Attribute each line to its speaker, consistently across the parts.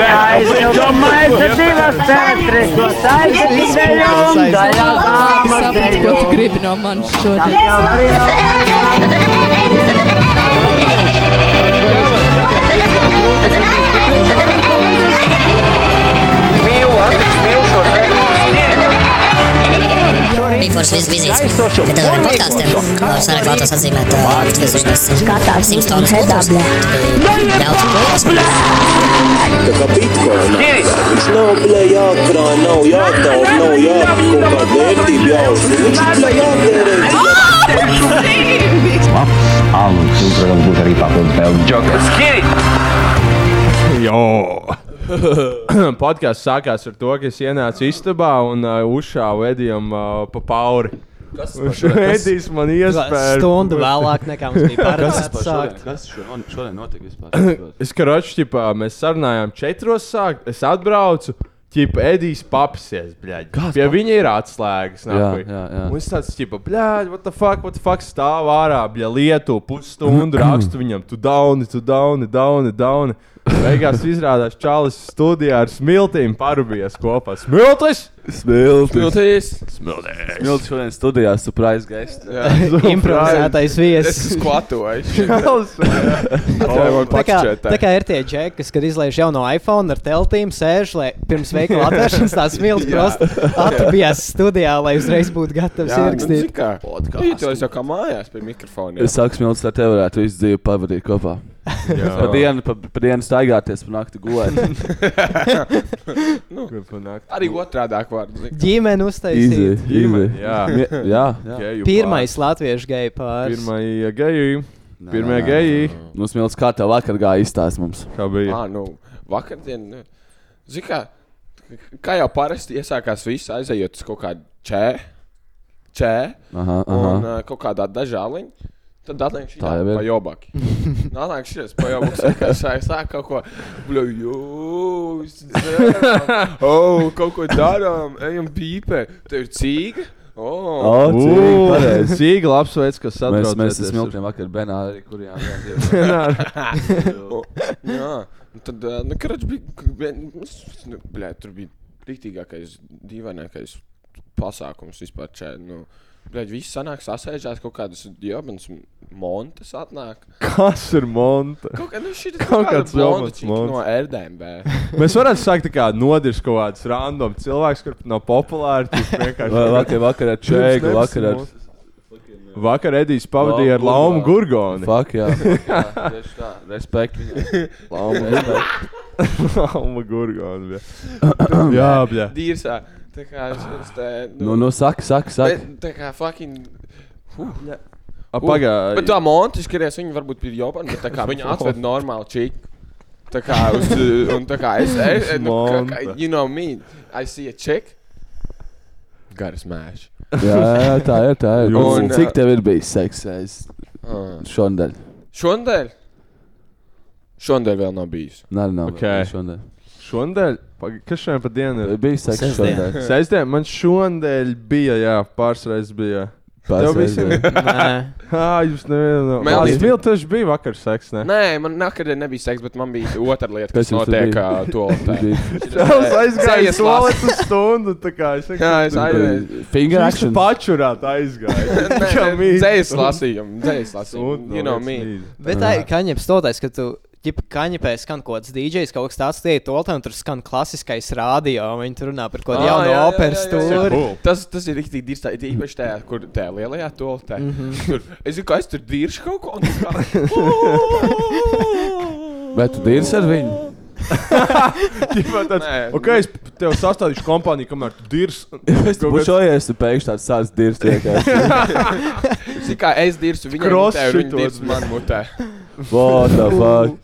Speaker 1: Domāju, ka divas sētris, ko saistas izdeļām, daļā nāmas
Speaker 2: Sapratu, ko tu gribi no manis šodien.
Speaker 3: Mikls bija vizītes. Bet ar podkāstiem var sareklātos atzīmēt ā, 1600 tonnas kultūras. Э, Daudz kultūras.
Speaker 4: Tā kā bitkoina. Viņš nav blē jākrāj, nav jātaur, nav jā, kaut kāda vērtība jāuzliek. Viņš ir blē jātērē.
Speaker 5: Alun, tu, protams, būs arī papildus vēl joks.
Speaker 6: Podkāsts sākās ar to, ka es ienācu istabā un uh, uzšāvu Edijam uh, pa pauri.
Speaker 7: Kas tas par
Speaker 6: Viņš
Speaker 7: šo- kas-
Speaker 6: Edijs man iespēja.
Speaker 8: Stundu vēlāk nekā mums bija
Speaker 7: Kas tas
Speaker 8: paredzēts
Speaker 7: par šodien?
Speaker 8: sākt.
Speaker 7: Kas šodien šodien notika vispār?
Speaker 6: Es karoču, ķipā, mēs sarunājām, četros sākt, es atbraucu. Ķipa, Edijs papsies, bļaļ.
Speaker 7: Kas
Speaker 6: Pie
Speaker 7: pap-
Speaker 6: viņa ir atslēgas, nahuj.
Speaker 7: jā, jā.
Speaker 6: Un es tāds, ķipa, bļaļ, what the fuck, what the fuck, stāv ārā, bļaļ, lietu, pusstundu rakstu viņam, tu dauni, tu dauni, dauni, dauni. Beigās izrādās Čālis studijā ar smiltīm parubies kopā. Smiltis!
Speaker 7: Smilts.
Speaker 6: Smiltis!
Speaker 7: Smilts šodien studijā, surprise guest.
Speaker 8: Improvizētais
Speaker 9: Es
Speaker 8: viesis.
Speaker 9: esmu skvatojuši.
Speaker 8: Tā kā, tā kā ir tie džeki, kas, kad izlaiž jauno iPhone ar teltīm, sēž lai pirms veikala atvēršanas tās smilts prosti atbijās studijā, lai uzreiz būtu gatavs ierakstīt.
Speaker 9: kā podkāsts. Jau kā mājās pie mikrofoniem.
Speaker 7: Es sāku smilts, lai te varētu visu dzīvi pavadīt kopā. Pa dienu, pa, pa dienu staigāties, pa nakti gulēt.
Speaker 9: Nu. Arī otrādāk vārdu. zini.
Speaker 8: Ģimene
Speaker 7: Easy,
Speaker 8: uztaisīja.
Speaker 7: easy.
Speaker 6: Ģimene, jā.
Speaker 7: Mie- jā, jā.
Speaker 8: Pirmais latviešu geju pāris.
Speaker 6: Pirmie geji. Pirmie geji.
Speaker 7: Nu, smilts, kā tev vakar gāja izstāst mums?
Speaker 6: Kā bija?
Speaker 9: Ā, nu, vakardien. Zini, kā, kā jau parasti iesākās viss, aizejot uz kaut kādu čē, čē
Speaker 7: Aha, aha.
Speaker 9: un uh, kaut kādā dažāliņā. Tad atliek šī
Speaker 7: Tā jau ir.
Speaker 9: pa jobaki. Nāk šis pa jobaki, kā šai sāk kaut ko. Bļu, jūs, dzēram, o, kaut ko darām, ejam pīpē. Tev ir cīga? O,
Speaker 7: O, cik pareizi.
Speaker 6: Cik labs veids, kas
Speaker 7: Mēs, mēs
Speaker 6: satraucēties.
Speaker 7: ar smiltiem vakar Benā arī kurjām.
Speaker 9: O, Jā, nu tad, ā, nu, karač bija, k- vien- s- nu, blē, tur bija rītīgākais, dīvainākais pasākums vispār šeit. Nu, blē, viss sanāk sasēžās kaut kādas diabens montas atnāk.
Speaker 6: Kas ir monta?
Speaker 9: Kaut kā, nu, šī ir
Speaker 6: Kaut
Speaker 9: kaut
Speaker 6: kāds
Speaker 9: kāda blonda
Speaker 6: Jobens
Speaker 9: čika
Speaker 6: Monts.
Speaker 9: no RDMB.
Speaker 6: Mēs varētu sākt tā kā nodirst kaut kāds random cilvēks, kurš nav populārs. kurš vienkārši-
Speaker 7: Vakar, vakar ar Čēgu, vakar ar...
Speaker 6: Vakar Edijs pavadīja ar
Speaker 7: Lau-
Speaker 6: Laumu Gurgoni.
Speaker 7: Fuck, jā.
Speaker 9: Tieši tā.
Speaker 7: Respekt viņam. Lauma, respekt.
Speaker 6: Lauma Gurgoni. bija. Jā, bļa.
Speaker 9: Dīrsā. Tā kā, es te,
Speaker 7: Nu, nu, saka, saka, saka.
Speaker 9: bet, tā kā, fucking.
Speaker 6: A,
Speaker 9: Bet
Speaker 6: Pagā.
Speaker 9: tā monta, skaties, viņa varbūt bija jopana, bet tā kā viņa atved normālu čiku. Tā kā, uz, un tā kā es, es, es nu, kā, kā,
Speaker 6: Monta.
Speaker 9: you know me, I see a chick. Garas mēš.
Speaker 7: Jā, jā, tā ir, tā ir.
Speaker 9: Un,
Speaker 7: Un, cik tev ir bijis seks es-
Speaker 9: Uh.
Speaker 7: šonadēļ?
Speaker 9: Šonadēļ? Šonadēļ vēl nav bijis.
Speaker 7: Nē, nē,
Speaker 6: Ok.
Speaker 7: okay. šonadēļ.
Speaker 6: Šonadēļ? Pagā, Kas šodien pa dienu
Speaker 7: Tev
Speaker 6: ir?
Speaker 7: bija seks šonadēļ.
Speaker 6: Sestdien man šonadēļ bija, jā, pāris reizes bija. Tev
Speaker 7: Pāris
Speaker 6: visiem-
Speaker 7: reizes.
Speaker 8: Nē.
Speaker 6: Ā, jūs nevienam.
Speaker 9: Melnīt.
Speaker 6: Melnīt. Miltiši bija vakar seks, ne?
Speaker 9: Nē, man nakarā nebija seks, bet man bija otra lieta,
Speaker 7: Kas
Speaker 9: kas
Speaker 7: jums tur
Speaker 9: notiek
Speaker 7: bija?
Speaker 9: ā, to.
Speaker 7: Bija-
Speaker 6: Es aizgāju
Speaker 9: Sejas
Speaker 6: uz toaletu stundu, tā kā es
Speaker 9: Jā, es aizgāju.
Speaker 7: Finger action.
Speaker 6: pačurāt aizgāju. Kā mīt.
Speaker 9: Dzējas lasījumu, dzējas
Speaker 6: Stundu,
Speaker 9: lasījumu. You know
Speaker 6: liekas,
Speaker 9: me.
Speaker 6: mīt.
Speaker 8: Bet tā ir kaņepes totais, ka tu. Ķipa kaņepē skan kaut kāds DJs, kaut kas tāds tie ir toltē, un tur skan klasiskais rādio, un viņi tur runā par kaut
Speaker 9: Ā,
Speaker 8: kādu jaunu
Speaker 9: jā, jā,
Speaker 8: operas
Speaker 9: jā, jā, jā.
Speaker 8: tūri.
Speaker 6: Cool.
Speaker 9: Tas, tas ir rīktīgi dīvaini. Tā ir īpaši tajā, kur tajā lielajā toltē. Mm
Speaker 6: Mhm.
Speaker 9: -hmm. tur, es zinu, ka es tur diršu kaut ko. un es kā-
Speaker 7: Bet tu dīlis ar viņu?
Speaker 6: Ķipā tāds,
Speaker 9: Nē.
Speaker 6: Ok, es tev sastādīšu kompāniju, kamēr tu dirs.
Speaker 7: Es tur bušojies, tu pēkšņi tāds sāc dīlis vienkārši.
Speaker 9: Zini, kā es diršu viņu
Speaker 6: Cross
Speaker 9: mutē, un viņi
Speaker 6: šitos,
Speaker 9: dirst man mutē.
Speaker 7: What the fuck?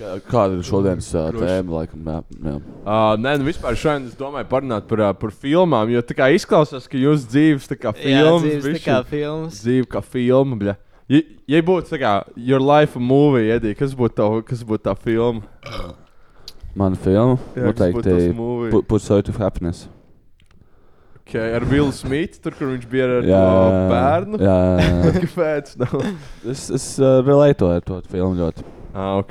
Speaker 7: Kā- Kāda ir šodienas uh, tēma, laikam? Jā, jā.
Speaker 6: Uh, nē, nu vispār šodien es domāju parunāt par, uh, par filmām, jo tā kā izklausās, ka jūs dzīves tā kā
Speaker 8: Jā,
Speaker 6: filmas.
Speaker 8: dzīves tā
Speaker 6: bišķi.
Speaker 8: kā filmas.
Speaker 6: dzīve kā filma. Bļa. Ja, ja būtu tā kā your life a movie, Edī, kas būtu tā, kas būtu tā filma?
Speaker 7: Mana filma
Speaker 6: Jā, kas būtu tas
Speaker 7: noteikti
Speaker 6: movie?
Speaker 7: Pursuit of Happiness.
Speaker 6: Ok, Okay, ar Vilnu Smitu, tur, kur viņš bija ar jā,
Speaker 7: Jā, jā,
Speaker 6: bērnu.
Speaker 7: Jā, jā, jā.
Speaker 6: Kāpēc? nav?
Speaker 7: es, es uh, relatēju ar to filmu ļoti.
Speaker 6: Ah, ok.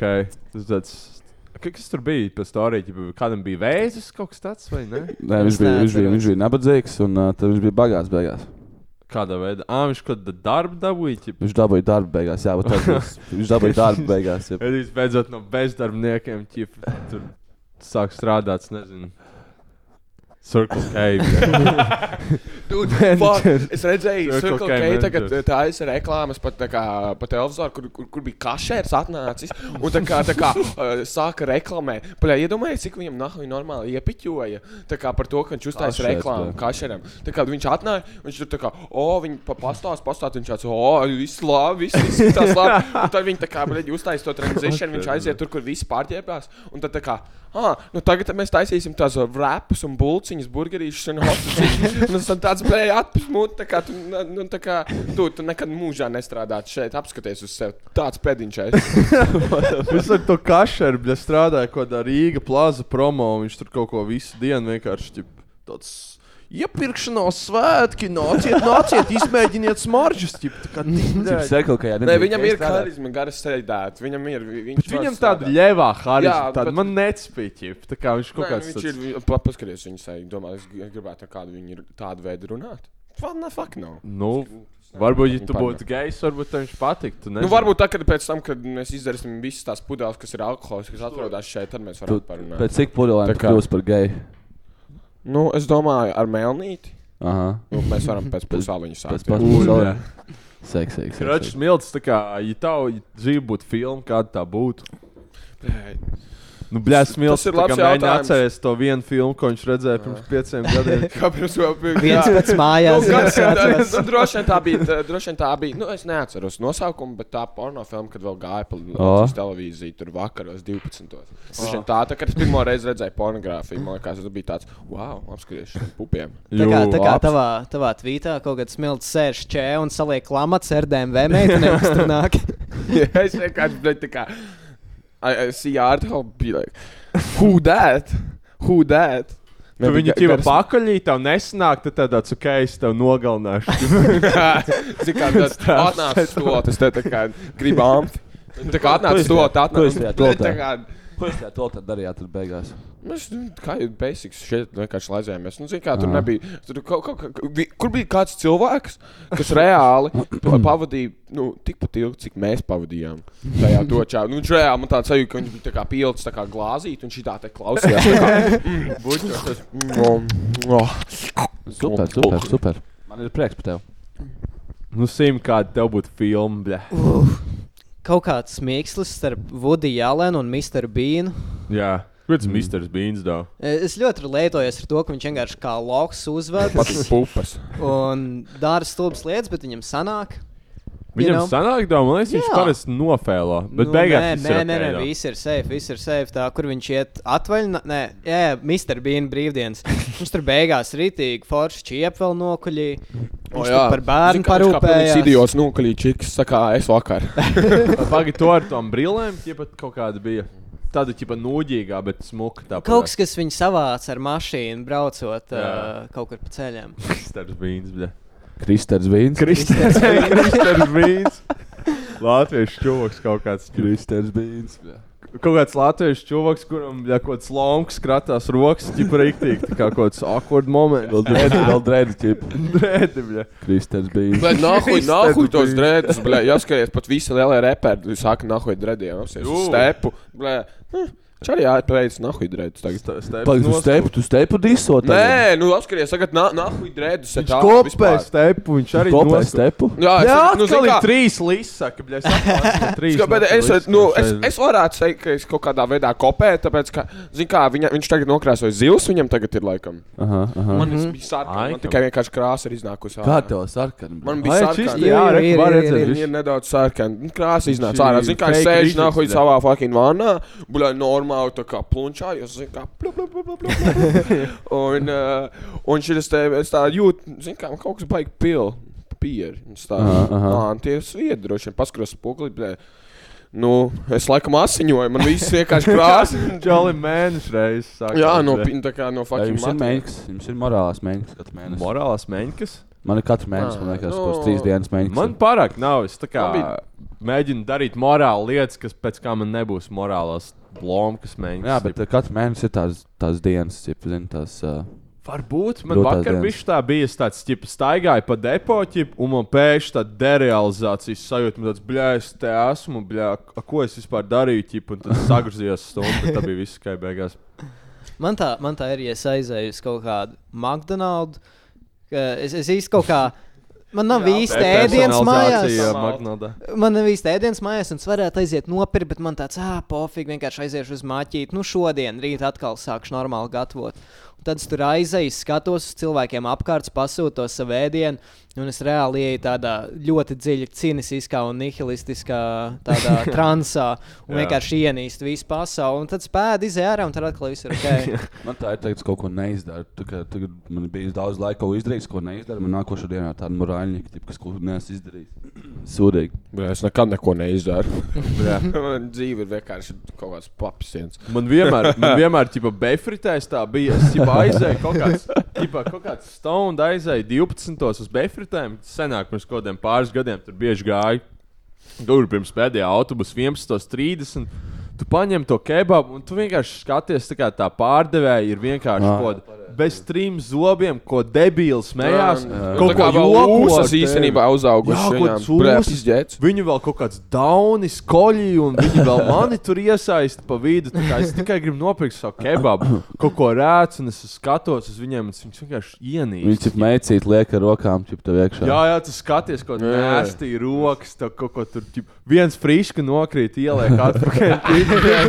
Speaker 6: Tas tāds. ka- Kas tur bija? Pēc tā arī bija. Kādam bija vēzis kaut kas tāds, vai ne?
Speaker 7: Nē, viņš,
Speaker 8: Es
Speaker 7: bija, viņš, bija,
Speaker 8: neatceros.
Speaker 7: viņš bija nabadzīgs, un uh, tad viņš bija bagāts beigās.
Speaker 6: Kādā veidā? Ah, viņš kaut kādu darbu dabūja. ķip.
Speaker 7: Viņš dabūja darbu beigās, jā, bet tas viņš dabūja darbu beigās. Jā.
Speaker 6: Tad viņš beidzot no bezdarbniekiem ķip, tur sāk strādāt. es Nezinu. Circle K.
Speaker 9: Dude,
Speaker 6: Manager.
Speaker 9: fuck, Es redzēju,
Speaker 6: Circle
Speaker 9: Circle
Speaker 6: K
Speaker 9: K tagad, eh,
Speaker 6: managers.
Speaker 9: tā ir reklāmas pat tā kā pa televizoru, kur, kur, kur bija kašērs atnācis. Un tā kā, tā kā uh, sāka reklamēt. Paļā, iedomājies, cik viņam nahuj normāli iepiķoja. Tā kā par to, ka viņš uztais
Speaker 7: Kašērs,
Speaker 9: reklāmu
Speaker 7: jā.
Speaker 9: kašēram. Tā kā viņš atnāja, viņš tur tā kā, o, viņi pa pastāst, pastāst, viņš tāds, o, viss labi, viss izskatās labi. Un tad viņi tā kā, bļaļ, uztais to transition, viņš aiziet tur, kur visi pārģērbās. Un tad tā kā, ah, nu tagad mēs taisīsim tās rapus un bulciņas, burgerīšus un hotus. Un tas ir tāds brīdis, atpūsmūt, tā kā tu, na- nu, tā kā, tu, tu nekad mūžā nestrādātu šeit. Apskaties uz sevi. Tāds pēdiņš ir.
Speaker 6: Viņš ar to kašeru bija strādājis kaut kādā Rīga plaza promo. un Viņš tur kaut ko visu dienu vienkārši ķip, tāds. Iepirkšanās svētki, nāciet, nāciet, izmēģiniet smaržas. Ķip, tā kā,
Speaker 7: Viņš
Speaker 6: tīk,
Speaker 7: saka, ka jā,
Speaker 9: Nē, viņam ir
Speaker 7: strādāt.
Speaker 9: harizma, gara sēdēt. Viņam ir. vi- Viņš
Speaker 6: Bet
Speaker 9: var
Speaker 6: viņam
Speaker 9: strādāt.
Speaker 6: tāda ļevā harizma,
Speaker 9: Jā,
Speaker 6: tāda
Speaker 9: bet-
Speaker 6: man necpīķi. Tā kā viņš kaut
Speaker 9: Nē, nu,
Speaker 6: kāds
Speaker 9: viņš
Speaker 6: tāds.
Speaker 9: ir. pa- Paskaties, viņa sēž. Domā, es gri- gribētu ar kādu viņu ir tādu veidu runāt. Fuck, no fuck, no.
Speaker 6: Nu, varbūt, ja tu
Speaker 9: Viņa
Speaker 6: būtu gejs, varbūt tev viņš patiktu.
Speaker 9: Nu, varbūt tā, kad pēc tam, kad mēs izdarīsim visas tās pudeles, kas ir alkohols, kas atrodas šeit, tad mēs
Speaker 7: Tu-
Speaker 9: varam parunāt.
Speaker 7: Pēc cik pudelēm
Speaker 9: Tā
Speaker 7: tu
Speaker 9: kā-
Speaker 7: kļūsi par geju?
Speaker 9: Nu, es domāju, ar melnīti.
Speaker 7: Aha.
Speaker 9: Nu, mēs varam pēc pusauliņa
Speaker 7: Pēc
Speaker 9: sākt.
Speaker 7: pasaules vēl. Seks, seks,
Speaker 6: Račs
Speaker 7: seks.
Speaker 6: Milts, tā kā, ja tavu ja dzīve būtu filma, kāda tā būtu.
Speaker 9: Blēd.
Speaker 6: Nu, blēs, Milts,
Speaker 9: tas ir labs jautājums.
Speaker 6: atcerēties to vienu filmu, ko viņš redzēja pirms pieciem gadiem.
Speaker 9: Kāpēc vēl
Speaker 8: Viens pēc mājās.
Speaker 9: Gan,
Speaker 8: viens
Speaker 9: gan,
Speaker 8: atvests.
Speaker 9: nu, droši vien tā bija. tā- Droši vien tā bija. Nu, es neatceros nosaukumu, bet tā pornogrāfija, kad vēl gāja pa Latvijas televīziju, tur vakaros 12. Droši vien tā, tā, kad es pirmo reizi redzēju pornogrāfiju, man liekas, tas bija tāds, wow, apskatīšu šiem pupiem.
Speaker 8: Tā kā, tā kā
Speaker 6: Jū,
Speaker 8: tavā, tavā tvītā kaut kāds smilts sēž čē un saliek klamats ar DMV meitenēm, kas tur nāk.
Speaker 9: Yeah, es vienkārši, bet tā kā, I, I see art, I'll be like, who that? Who that?
Speaker 6: Tu viņu
Speaker 9: Maybe
Speaker 6: ķipa
Speaker 9: gar-
Speaker 6: pakaļī, tev nesanāk, tad tev tāds, ok, es tev nogalināšu.
Speaker 9: Zini, kā tas atnāca stulti, tas te tā kā gribu amfi. Tā kā atnāca stulti,
Speaker 7: Ko jūs
Speaker 9: atnāca
Speaker 7: tajā
Speaker 9: stulti.
Speaker 7: toltā?
Speaker 9: Tā kā,
Speaker 7: Ko jūs tajā to tad darījāt tur beigās?
Speaker 9: Mēs nu, kā jau basics šeit vienkārši laizējāmies. Nu, zini, kā tur nebija. Tur, kaut, kaut, kaut, vi- kur bija kāds cilvēks, kas reāli pa- pavadīja nu, tikpat ilgi, cik mēs pavadījām tajā točā. Nu, viņš reāli man tāds sajūta, ka viņš bija tā kā pielicis tā kā glāzīt un šī tā te klausījās. tā kā, mm, buļķos, tas, mm, oh.
Speaker 7: Super, super, super. Man ir prieks par tevi.
Speaker 6: nu, simt kāda tev būtu filma, blē.
Speaker 8: Kaut kāds smiekslis starp Vudu Jālēnu un Mr. Beanu.
Speaker 6: Jā. Kāds mm. Mr. Beans, dā?
Speaker 8: E, Es ļoti lietojos ar to, ka viņš vienkārši kā loks
Speaker 9: Pats
Speaker 8: uzvedas
Speaker 9: pupas.
Speaker 8: un dara stulbas lietas, bet viņam sanāk.
Speaker 6: Viņam
Speaker 8: know?
Speaker 6: sanāk, dā, man liekas, viņš
Speaker 8: Jā.
Speaker 6: parasti nofēlā. Bet
Speaker 8: Nu,
Speaker 6: beigās
Speaker 8: nē,
Speaker 6: viss ir
Speaker 8: nē, nē,
Speaker 6: okay,
Speaker 8: nē,
Speaker 6: dā.
Speaker 8: viss ir safe, viss ir safe. Tā, kur viņš iet atvaļinājumā, nē, jā, jā, Mr. Bean brīvdienas. Viņš tur beigās rītīgi forši čiep vēl nokuļī. Viņš oh, par bērnu
Speaker 9: Viņš
Speaker 8: parūpējās.
Speaker 9: idiots nokalīja čiks, sakā, es vakar.
Speaker 6: Pagaid, to ar tām brillēm, tie pat kaut kāda bija. Tāda ķipa nūģīgā, bet smuka. Tā
Speaker 8: Kaut kas, kas viņu savāca ar mašīnu, braucot uh,
Speaker 6: Jā.
Speaker 8: kaut kur pa ceļiem.
Speaker 6: Kristers Vīns, bļa.
Speaker 7: Kristers Vīns.
Speaker 6: Kristers Kristers Vīns. Latviešu čūvoks kaut kāds. ķip.
Speaker 7: Kristers Vīns.
Speaker 6: Kaut kāds latviešu čūvoks, kuram, ja kaut kāds lonks skratās rokas, ķipa rīktīgi. Tā kā kaut kāds awkward moment.
Speaker 7: Vēl drēdi, vēl drēdi, ķip.
Speaker 6: Drēdi, bļa.
Speaker 7: Kristers Vīns.
Speaker 9: Bet nākuj, nākuj tos drēbes, blē, jāskaties, pat visi lielie reperi saka, nākuj drēbiem, apsies uz
Speaker 6: Jū.
Speaker 9: stepu, blē. Hm, Čia arī jāpēc, nākuj drēbes tagad.
Speaker 6: Sta- steps
Speaker 7: Pagaid, tu
Speaker 6: nostūp.
Speaker 7: stepu, tu stepu disot.
Speaker 9: Nē, nu apskaties, tagad nā- nākuj drēbes.
Speaker 6: Viņš kopē stepu, viņš arī
Speaker 7: kopā
Speaker 6: nostūp.
Speaker 7: stepu.
Speaker 9: Jā,
Speaker 6: Jā,
Speaker 9: es, nu,
Speaker 6: nu,
Speaker 9: zini
Speaker 6: atkal ir
Speaker 9: kā,
Speaker 6: trīs līsaki, bļa. Sāpās, trīs
Speaker 9: Ska, bet es,
Speaker 6: notiek
Speaker 9: nu, es,
Speaker 6: līsaki.
Speaker 9: es varētu teikt, ka es kaut kādā veidā kopēju, tāpēc, ka, zini, kā viņa, viņš tagad nokrāsoja zils, viņam tagad ir laikam.
Speaker 7: Aha, aha.
Speaker 9: Man mm -hmm. bija sarkana, man
Speaker 6: Laikam.
Speaker 9: tikai vienkārši krāsa ir iznākusi. ārā.
Speaker 7: Kā tev sarkana?
Speaker 9: Man bija
Speaker 6: Ai,
Speaker 9: sarkana.
Speaker 6: čisti, jā,
Speaker 8: Ir,
Speaker 6: reku,
Speaker 8: ir,
Speaker 6: var
Speaker 8: ir,
Speaker 6: redzēt.
Speaker 8: ir.
Speaker 9: Viņa
Speaker 6: viss.
Speaker 9: ir nedaudz sarkana. Nu, Krāsa
Speaker 6: Šī
Speaker 9: iznāca ārā. Zini, kā es
Speaker 6: fake
Speaker 9: sēžu
Speaker 6: rīčuks,
Speaker 9: nahuļ
Speaker 6: jā.
Speaker 9: savā fucking vānā, buļā normāli tā kā plunčājos, zini, kā plup, plup, plup, plup, plup. Un, uh, un šis te, es tā jūtu, zini, kā man kaut kas baigi pil. Pieri. un es Tā,
Speaker 7: Aha, aha.
Speaker 9: Ā, un tie ir sviedri, droši vien, paskatās spoguli, blē. Nu, es laikam asiņoju, man viss vienkārši krāsa.
Speaker 6: Čauli mēnešu reizes sāk.
Speaker 9: Jā, nu, no, pi- tā kā
Speaker 7: nu,
Speaker 9: no
Speaker 7: Vai
Speaker 9: fucking
Speaker 7: jums ir
Speaker 9: matiem.
Speaker 7: mēnesis, jums ir morālās mēnesis katru mēnesi.
Speaker 6: Morālās mēņķis.
Speaker 7: Man ir katru mēnesi, man liekas,
Speaker 9: nu,
Speaker 7: kaut kāds trīs dienas mēnesis.
Speaker 6: Man pārāk nav. Es tā kā
Speaker 9: Man bija-
Speaker 6: mēģinu darīt morāli lietas, kas pēc kā man nebūs morālās blomkas mēģinājums.
Speaker 7: Jā, bet eh, katru mēnesi ir tās, tās dienas, ja zini, tās. Uh,
Speaker 6: Varbūt man
Speaker 7: Grūtās
Speaker 6: vakar
Speaker 7: dienas.
Speaker 6: bija tā, bija tāds, ka staigāju pa depotu, un man pēkšņi tā derealizācijas sajūta, man tāds, bļā, es te esmu, bļā, a, ko es vispār darīju, ķip, un tas sagriezījās stundu, bet tā bija viss, kā beigās.
Speaker 8: Man tā, man tā ir, ja es aizēju uz kaut kādu McDonald's. ka Es, es īsti kaut kā. Man nav īsti ēdienas
Speaker 6: Personalizācija,
Speaker 8: mājās.
Speaker 6: Maknaldā.
Speaker 8: Man nav īsti ēdienas mājās, un es varētu aiziet nopirkt, bet man tāds, ah, pofīgi, vienkārši aiziešu uz māķīti. Nu, šodien, rīt atkal sākšu normāli gatavot. Un tad es tur aizēju, skatos uz cilvēkiem apkārt, pasūtu to savu ēdienu, un es reāli eju tādā ļoti dziļi cīniskā un nihilistiskā tādā transā, un
Speaker 6: Jā.
Speaker 8: vienkārši ienīstu visu pasauli. Un tad spēju izēju ārā, un tad atkal viss ir ok.
Speaker 7: Man tā ir teikt, ka kaut ko neizdaru. Tā kā Tagad man bija daudz laika, ko izdarīt, ko neizdaru. Man nākošā dienā tāda morāļnieka, tipa, kas ko nesu izdarījis. Sūdīgi.
Speaker 9: Bļā, Es nekad neko neizdaru. Man dzīve ir vienkārši kaut kāds papsiens.
Speaker 6: Man vienmēr, man vienmēr ķipa, befritēs tā bija. Es jau aizēju kaut kāds, ķipa, kaut kāds stundu, aizēju 12. uz befritēm. Senāk, pirms kaut kādiem pāris gadiem, tur bieži gāja. Tur pirms pēdējā autobusa 11.30. Tu paņem to kebabu, un tu vienkārši skaties, tā kā tā pārdevēja ir vienkārši
Speaker 7: Ah.
Speaker 6: kaut kāda. Bez trim zobiem, ko debils smējās.
Speaker 9: Kaut Ehm, nu, kā vēl ūsas
Speaker 6: tevi.
Speaker 9: īstenībā
Speaker 6: Jā,
Speaker 9: uzaugušas.
Speaker 6: kaut
Speaker 9: viņām. Bļā,
Speaker 6: kāds
Speaker 9: pizdzēts.
Speaker 6: uzsācis. Viņu vēl kaut kāds daunis, koļi, un viņi vēl mani tur iesaista pa vidu. tā kā Es tikai gribu nopirkt savu kebabu, kaut ko rēc, un es skatos uz viņiem, un es viņus vienkārši
Speaker 7: Viņš
Speaker 6: ienīstu.
Speaker 7: ir mēcīts, liek ar rokām, čip tev iekšā.
Speaker 6: Jā, jā, tu skaties, ko
Speaker 9: Jā, jā.
Speaker 6: nēsti rokas, tev kaut ko tur ķip, viens frīška nokrīt, ieliek atpakaļ.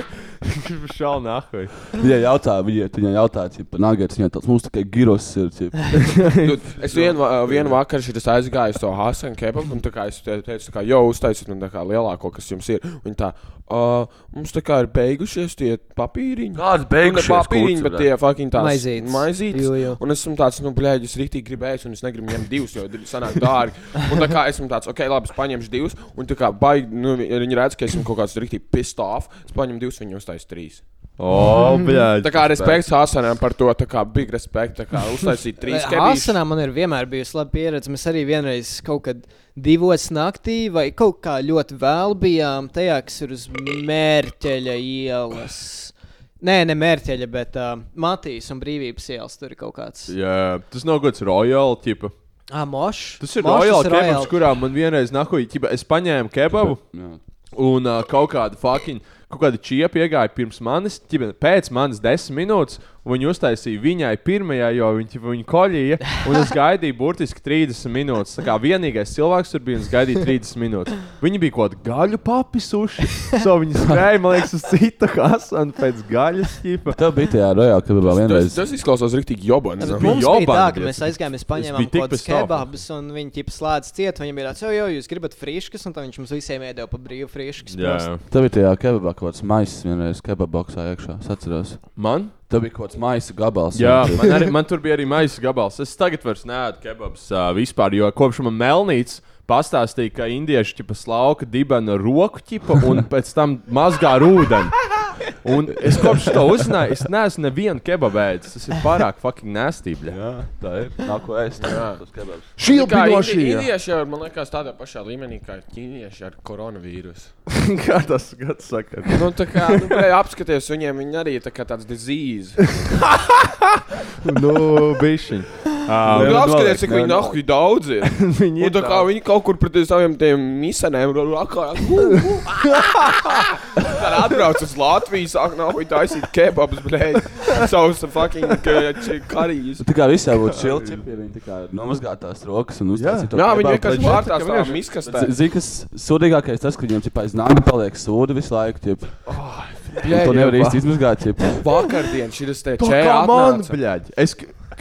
Speaker 6: Gribu šādu nahu.
Speaker 7: Viņa jautā, viņa, viņa jautā, cip, nagats, viņa tāds, mums tikai giros ir, cip.
Speaker 9: Nu, Es vienu, va- vienu vakaru šeit aizgāju uz to Hāzenu kebabu, un tā kā es te teicu, tā kā, jau uztaisīt man tā kā lielāko, kas jums ir. Viņa tā, "Ā, mums tā kā ir beigušies tie papīriņi.
Speaker 7: Kāds
Speaker 9: Nu, ne papīriņi, bet tie fucking tās
Speaker 8: Maizītes. Jū,
Speaker 9: Maizītes.
Speaker 8: jū.
Speaker 9: Un esmu tāds, nu, blēģi, es rītīgi gribēju, un es negribu ņemt divus, jo divi sanāk dārgi. Un tā kā esmu tāds, ok, labi, es paņemšu divus, un tā kā baigi, nu, vi- viņi redz, ka esmu kaut kāds rītīgi pissed off, es paņemu divus, viņi uztais trīs.
Speaker 6: O, bļaigi.
Speaker 9: Tā kā respekts Hāzenam par to, tā kā big respect, tā kā uztaisīt trīs kebabus.
Speaker 8: Asinā man ir vienmēr bijusi laba pieredze. Mēs arī vienreiz kaut kad divos naktī vai kaut kā ļoti vēl bijām tajā, kas ir uz mērķeļa ielas. Nē, ne mērķeļa, bet uh, Matīs un Brīvības ielas tur ir kaut kāds.
Speaker 6: Jā, tas nav kaut kāds royal tipa.
Speaker 8: Ah, mošs.
Speaker 6: Tas ir royal kebabs, kurā man vienreiz nahuji, tipa, es paņēmu kebabu. Un uh, kaut kāda fucking, kaut kāda čiepa iegāja pirms manis, ķipa, pēc manis desmit minūtes. un Viņa uztaisīja viņai pirmajā, jo viņa, ķipa, viņa koļīja. Un es gaidīju burtiski 30 minūtes. Tā kā vienīgais cilvēks tur bija, un es gaidīju 30 minūtes. Viņa bija kaut kāda gaļu papisuši. So viņa spēja, man liekas, uz citu hasanu pēc gaļas ķipa.
Speaker 7: Tev bija tajā rojā, kad vēl
Speaker 9: Tas,
Speaker 7: vienreiz.
Speaker 9: tas izklausās rīktīgi jobans.
Speaker 8: Bet
Speaker 9: ne?
Speaker 6: bija
Speaker 8: Mums bija tā,
Speaker 6: jobandi,
Speaker 8: ka mēs
Speaker 6: es-
Speaker 8: aizgājām, mēs
Speaker 6: es
Speaker 8: paņēmām
Speaker 6: biju tik
Speaker 8: kaut kādas
Speaker 6: pēc tava.
Speaker 8: kebabus, un viņi tipa slēdz ciet, viņiem bija tāds, jo, jo, jūs gribat frīškas, un tad viņš mums visiem iedeva pa brīvu frīškas. prost.
Speaker 7: Tev bija tajā kebabā kaut kāds maisis vienreiz kebaboksā iekšā, es atceros.
Speaker 6: man?
Speaker 7: Tev bija kaut kāds maisa gabals.
Speaker 6: Jā,
Speaker 7: vienkārši.
Speaker 6: man, arī, man tur bija arī maisa gabals. Es tagad vairs neēdu kebabus uh, vispār, jo kopš man melnīts. Pastāstīja, ka indieši ķipa slauka dibena roku ķipa un pēc tam mazgā ar ūdeni. Un es kopš to uzzināju, es neesmu nevienu kebabu ēdis. Tas ir pārāk fucking nēstība.
Speaker 7: Jā, tā ir. Nāko ēst. Jā, tas kebabs.
Speaker 6: Šī
Speaker 9: Tā kā indi- Indieši jau ir, man liekas, tādā pašā līmenī kā ķīnieši ar koronavīrusu.
Speaker 6: Kā tas gads saka?
Speaker 9: Nu, tā kā nu, blē, apskaties, viņiem viņi arī ir tā kā tāds disease.
Speaker 6: Nu, bišķiņ.
Speaker 9: Nu,
Speaker 6: Uh,
Speaker 9: apskaties, cik viņi nahuji daudz ir.
Speaker 6: viņi
Speaker 9: Un tā kā viņi kaut kur pret saviem tiem nu, misanēm rakā. Tad atbrauc uz Latviju, sāk nahuji taisīt kebabus, blēģi. Savus fucking ka- či- karijas.
Speaker 7: Tā kā visā būtu silti, ja viņi tā kā nomazgātās rokas un uztaisītu.
Speaker 9: Jā, viņi vienkārši
Speaker 6: bet-
Speaker 9: vārtās tā miskastē.
Speaker 7: Zini, kas sūdīgākais tas, ka viņiem tipā aiz nāga paliek sūdi visu laiku. Tip. Jā,
Speaker 9: jā,
Speaker 7: to nevar
Speaker 9: jā,
Speaker 7: īsti izmazgāt. Tip.
Speaker 9: Vakardien šis te
Speaker 6: Čē,
Speaker 9: čēra
Speaker 6: man,
Speaker 9: atnāca.
Speaker 6: bļaģi. Es,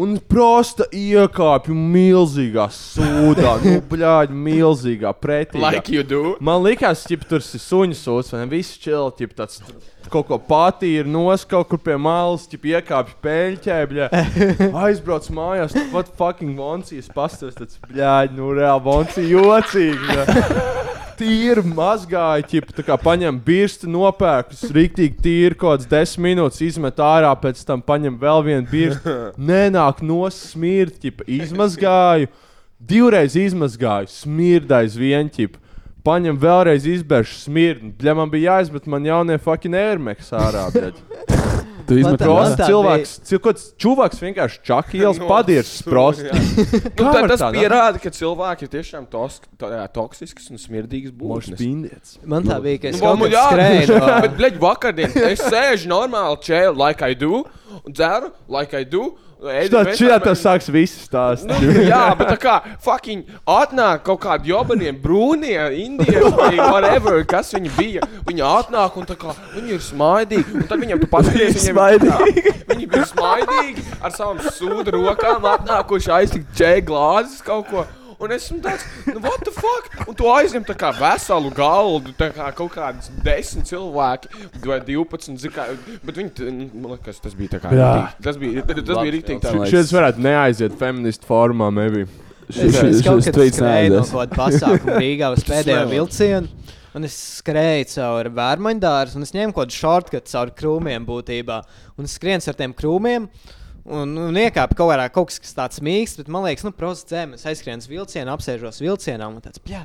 Speaker 6: Un prosta iekāpju milzīgā sūdā, nu, bļāģi, milzīgā pretī.
Speaker 9: Like you do.
Speaker 6: Man liekas, ka tur ir suņu sūds, vai ne? Visi čili, ja tāds tur kaut ko patīri, nos kaut kur pie malas, ja piekāpj pēļķēbļā. Aizbrauc mājās, nu, pat fucking voncijas pastāv, tas bļāģi, nu reāli voncijas jocīgi. ne? Tīri mazgāja, ķip, tā kā paņem birsti, nopērkus, rīktīgi tīri kaut kāds desmit minūtes, izmet ārā, pēc tam paņem vēl vienu birsti. Nenāk nosmirt, ķip, izmazgāju, divreiz izmazgāju, smirdais vienķip. Paņem vēlreiz izbēršu smirni. Bļa, man bija jāizmet man jaunie fucking airmeks ārā. bļaģ.
Speaker 7: Tu
Speaker 8: Man
Speaker 7: izmet
Speaker 8: tā-
Speaker 7: rozi?
Speaker 8: man
Speaker 6: Prosts
Speaker 8: Nu, tā
Speaker 6: cilvēks, cilvēks, čuvaks vienkārši čakīls, padīrs, prosts.
Speaker 9: Nu,
Speaker 6: Kā
Speaker 9: tā,
Speaker 6: var
Speaker 9: tas
Speaker 6: tā, ne?
Speaker 9: pierāda, ka cilvēki ir tiešām tos, tā, jā, toksiskas un smirdīgas būtnes.
Speaker 6: Spīndiets.
Speaker 8: Man tā bija, ka es
Speaker 9: Nu,
Speaker 8: kaut
Speaker 9: man
Speaker 8: kādā
Speaker 9: jā,
Speaker 8: skrēju. no-
Speaker 9: bet, blēģ, vakardien es sēžu normāli čēlu, like I do, un dzeru, like I do. ēdu
Speaker 6: Tā
Speaker 9: bez-
Speaker 6: čitā tas sāks visas tās.
Speaker 9: Nu, jā, bet tā kā fucking atnāk kaut kādi jobanie, brūnie, indieši vai whatever, kas viņi bija. Viņi atnāk un tā kā viņi ir smaidīgi. Un tad viņiem tu
Speaker 7: Viņi ir
Speaker 9: paskaties, viņiem smaidīgi. Viņi bija smaidīgi ar savām sūdu rokām atnākuši aiztikt džēg glāzes kaut ko. Un es esmu tāds, nu, what the fuck? Un tu aizņem tā kā veselu galdu, tā kā kaut kādas desmit cilvēki, vai 12, zin kā, bet viņi, t- man liekas, tas bija tā kā,
Speaker 6: Jā.
Speaker 9: rīktīgi. tas bija, tas bija rīktīgi tā,
Speaker 7: films.
Speaker 6: Šis varētu neaiziet feministu formā, maybe.
Speaker 8: Es, es kaut
Speaker 7: Šis
Speaker 8: kādā
Speaker 7: tweets
Speaker 8: skrēju no
Speaker 7: neaizies.
Speaker 8: kaut kāda pasākuma Rīgā uz pēdējo
Speaker 9: nevari.
Speaker 8: vilcienu. Un es skrēju cauri vērmaņdārzu, un es ņēmu kaut kādu šortkatu cauri krūmiem būtībā. Un es skrienu ar tiem krūmiem. Un, un iekāpa kaut kādā kaut kas tāds mīksts, bet man liekas, nu, prasa dzēm. Es aizskrienu uz vilcienu, apsēžos vilcienā un tāds pļā.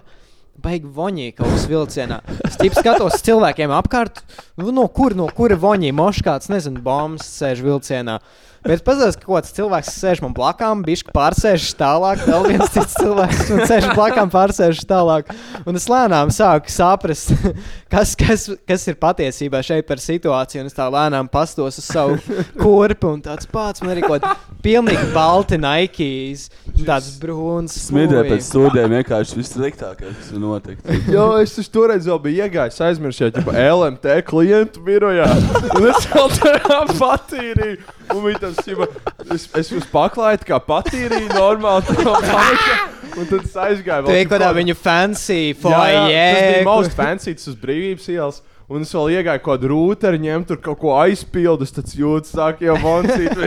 Speaker 8: Baigi voņī kaut kas vilcienā. Es tikai skatos uz cilvēkiem apkārt, nu, no kur, no kura voņī moškāts, nezinu, bombas sēž vilcienā. Bet paskatās, ka kaut kāds cilvēks sēž man blakām, bišķi pārsēž tālāk, vēl viens cits cilvēks man sēž blakām, pārsēž tālāk. Un es lēnām sāku saprast, kas, kas, kas ir patiesībā šeit par situāciju. Un es tā lēnām pastos uz savu kurpu un tāds pats man ir kaut kāds pilnīgi balti Nikes, tāds brūns.
Speaker 7: Smirdē
Speaker 8: smūji.
Speaker 7: pēc sūdiem vienkārši viss sliktākais, kas var notikt.
Speaker 6: Jo es taču toreiz jau biju iegājis, aizmirsu, ka LMT klientu birojā. Un es jau tādā patīrīju. Un viņi tam sīva. Es, es jūs paklāju, kā patīrīju normāli. tā kā panika. Un tad es aizgāju.
Speaker 8: Tu
Speaker 6: vēl
Speaker 8: ej
Speaker 6: tur
Speaker 8: kaut kādā
Speaker 6: kaut-
Speaker 8: viņu fancy
Speaker 6: Jā, jā, tas bija
Speaker 8: foyer.
Speaker 6: most fancīts uz brīvības ielas. Un es vēl iegāju kaut kādu rūteri, ņēmu tur kaut ko aizpildus, tad jūtas, sāk jau vancīt.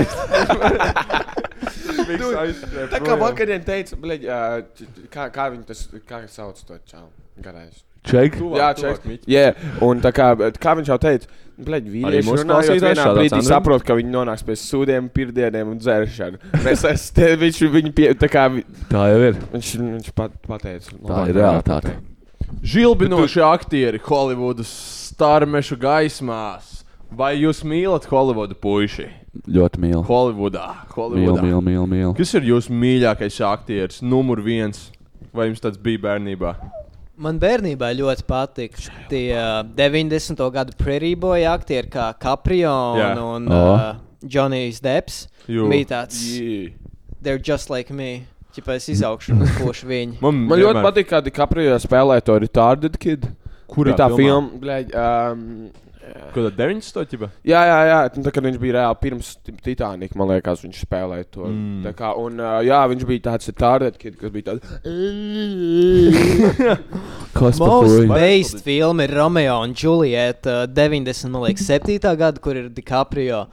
Speaker 9: Tā kā vakarā teica, bleģ, ā, č- č- kā, kā viņi tas kā viņi sauc to čau. Garais.
Speaker 7: Ček,
Speaker 9: Jā, čeks. Jā, un tā kā, bet kā viņš jau teica, bleģ, vīrieši
Speaker 6: mūsu
Speaker 9: runājot
Speaker 6: klausītāji
Speaker 9: vienā
Speaker 6: šādā
Speaker 9: brīdī
Speaker 6: centrā?
Speaker 9: saprot, ka viņi nonāks pie sūdiem, pirdieniem un dzēršanu. Mēs es, te, viņš, viņu pie, tā kā, vi-
Speaker 7: tā jau ir.
Speaker 9: viņš, viņš pat pateica.
Speaker 7: Tā
Speaker 9: labāk
Speaker 7: ir
Speaker 9: nevar
Speaker 7: realitāte.
Speaker 9: pateikt.
Speaker 6: Žilbinoši aktieri Holivudas starmešu gaismās. Vai jūs mīlat Holivudu puiši?
Speaker 7: Ļoti mīlu.
Speaker 6: Holivudā.
Speaker 7: Mīlu,
Speaker 6: Holivudā.
Speaker 7: mīlu, mīlu. mīlu.
Speaker 6: Kas ir jūsu mīļākais aktieris? Numur viens. Vai jums tāds bija bērnībā?
Speaker 8: Man bērnībā ļoti patika tie ā, 90. gadu Pretty Boy aktieri, kā Capriona
Speaker 6: Jā.
Speaker 8: yeah. un
Speaker 7: O.
Speaker 8: uh, Johnny's Deps.
Speaker 6: Jū.
Speaker 8: Bija tāds, they're just like me. Ķipa es izaugšu un košu viņu.
Speaker 6: Man,
Speaker 9: Man ļoti patīk, kā DiCaprio spēlē to retarded kid.
Speaker 6: Kurā
Speaker 9: bija tā
Speaker 6: filmā?
Speaker 9: filma? Bleģ, um,
Speaker 6: Kāda 90. gada?
Speaker 9: Jā, jā, jā. nu, Tā, kad viņš bija reāli pirms Titanika, man liekas, viņš spēlēja to. Mm. Tā kā, un, ā, jā, viņš bija tāds tārdeķis, kid, kas bija tāds.
Speaker 7: Kas par
Speaker 8: Most
Speaker 7: to?
Speaker 8: based filma ir Romeo un Julieta, ā, 90, man liekas, 7. gada, kur ir DiCaprio.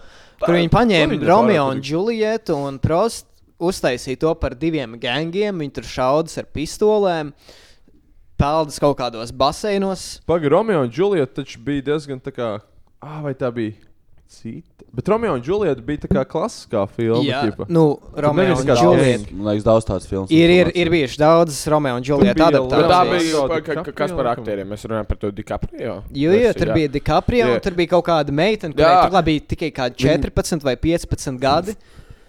Speaker 8: Kur viņi paņēma
Speaker 6: viņa pārāk
Speaker 8: Romeo un
Speaker 6: patīk.
Speaker 8: Julietu un prost uztaisīja to par diviem gangiem. Viņi tur šaudas ar pistolēm, peldas kaut kādos baseinos.
Speaker 6: Pagaidām, Romeo un Julieta taču bija diezgan tā kā. Ah, vai tā bija cita? Bet Romeo un Julieta bija tā kā klasiskā filma. ķipa.
Speaker 8: nu, Romeo
Speaker 6: nevis
Speaker 8: un
Speaker 6: kā
Speaker 8: Julieta.
Speaker 7: Man liekas, daudz tādas filmas.
Speaker 8: Ir, ir, ir bijušas daudzas Romeo un Julieta
Speaker 6: bija
Speaker 9: Bet
Speaker 6: Leonardo
Speaker 9: tā
Speaker 6: Leonardo
Speaker 8: adaptācijas.
Speaker 9: bija
Speaker 6: DiCaprio,
Speaker 9: pa- ka- ka- kas par
Speaker 6: laikam.
Speaker 9: aktieriem. Mēs runājam par to DiCaprio.
Speaker 8: Jo, jo, tur bija DiCaprio,
Speaker 9: Jā.
Speaker 8: un tur bija kaut kāda meitene,
Speaker 9: Jā.
Speaker 8: kurai tur bija tikai kādi 14 vai 15 gadi.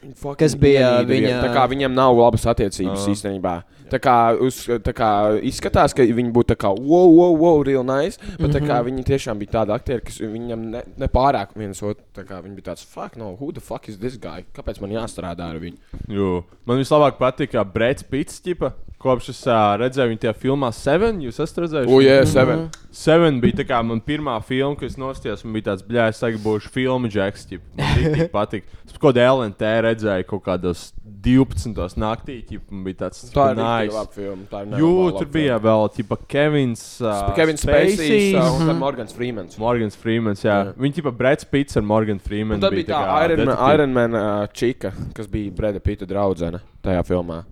Speaker 9: Fucking
Speaker 8: kas bija
Speaker 9: ienīda viņiem.
Speaker 8: viņa-
Speaker 9: Tā kā viņiem nav labas attiecības īstenībā. Tā kā, uz, tā kā izskatās, ka viņi būtu tā kā, wow, wow, wow, real nice. Bet mm
Speaker 8: Mhm.
Speaker 9: -hmm. viņi tiešām bija tādi aktieri, kas viņam ne, nepārāk viens otru. tā kā Viņi bija tāds, fuck, no, who the fuck is this guy? Kāpēc man jāstrādā ar viņu?
Speaker 6: Jū. Man vislabāk patīk, kā Brits Pits, ķipa, kopš es uh, redzēju viņu tajā filmā Seven. Jūs esat redzējuši? Mhm.
Speaker 9: O, jā, Oh,
Speaker 8: Mhm.
Speaker 9: seven.
Speaker 6: Seven bija tā kā man pirmā filma, ko es nostājos. Man bija tāds, bļā, es tagad būšu filmu džeks, ķipa. Man tik patīk. Es kaut kādā LNT redzēju kaut kādos 12. naktī, ķipa, man bija tāds,
Speaker 9: Tā
Speaker 6: tā
Speaker 9: ir nice.
Speaker 6: nāc.
Speaker 9: laba filma. Tā ir
Speaker 6: Jū,
Speaker 9: nenormāli laba
Speaker 6: tur bija vēl, ķipa, Kevins. Uh,
Speaker 9: filma. Kevins Spacey
Speaker 6: Spacey.
Speaker 9: uh, un tad Morgans Freemans.
Speaker 6: Morgans Freemans, jā. jā. Viņa tipa Brits Pits ar Morgan Freemanu.
Speaker 9: Un tad bija tā Iron Man,
Speaker 6: detektīvi.
Speaker 9: Iron Man uh, čika, kas bija Breda Pita draudzene tajā filmā.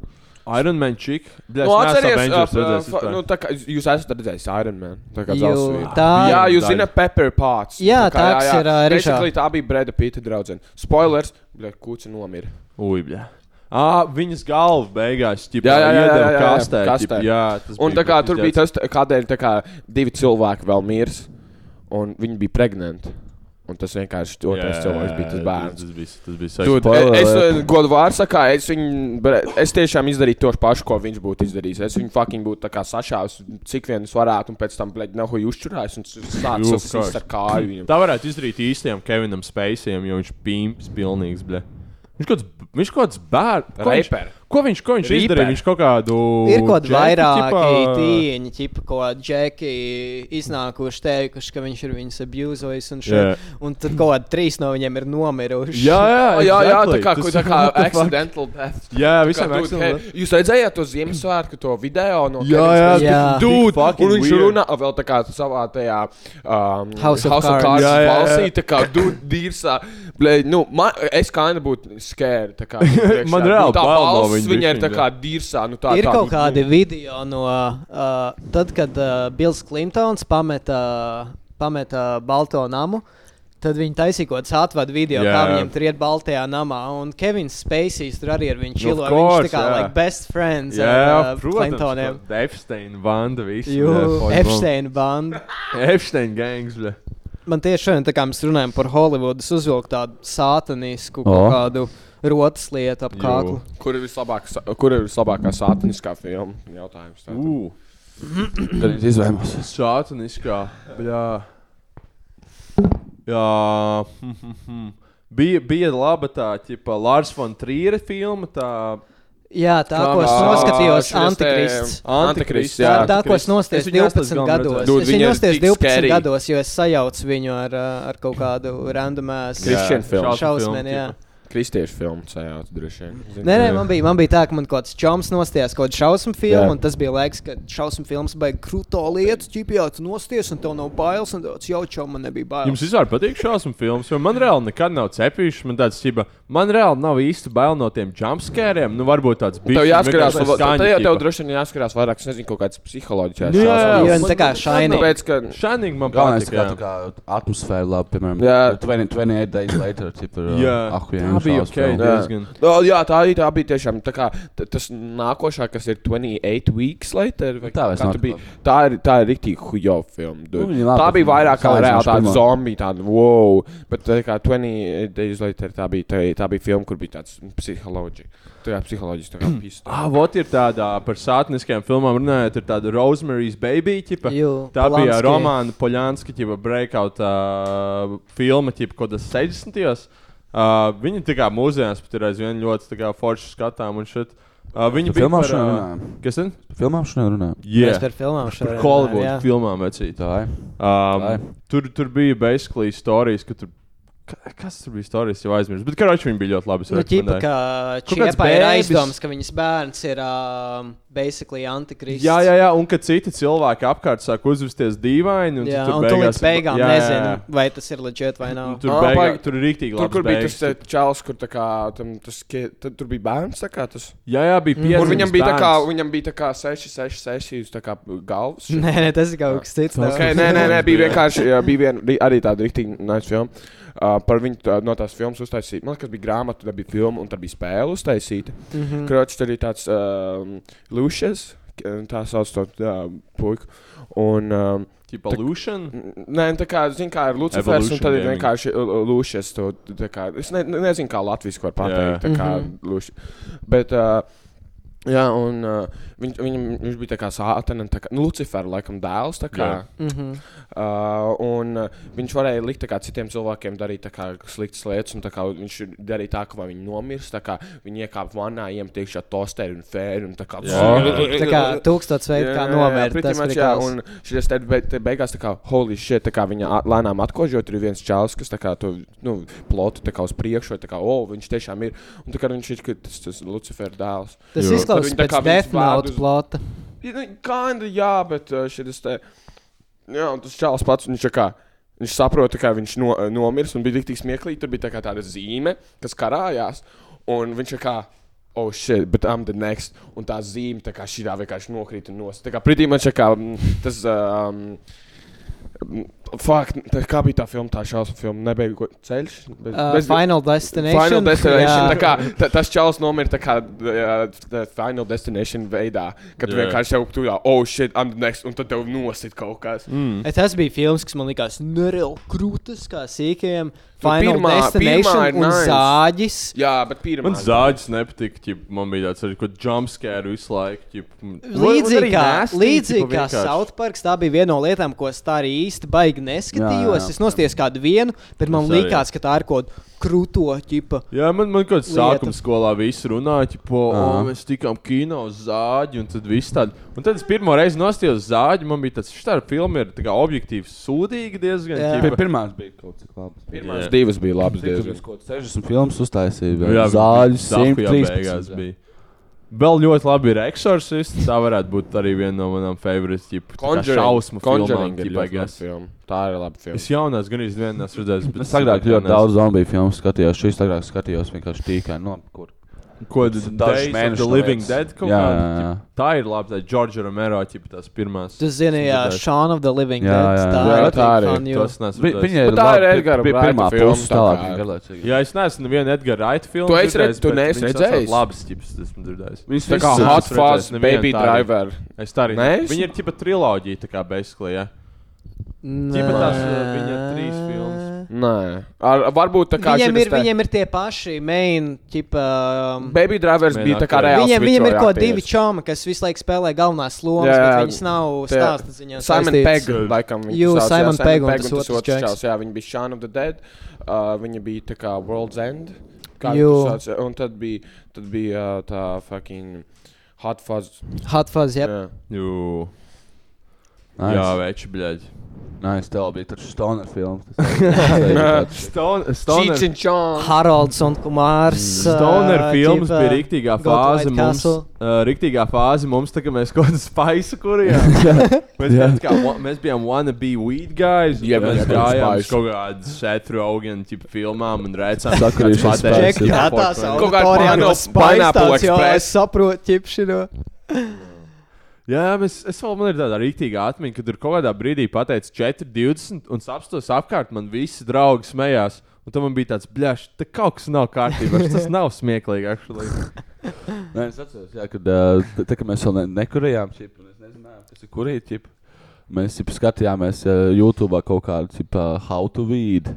Speaker 6: Iron Man chick. Bļa, es
Speaker 9: Nu,
Speaker 6: neesmu
Speaker 9: atceries,
Speaker 6: Avengers
Speaker 9: ap,
Speaker 6: redzējis
Speaker 9: fa-
Speaker 6: vispār.
Speaker 9: nu, tā kā jūs- jūs esat redzējis Iron Man. Tā kā
Speaker 8: Jū,
Speaker 9: dzelzs
Speaker 8: tā-
Speaker 9: Jā, jūs
Speaker 6: Daļa.
Speaker 9: zināt, Pepper Pots.
Speaker 8: Jā, tā, kas ir, uh, ā, Rišā.
Speaker 9: Basically, tā bija Breda Pita draudzene. Spoilers, bļa, kūci nomira.
Speaker 6: Ui, bļa. Ah, viņas galva beigās ķipa,
Speaker 9: Jā, jā, jā, jā,
Speaker 6: iedeva
Speaker 9: jā, jā,
Speaker 6: kastē.
Speaker 9: kastē.
Speaker 6: ķipa, jā, tas
Speaker 9: Un
Speaker 6: bija
Speaker 9: tā kā tur bija
Speaker 6: putiķis.
Speaker 9: tas, tā- kādēļ tā kā divi cilvēki vēl mirs, un viņi bija pregnanti. Un tas vienkārši otrais cilvēks bija tas bērns.
Speaker 6: Tas bija, tas bija saistīts.
Speaker 9: Dude, es es eh, godu vārdu sakā, es, viņu, bre- es tiešām izdarīju to pašu, ko viņš būtu izdarījis. Es viņu fucking būtu tā kā sašāvis, cik vien es varētu, un pēc tam, blēģi, nehu uzčurājis un
Speaker 6: Jū,
Speaker 9: sācis
Speaker 6: kāds.
Speaker 9: sasist ar kāju viņam.
Speaker 6: Tā varētu izdarīt īstajam Kevinam Spaceyam, jo viņš pīms pilnīgs, bļa. Viņš kaut kāds, viņš kaut kāds bērns. Ko viņš,
Speaker 9: Reper.
Speaker 6: ko viņš, ko viņš
Speaker 9: Reper.
Speaker 6: izdarīja? Viņš kaut kādu...
Speaker 8: Ir kaut kādi
Speaker 6: džeku,
Speaker 8: vairāki
Speaker 6: ķipa-
Speaker 8: tīņi, tipa, ko džeki iznākuši, teikuši, ka viņš ir viņus abuzojis. Un,
Speaker 6: Jā.
Speaker 8: yeah. un tad kaut kādi trīs no viņiem ir nomiruši.
Speaker 6: Jā, jā,
Speaker 9: Oh, jā, jā, tā
Speaker 6: exactly.
Speaker 9: kā,
Speaker 6: Tas-
Speaker 9: ko- tā kā
Speaker 6: What the fuck?
Speaker 9: accidental death.
Speaker 6: Jā,
Speaker 9: Kā,
Speaker 6: visam
Speaker 9: dude,
Speaker 6: accidental
Speaker 9: hei, Jūs redzējāt to Ziemassvētku to video no
Speaker 6: Jā,
Speaker 9: Kevins
Speaker 6: jā,
Speaker 9: Spacey?
Speaker 8: Jā.
Speaker 6: tik- tik
Speaker 9: Dude,
Speaker 6: fucking
Speaker 9: un viņš
Speaker 6: weird.
Speaker 9: runā vēl tā kā savā tajā um,
Speaker 8: House of Cards.
Speaker 9: Cards
Speaker 6: Jā, jā, jā.
Speaker 9: balsī, tā kā dude, dīrsā. Blē, nu, man, es kā ne būtu skēri, tā kā. priekšā.
Speaker 6: Man
Speaker 9: Nu,
Speaker 6: reāli
Speaker 9: tā
Speaker 6: bail no
Speaker 9: balss,
Speaker 6: viņa
Speaker 9: viņa ir
Speaker 6: bišķiņ,
Speaker 9: tā
Speaker 6: jā.
Speaker 9: kā dīrsā, nu tā.
Speaker 8: ir
Speaker 9: tā,
Speaker 8: kaut
Speaker 9: nu,
Speaker 8: kādi video no uh, tad, kad uh, Bills Klintons pameta, pameta Balto namu. Tad viņi taisīja kaut kādu atvadu video,
Speaker 6: Jā.
Speaker 8: yeah. kā viņam tur iet Baltajā namā. Un Kevins Spacejs tur arī ir viņa čilo.
Speaker 6: Nu, course,
Speaker 8: Viņš tā kā
Speaker 6: jā.
Speaker 8: like best friends
Speaker 6: Jā,
Speaker 8: ar uh, Clintoniem.
Speaker 6: protams. Epsteina vanda visi.
Speaker 8: Jū,
Speaker 6: bļa, fuck,
Speaker 8: Epsteina banda.
Speaker 6: Epsteina gangs. Bļa.
Speaker 8: Man tieši šodien, tā kā mēs runājam par Holivudu, es uzvilku tādu sātanisku oh.
Speaker 7: O.
Speaker 8: kādu rotas lietu ap kāklu.
Speaker 9: nu, Kur ir vislabākā, sa- kur ir vislabākā sātaniskā filma? Jautājums. tātad.
Speaker 6: Ū,
Speaker 7: Tad viņš izvēlējās.
Speaker 6: šātaniskā. Bļā. Jā. hm, hm, hm. Bija, bija laba tā, tipa Lārs von Trīra filma, tā
Speaker 8: Jā, tā
Speaker 6: Kā
Speaker 8: ko es
Speaker 6: mēs-
Speaker 8: noskatījos
Speaker 9: Ā, šis te-
Speaker 8: Antikrists.
Speaker 6: Antikrists.
Speaker 8: Tā
Speaker 6: jā,
Speaker 8: ir tā, ko es
Speaker 6: Antikrists.
Speaker 8: nostājos
Speaker 6: Es viņu
Speaker 8: 12
Speaker 6: astoņdesmit
Speaker 8: gados.
Speaker 6: gados
Speaker 9: Dude,
Speaker 8: Es
Speaker 9: viņa
Speaker 8: viņu
Speaker 9: ir
Speaker 8: nostājos
Speaker 9: tik
Speaker 8: 12
Speaker 9: scary.
Speaker 8: gados, jo es sajaucu viņu ar, uh, ar kaut kādu randomēs
Speaker 9: Jā. Christian filmu.
Speaker 8: šausmenu. jā.
Speaker 9: Kristiešu filmu sajauta droši vien. Zini,
Speaker 8: Nē, nē, man bija, man bija tā, ka man kaut kāds čoms nostājās kaut kādu šausmu filmu,
Speaker 9: Jā.
Speaker 8: un tas bija laiks, kad šausmu filmas baigs krūto lietu, ķipjā, tu nostājies, un tev nav bailes, un tāds jau čom man nebija
Speaker 6: Jums
Speaker 8: bailes.
Speaker 6: vispār patīk šausmu filmas, jo man reāli nekad nav cepījuši. Man tāds tipa, man reāli nav īsti bail no tiem jumpscāriem. Nu, varbūt tāds bija.
Speaker 9: Tev jāskatās, tev jau tev droši vien jāskatās vairāk, es nezinu, kaut kāds psiholoģiskais.
Speaker 6: Nu, jā, jā.
Speaker 8: Jo
Speaker 9: šausmas.
Speaker 8: viņi tā kā šaini.
Speaker 9: Tāpēc, ka
Speaker 6: Šādi man
Speaker 7: Galvenais
Speaker 6: patīk.
Speaker 7: ir tā,
Speaker 6: jā.
Speaker 7: tā kā atmosfēra labi, piemēram,
Speaker 9: Jā.
Speaker 7: 20, 28 days later, tipa,
Speaker 6: Jā,
Speaker 7: ahujiem,
Speaker 6: tā bija ok.
Speaker 9: Jā.
Speaker 6: diezgan.
Speaker 9: No, jā, tā, arī tā bija tiešām tā kā, t- tas nākošais, kas ir 28 weeks later. vai
Speaker 7: Tā vairs
Speaker 9: kā
Speaker 7: nav
Speaker 9: tu
Speaker 7: tik
Speaker 9: biji-
Speaker 7: labi.
Speaker 9: tā ir tā ir rīktīgi hujo filma. dude.
Speaker 7: Nu, viņa laba
Speaker 9: Tā bija
Speaker 7: filma,
Speaker 9: vairāk kā
Speaker 7: salīdzinoši
Speaker 9: reāli tāda
Speaker 7: pirmā.
Speaker 9: zombija, tāda wow. Bet tā kā 28 days later tā bija, tā, tā bija filma, kur bija tāds psiholoģi. Tā kā psiholoģiski tā kā pīsta.
Speaker 6: Ah, vot ir tāda par sātniskajām filmām runājot, ir tāda Rosemary's Baby. Ķipa.
Speaker 8: Jū,
Speaker 6: tā bija
Speaker 8: Polanski.
Speaker 6: Romāna Poļanska, ķipa breakout uh, filma, ķipa, ko tas 60. Uh, viņa tā kā mūsdienās pat ir aizvien ļoti tā kā forši skatām un šit. Uh, viņa bija
Speaker 7: Filmām
Speaker 6: par,
Speaker 7: šodien
Speaker 6: ā,
Speaker 7: runājam?
Speaker 6: Kas ir?
Speaker 7: Filmām šodien runājam.
Speaker 8: Mēs par filmām
Speaker 6: Par
Speaker 8: šodien.
Speaker 6: Holivudu
Speaker 8: jā.
Speaker 6: filmām vecīt.
Speaker 7: Tā ir. Tā ir.
Speaker 6: Um, tur, tur bija basically stāstījis, ka tur. ka- Kas tur bija stāstījis, jau aizmirsu. Bet kādā viņa bija ļoti labi.
Speaker 8: Nu, ķipa, ka
Speaker 6: Kaut kāds
Speaker 8: Čiepa ir
Speaker 6: bēbis.
Speaker 8: aizdoms, ka viņas bērns ir um, basically antikrists.
Speaker 6: Jā, jā, jā, un ka citi cilvēki apkārt sāk uzvesties dīvaini. Un
Speaker 8: jā
Speaker 6: tu tur
Speaker 8: un tu līdz beigām
Speaker 6: jā, jā, jā.
Speaker 8: nezini, vai tas ir leģit vai nav.
Speaker 6: Tur,
Speaker 9: Ā,
Speaker 6: beigā,
Speaker 9: baigi.
Speaker 6: tur ir rīktīgi
Speaker 9: Tur,
Speaker 6: labi.
Speaker 9: kur bija tas eh, čels, kur tā kā, tam, tas, ki- tad, tur bija bērns, tā kā tas.
Speaker 6: Jā, jā, bija pieci.
Speaker 9: Mm. Kur viņam bija tā kā, viņam bija tā kā 6, 6, 6 uz tā kā galvas.
Speaker 8: Nē, nē, tas ir kaut kas cits.
Speaker 9: Okay, nē, nē, nē, bija vienkārši jā, bija vien, ri- arī tāda rīktīva nice filma. Uh, par viņu tā, no tās filmas uztaisīja. Man liekas, bija grāmata, tad bija filma un tad bija spēle uztaisīta. Mm -hmm. Kroķis tur ir tāds um, Lušas, tā sauc to uh, puiku. Un, um,
Speaker 6: Tipa Lucian.
Speaker 9: Nē, nu, tā kā, zin, kā ir Lucifers, un
Speaker 6: Evolution
Speaker 9: tad ir
Speaker 6: gaming.
Speaker 9: vienkārši uh, Lūsis. Es ne, ne- nezinu, kā latviešu var pateikt,
Speaker 6: Jā.
Speaker 9: tā kā Lūsis. Bet uh, Jā, un uh, viņ, viņam, viņš bija tā kā sātaņa, tā kā nu, Lucifera laikam dēls. tā Kā, uh, un uh, viņš varēja likt tā kā, citiem cilvēkiem darīt tā kā sliktas lietas, un tā kā, viņš darīja tā, ka viņi nomirst. tā Kā, viņi iekāpa vannā, iem tiekšā tosteri un fēri. Un tā kā,
Speaker 8: Tā kā tūkstots veidu, kā novērt.
Speaker 9: pretty
Speaker 8: Tas
Speaker 9: much, jā,
Speaker 8: prikals.
Speaker 9: un šis te, be, te beigās tā kā holy shit, tā kā viņa at- lēnām atkožo, tur ir viens čels, kas tā kā to nu, plotu tā kā uz priekšu, tā kā, oh, viņš tiešām ir, un tā kā viņš ir ka tas, tas Lucifera dēls.
Speaker 8: Tas
Speaker 9: Jo.
Speaker 8: izklausās
Speaker 9: Tad viņi tā
Speaker 8: pēc
Speaker 9: kā viņus
Speaker 8: Death Note
Speaker 9: vārdus-
Speaker 8: plota.
Speaker 9: Kāda, nu, jā, bet uh, šis te. Jā, un tas čels pats, viņš tā kā. Viņš saprota, ka viņš no, nomirs un bija tik smieklīgi. Tur bija tā kā tāda zīme, kas karājās. Un viņš tā kā, oh, shit, but I'm the next. Un tā zīme, tā kā šī tā vienkārši nokrīt un nost. Tā kā pretī man čakā tas. Um, Fakt, tā kā bija tā filma, tā šausmu filma, nebeigu ceļš. Bez,
Speaker 8: Uh, Final Destination.
Speaker 9: Final Destination.
Speaker 8: jā.
Speaker 9: tā Kā, ta, tas čels nomira tā kā uh, tā Final Destination veidā, kad tu
Speaker 6: Jā.
Speaker 9: vienkārši jau tur jau, oh, shit, I'm the next, un tad tev nosit kaut kas. Mm.
Speaker 8: E, Tas bija filmas, kas man likās nereāli krūtis, kā sīkajam. Final
Speaker 9: Nu, pirmā- pirmā ir
Speaker 8: Destination un
Speaker 9: nice.
Speaker 8: zāģis.
Speaker 9: Jā, bet pirmā.
Speaker 6: Man zāģis nepatīk, ja man bija tāds arī, ko jumpscare visu laiku. Ķip, mm.
Speaker 8: Līdzīgi kā, līdzīgi kā South Park, tā bija viena no lietām, ko es tā arī īsti baigi
Speaker 7: Jā,
Speaker 8: neskatījos.
Speaker 7: jā.
Speaker 8: Es nostājos kādu vienu, bet man
Speaker 6: Es arī.
Speaker 8: likās, ka tā ir kaut kāda krūto ķipa.
Speaker 6: Jā, man, man kaut kādā
Speaker 8: Lieta.
Speaker 6: sākuma skolā viss runāja, tipo, o,
Speaker 7: Aha.
Speaker 6: mēs tikām kino uz zāģi, un tad viss tāds. Un tad es pirmo reizi nostājos uz zāģi, man bija tāds, šitā filma ir tā kā objektīvi sūdīga diezgan.
Speaker 8: Jā.
Speaker 6: ķipa.
Speaker 7: Pirmā bija kaut kas tāds.
Speaker 9: Pirmās divas bija labas
Speaker 7: Diezgan
Speaker 9: diezgan.
Speaker 7: kaut kāds 60 filmas uztaisīja.
Speaker 6: Jā,
Speaker 7: zāļu,
Speaker 6: bija beigās
Speaker 7: 113.
Speaker 6: bija. Vēl ļoti labi ir eksorcists. Tā varētu būt arī viena no manām favorītām.
Speaker 9: Conjuring-
Speaker 6: šausmu filmām,
Speaker 9: Conjuring ir
Speaker 6: ķipa, I
Speaker 9: ļoti laba
Speaker 6: guess.
Speaker 9: filma. Tā ir laba filma.
Speaker 6: Es jaunās gan īstenībā neesmu redzējis, bet
Speaker 7: Es agrāk ļoti daudz zombiju filmu skatījos. Šīs agrāk skatījos vienkārši tīkai. No, kur?
Speaker 6: ko tādu
Speaker 7: dažus mēnešus
Speaker 6: The Living
Speaker 7: tāpēc.
Speaker 6: Dead kaut
Speaker 7: Jā,
Speaker 6: kāda.
Speaker 7: jā, jā.
Speaker 6: ķip, Tā ir labi, tā ir Džordža Romero, ķip, tās pirmās.
Speaker 8: Tu zini, jā,
Speaker 6: dzirdēju.
Speaker 8: Shaun of the Living
Speaker 7: Jā,
Speaker 8: Dead.
Speaker 7: jā,
Speaker 8: Tā
Speaker 7: jā.
Speaker 8: ir
Speaker 9: Jā, tā arī.
Speaker 8: fun, jo-
Speaker 6: Tas nesmu.
Speaker 7: Vi, viņa
Speaker 6: redzējis.
Speaker 7: ir
Speaker 9: Bet Nu, tā ir
Speaker 7: labi-
Speaker 9: Edgara
Speaker 7: pi- pi-
Speaker 9: Wrighta
Speaker 7: pirmā
Speaker 9: filma,
Speaker 7: puse.
Speaker 9: tā
Speaker 7: Tā
Speaker 9: kā-
Speaker 7: bija garlaicīga.
Speaker 6: Jā, es neesmu vienu Edgara Raita filmu.
Speaker 9: Tu esi
Speaker 6: redzējis,
Speaker 9: redz- tu
Speaker 6: bet
Speaker 9: neesi
Speaker 6: viņas esat
Speaker 9: redzējis?
Speaker 6: Labas ķips, esmu dzirdējis.
Speaker 7: Viņas
Speaker 9: Tā kā
Speaker 6: Es
Speaker 9: Hot
Speaker 6: esmu
Speaker 9: Fuzz,
Speaker 6: redzējis nevienu
Speaker 9: Baby
Speaker 6: tā arī.
Speaker 9: Driver.
Speaker 6: Es tā arī.
Speaker 9: Neesi?
Speaker 6: Viņa ir tipa triloģija, tā kā beisklī, jā. Tipa tās uh, viņa trīs filmas.
Speaker 9: Nē, Ar, varbūt tā kā
Speaker 8: Viņiem
Speaker 9: šitas
Speaker 8: ir,
Speaker 9: te-
Speaker 8: viņiem ir tie paši main, ķipa. um,
Speaker 9: Baby Drivers
Speaker 6: Mēģināt
Speaker 9: bija tā kā
Speaker 6: aktieri.
Speaker 9: reāls.
Speaker 8: Viņiem, viņiem ir
Speaker 9: vičoja
Speaker 8: kaut kādi
Speaker 9: aktieri.
Speaker 8: divi čomi, kas visu laiku spēlē galvenās lomas,
Speaker 9: Jā,
Speaker 8: jā,
Speaker 9: jā,
Speaker 8: bet viņas nav
Speaker 9: tie-
Speaker 8: stāsta ziņā.
Speaker 9: Simon
Speaker 8: saistītas.
Speaker 9: Pegg, laikam, viņš
Speaker 8: Jū,
Speaker 9: sauc, jā,
Speaker 8: Simon Pegg un
Speaker 9: Pegg
Speaker 8: tas
Speaker 9: un
Speaker 8: otrs
Speaker 9: tas otrs
Speaker 8: čeks.
Speaker 9: čels, jā, viņi bija Shaun of the Dead, uh, viņi bija tā kā World's End, kā
Speaker 8: Jū.
Speaker 9: viņš sauc, jā, un tad bija, tad bija uh, tā fucking Hot Fuzz.
Speaker 8: Hot Fuzz, jā.
Speaker 9: Jā.
Speaker 6: Jū. Jā,
Speaker 7: Nice.
Speaker 6: veči, bļaļ.
Speaker 7: Nē, es tev biju taču stoner filmas. Tas
Speaker 6: Stone,
Speaker 9: Cheats
Speaker 6: Stone,
Speaker 9: and Chong.
Speaker 8: Haralds un Kumārs.
Speaker 6: Mm. Stoner
Speaker 8: ā,
Speaker 6: filmas
Speaker 8: ķipa,
Speaker 6: bija rīktīgā
Speaker 8: Go to
Speaker 6: fāze.
Speaker 8: White
Speaker 6: Mums,
Speaker 8: Castle.
Speaker 6: uh, rīktīgā fāze mums, tā kā mēs kaut kādas spaisu kurījām. mēs, yeah. kā, wa- mēs bijām wannabe weed guys.
Speaker 9: Jā,
Speaker 6: Jā, mēs
Speaker 9: jā,
Speaker 6: gājām uz
Speaker 9: spice.
Speaker 6: kaut kādas Seth Rogen tipu filmām un redzām.
Speaker 7: Sakarīšas
Speaker 8: Ček,
Speaker 7: spice.
Speaker 8: jā, tās
Speaker 9: Kaut kāda
Speaker 8: auditorijā no
Speaker 9: Pineapple-
Speaker 8: Spice
Speaker 9: Pineapple
Speaker 8: tāds, jo es
Speaker 9: Express.
Speaker 8: saprotu ķipšino.
Speaker 6: Jā, mēs, es vēl man ir tāda rīktīga atmiņa, kad tur kaut kādā brīdī pateica 4,20 un apstos apkārt man visi draugi smējās. Un tam man bija tāds bļašs, ka kaut kas nav kārtībā. Tas nav smieklīgi. actually."
Speaker 7: Nē, es atceros, jā, kad ā, t- tā, ka mēs vēl ne, nekurējām čipu, un es nezināju, kas ir kurīt čipu. Mēs jau skatījāmies ā, YouTube kaut kādu tipu how to weed.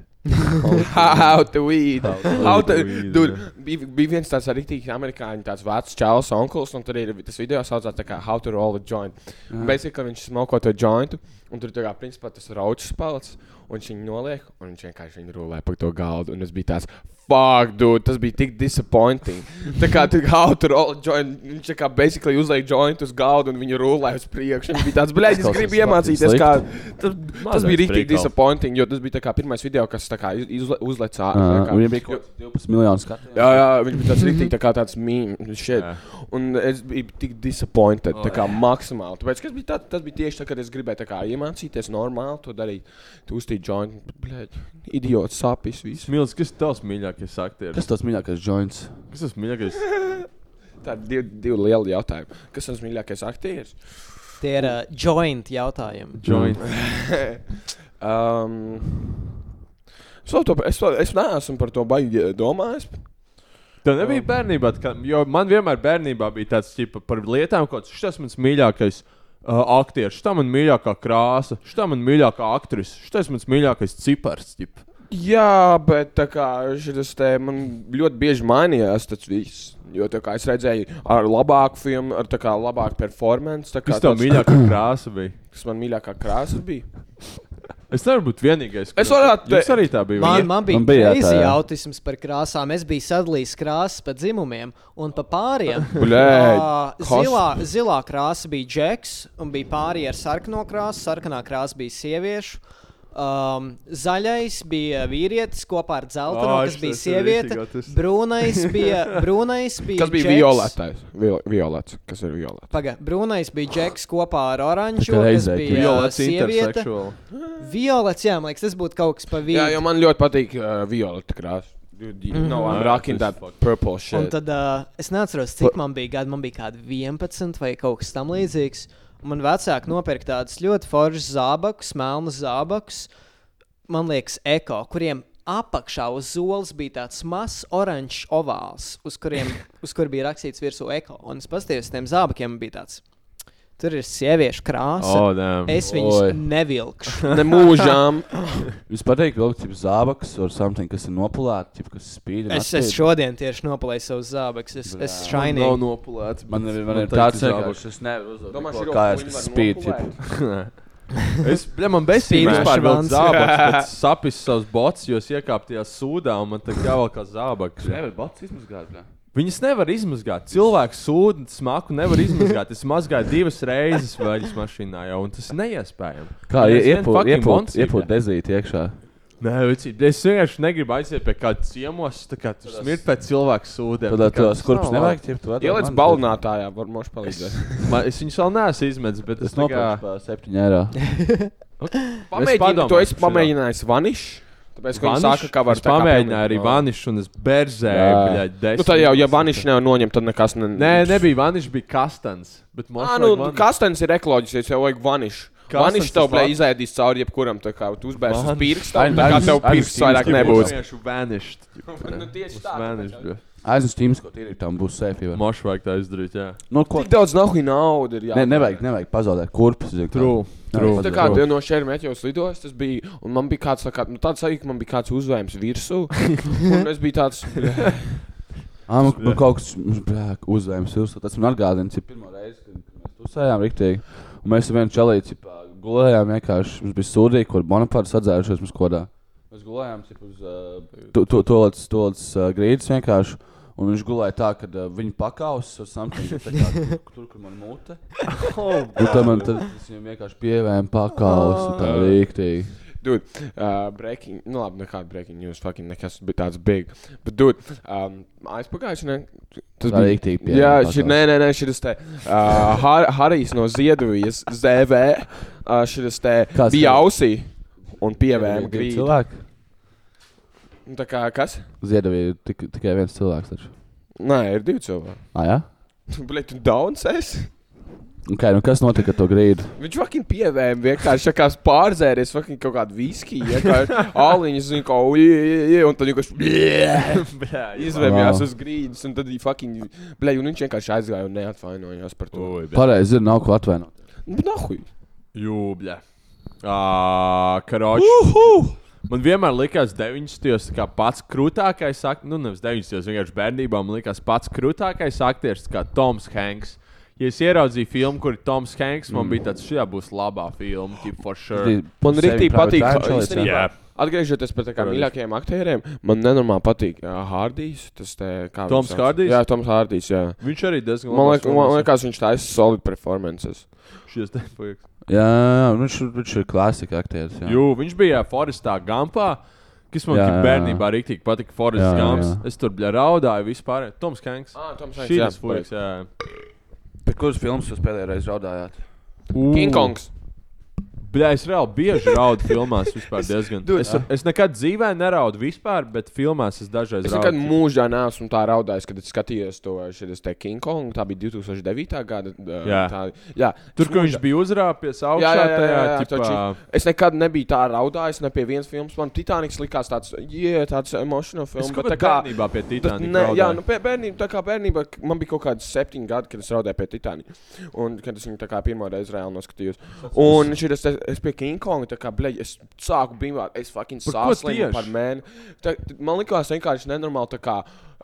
Speaker 9: How to weed. How to,
Speaker 6: weed,
Speaker 9: dude, bija bija viens tāds arī tīk amerikāņu, tāds vecs čels, onkls, un tur ir tas video saucās tā kā How to roll a joint. Basically viņš smoko to jointu, un tur tā kā principā tas raučs palicis, un viņš viņu noliek, un viņš vienkārši viņu rulē pa to galdu, un es biju tāds, fuck, dude, tas bija tik disappointing. tā kā tur How to roll a joint, viņš tā kā basically uzliek jointu uz galdu, un viņu rulē uz priekšu, viņš bija tāds, bļaļ, es
Speaker 7: Tas
Speaker 9: gribu
Speaker 7: klausās
Speaker 9: iemācīties,
Speaker 7: fucking
Speaker 9: kā, tas, tas
Speaker 6: Mazais
Speaker 9: bija rīktīgi
Speaker 6: prikals.
Speaker 9: disappointing, jo tas bija tā kā pirmais video, kas tā kā iz- izle- uzlec ārā. tā kā.
Speaker 7: Viņam Ah, bija kaut kāds 12 miljonu skatījumu.
Speaker 9: Jā, jā, viņš bija tāds rīktīgi, tā kā tāds mīmīgs.
Speaker 6: Jā.
Speaker 9: Un es biju tik disappointed, tā kā maksimāli. Tāpēc, kas bija tā, tas bija tieši tā, kad es gribēju tā kā iemācīties normāli to darīt. Tu uztīji joint, blēģ, idiots, sapis, visu.
Speaker 6: Smilts, kas ir tavs mīļākais aktieris?
Speaker 7: Kas tas mīļākais joints?
Speaker 6: Kas tas mīļākais?
Speaker 9: Tā ir divi, divi lieli jautājumi. Kas tas mīļākais aktieris?
Speaker 8: Tie ir ā, joint jautājumi.
Speaker 6: Joint.
Speaker 9: Um, es, vēl to, es, vēl- es neesmu par to baigi eh, domājis.
Speaker 6: Tev nebija
Speaker 9: Um.
Speaker 6: bērnībā, tā kā, jo man vienmēr bērnībā bija tāds tipa par lietām, ko tas mans mīļākais. Uh, aktieris, tā man mīļākā krāsa, tā man mīļākā aktrise, tas mans mīļākais cipars. ģip.
Speaker 9: Jā, bet tā kā šis te man ļoti bieži mainījās tas viss. Jo tā kā es redzēju, ar labāku filmu, ar tā kā labāku performanci, tā kā
Speaker 6: Kas tev
Speaker 9: tāds-
Speaker 6: mīļākā krāsa bija?
Speaker 9: kas man mīļākā krāsa bija.
Speaker 6: Es nevaru būt vienīgais.
Speaker 9: Es varētu
Speaker 6: teikt,
Speaker 9: te-
Speaker 6: arī tā bija.
Speaker 8: Man,
Speaker 6: Man...
Speaker 8: man bija
Speaker 7: Man bija, jā,
Speaker 8: greizi
Speaker 7: tā, jā.
Speaker 8: autisms par krāsām. Es biju sadalījis krāsas pa dzimumiem un pa pāriem.
Speaker 9: Blēd,
Speaker 8: Ā,
Speaker 9: kas-
Speaker 8: zilā, zilā krāsa bija džeks, un bija pārējie ar sarkano krāsu. Sarkanā krāsa bija sieviešu. Um, zaļais bija vīrietis kopā ar zeltainu,
Speaker 6: Ā,
Speaker 8: kas bija
Speaker 6: šis ir
Speaker 8: sieviete.
Speaker 6: rīktīgi autisms.
Speaker 8: Brūnais bija, brūnais bija
Speaker 9: Kas bija
Speaker 8: džeks.
Speaker 9: violetais? Vi- Violets, kas ir violets?
Speaker 8: Paga, brūnais bija džeks kopā ar oranžu.
Speaker 7: Tā kā
Speaker 8: Tas
Speaker 7: reizē
Speaker 8: bija
Speaker 7: tur.
Speaker 6: Violets
Speaker 8: ā, sieviete.
Speaker 6: interseksuāli.
Speaker 8: Violets, jā, man liekas, tas būtu kaut kas pa
Speaker 9: Jā,
Speaker 8: vīdu.
Speaker 9: jo man ļoti patīk uh, violeta krāsa. Mm. No, I'm rocking that purple shit.
Speaker 8: Mhm. Un tad uh, es neatceros, cik man bija gadi. Man bija kaut kāda 11 vai kaut kas tamlīdzīgs. Man vecāki nopirka tādus ļoti foršus zābakus, melnus zābakus, man liekas, eko, kuriem apakšā uz zoles bija tāds mazs oranžs ovāls, uz, kuriem, uz kur bija rakstīts virsū eko. Un es paskatījos uz tiem zābakiem, un bija tāds. Tur ir sieviešu krāsa.
Speaker 6: Oh, damn.
Speaker 8: es viņus
Speaker 7: Oi.
Speaker 8: Oi. nevilkšu.
Speaker 9: Ne mūžām.
Speaker 7: Jūs pateikt, vilkt ķip zābaks or something, kas ir nopulēts, ķip, kas spīd. un
Speaker 8: Es, es
Speaker 7: atspīd?
Speaker 8: šodien tieši nopalēju savus zābakus. Es, es šainīgi.
Speaker 6: Nav nopulēts.
Speaker 7: Man
Speaker 6: bet
Speaker 7: ir, man ir
Speaker 6: teica
Speaker 7: tāds
Speaker 6: zābaks.
Speaker 7: vienkārši, es nevaru uzdot.
Speaker 9: Domā,
Speaker 7: neko
Speaker 9: šī
Speaker 7: kājas,
Speaker 9: roka
Speaker 7: kas
Speaker 9: var
Speaker 7: spīd,
Speaker 9: nopulēt.
Speaker 7: ķip.
Speaker 6: Es domāju, ka tas ir
Speaker 8: Spīdīšs
Speaker 6: vispār
Speaker 8: vans.
Speaker 6: tāds zābaks, kas sapis savus bots, jo es iekāpu tajā sūdā un man tagad jāvelk kā zābaks.
Speaker 7: Nevar bats izmazgāt, bļā.
Speaker 6: Viņas nevar izmazgāt. Cilvēks sūdu smaku nevar izmazgāt. Es mazgāju divas reizes vaļas mašīnā jau, un tas ir neiespējami.
Speaker 7: Kā,
Speaker 6: Un es vien
Speaker 7: iepūt,
Speaker 6: fucking
Speaker 7: iepūt,
Speaker 6: moncīgā.
Speaker 7: iepūt dezīt iekšā.
Speaker 6: Nē, vici, es vienkārši negribu aiziet pie kāda ciemos, tā kā tur smird pēc cilvēka sūdiem.
Speaker 7: Tad
Speaker 6: tā kā
Speaker 7: tos,
Speaker 6: tas
Speaker 7: kurpus
Speaker 6: nav
Speaker 7: nevajag,
Speaker 6: labi.
Speaker 7: ķip, tu atdod
Speaker 9: Ieliec
Speaker 7: man,
Speaker 9: balinātājā, var moši palīdzēt.
Speaker 6: Man, es viņus vēl neesmu izmetis, bet
Speaker 7: tad
Speaker 6: es
Speaker 7: Es nopirkšu
Speaker 6: nopirku.
Speaker 7: par 7 eiro.
Speaker 9: Pamēģini,
Speaker 6: padomāšu
Speaker 9: to es
Speaker 6: par šo.
Speaker 9: pamēģināju vanišu. Tāpēc, ka viņi saka, ka var
Speaker 6: es pamēģināju arī vanišu, un es berzēju,
Speaker 7: Jā.
Speaker 6: bļaļ, desmit.
Speaker 9: Nu, tad jau, ja vanišu nevar noņemt, tad nekas ne...
Speaker 6: Nē, nebija vanišs, bija kastans. Bet man
Speaker 9: Ā, nu, kastens ir ekoloģisks, jau vajag vanišu.
Speaker 6: Kastens
Speaker 9: Vanišs tev,
Speaker 6: tas
Speaker 9: blē,
Speaker 6: labs.
Speaker 9: izēdīs cauri jebkuram, tā kā tu uzbērsi uz
Speaker 6: Vaniš.
Speaker 9: pirksta,
Speaker 7: Ai,
Speaker 9: un tā kā
Speaker 7: vaniš-
Speaker 9: tev
Speaker 7: arī
Speaker 9: pirksts vairāk
Speaker 7: stīvs
Speaker 9: nebūs.
Speaker 6: vienkārši vanished.
Speaker 9: Nu, tieši tā,
Speaker 6: Vanished, bļaļ.
Speaker 7: Aiznes tīms, ko tīri tam būs sēfī.
Speaker 6: Moš vajag tā izdarīt, jā.
Speaker 7: Nu, ko?
Speaker 9: Tik daudz nahuj naudu ir
Speaker 7: Ne,
Speaker 9: jāpērk.
Speaker 7: nevajag, nevajag pazaudēt kurpus. zini, kā.
Speaker 6: True,
Speaker 7: Nevajag
Speaker 6: true.
Speaker 9: Tā
Speaker 7: pazaudēt.
Speaker 9: kā tie no šermēķa jau slidojas, tas bija. Un man bija kāds, tā kā, nu, tāds sajūta, ka man bija kāds uzvējums virsū. Un es biju tāds,
Speaker 7: Ā, man- man kaut kas mm, tāds - uzvējums, uzvējums. Tas man atgādina, cik pirmo reizi, kad mēs pusējām riktīgi. Un mēs ar vienu čalīti cipā, gulējām vienkārši. Mums bija sūdīgi, kur Bonaparte sadzērušies mums kodā. Mēs gulējām cip, uz uh, to, to, tolats, tolats uh, grīdas vienkārši. Un viņš gulēja tā, ka uh, viņa pakausas ar samtīm, tā kā tur, tur, kur man mute. Un tad man tad, es viņam vienkārši pievēja pakausu.
Speaker 9: Ah.
Speaker 7: Tā rīktīgi.
Speaker 9: dude, uh, breaking, nu labi, nekāda breaking news, fucking nekas bija tāds big. Bet, dude, um, aizpagājuši, ne? Tas
Speaker 7: Tā rīktīgi pieejama
Speaker 9: Jā,
Speaker 7: pakausa.
Speaker 9: šī, nē, nē, nē, šis te uh, Har Harijs no Ziedovijas ZV, uh, šis te
Speaker 7: Kas
Speaker 9: bija
Speaker 7: ir?
Speaker 9: ausī un pievēma
Speaker 7: Divi
Speaker 9: grīdu.
Speaker 7: cilvēki.
Speaker 9: Nu, Tā kā kas?
Speaker 7: Ziedavīja ir tik, tikai viens cilvēks. Taču.
Speaker 9: Nē, ir divi cilvēki.
Speaker 7: Ah, jā?
Speaker 9: Bļaļ, tu daunsēs?
Speaker 7: Okay, nu kas notika ar to grīdu?
Speaker 9: Viņš fucking pievēja vienkārši tā kā pārzēries fucking kaut kādu viskiju, ja kā āliņu zina, ka ujie, un tad vienkārši izvēmjās
Speaker 7: Wow.
Speaker 9: uz grīdas, un tad viņi fucking, blē, un viņš vienkārši aizgāja un neatvainojās par to.
Speaker 7: Pareizi, ir nav ko atvainot.
Speaker 9: Nu, nahuj.
Speaker 6: Jūbļa. Karoči. Man vienmēr likās, ka 90. kā pats krūtākais aktieris, nu nevis 90. vienkārši bērnībā man likās pats krūtākais aktieris, kā Toms Hanks. Ja es ieraudzīju filmu, kur ir Toms Hanks, man bija tāds, šī būs labā filma, tipo for sure.
Speaker 9: Man rīktī patīk, īstenībā,
Speaker 7: Jā,
Speaker 6: Jā,
Speaker 9: Atgriežoties pie tā kā mīļākajiem aktieriem, man nenormāli patīk jā, Hārdijs, tas te kā... viņš
Speaker 6: Toms
Speaker 9: sauc?
Speaker 6: Hārdijs?
Speaker 9: Jā, Toms Hārdijs, jā.
Speaker 6: viņš arī diezgan
Speaker 9: Man liekas, man liekas, viņš taisa solid performances.
Speaker 6: šis te paiet.
Speaker 7: jā, jā, nu viņš, ir- viņš ir klasika aktieris. jā.
Speaker 6: Jū, viņš bija Forestā Gampā. Kas man
Speaker 7: Jā,
Speaker 6: jā,
Speaker 7: jā,
Speaker 6: bērnībā arī tik patika, Forests
Speaker 7: Jā, jā,
Speaker 6: Gumps.
Speaker 7: jā.
Speaker 6: Es tur bļa raudāju vispār. Toms Hanks.
Speaker 9: Ā, Ah, Toms Hanks,
Speaker 6: Šī
Speaker 9: jā,
Speaker 6: ir fuks, jā.
Speaker 7: Par kuras filmas jūs pēdējo reizi raudājāt?
Speaker 9: King Kongs.
Speaker 6: Bļā, es reāli bieži raudu filmās. Vispār, diezgan. es, es nekad dzīvē neraudu vispār, bet filmās es dažreiz
Speaker 9: Es nekad
Speaker 6: raudu.
Speaker 9: mūžā neesmu tā raudājis, kad es skatījos to šis te King Kong. Tā bija 2009. gada. uh,
Speaker 6: Jā.
Speaker 9: tā, jā
Speaker 6: Tur, kur viņš bija uzrāpies augšā,
Speaker 9: Jā, jā, jā, jā, jā,
Speaker 6: tajā
Speaker 9: taču es nekad nebiju tā raudājis, ne pie vienas filmas. Man Titaniks likās tāds, jā, tāds emotional films.
Speaker 6: Es kaut kādā bērnībā pie
Speaker 9: Tas,
Speaker 6: Titanika.
Speaker 9: ne, jā,
Speaker 6: raudāju.
Speaker 9: nu, pie- bērnība, tā kā bērnībā k- man bija kaut kādi septiņi gadi, kad es raudāju pie Titanika. Un kad es viņu tā kā pirmo reizi reāli noskatījos. Un šis te es, es pie King Konga, tā kā, bleģ, es sāku brīnāt, es fucking
Speaker 6: Par ko
Speaker 9: sāslimu
Speaker 6: tieši?
Speaker 9: par mēnesi. Tā- t- Man likās vienkārši nenormāli, tā kā,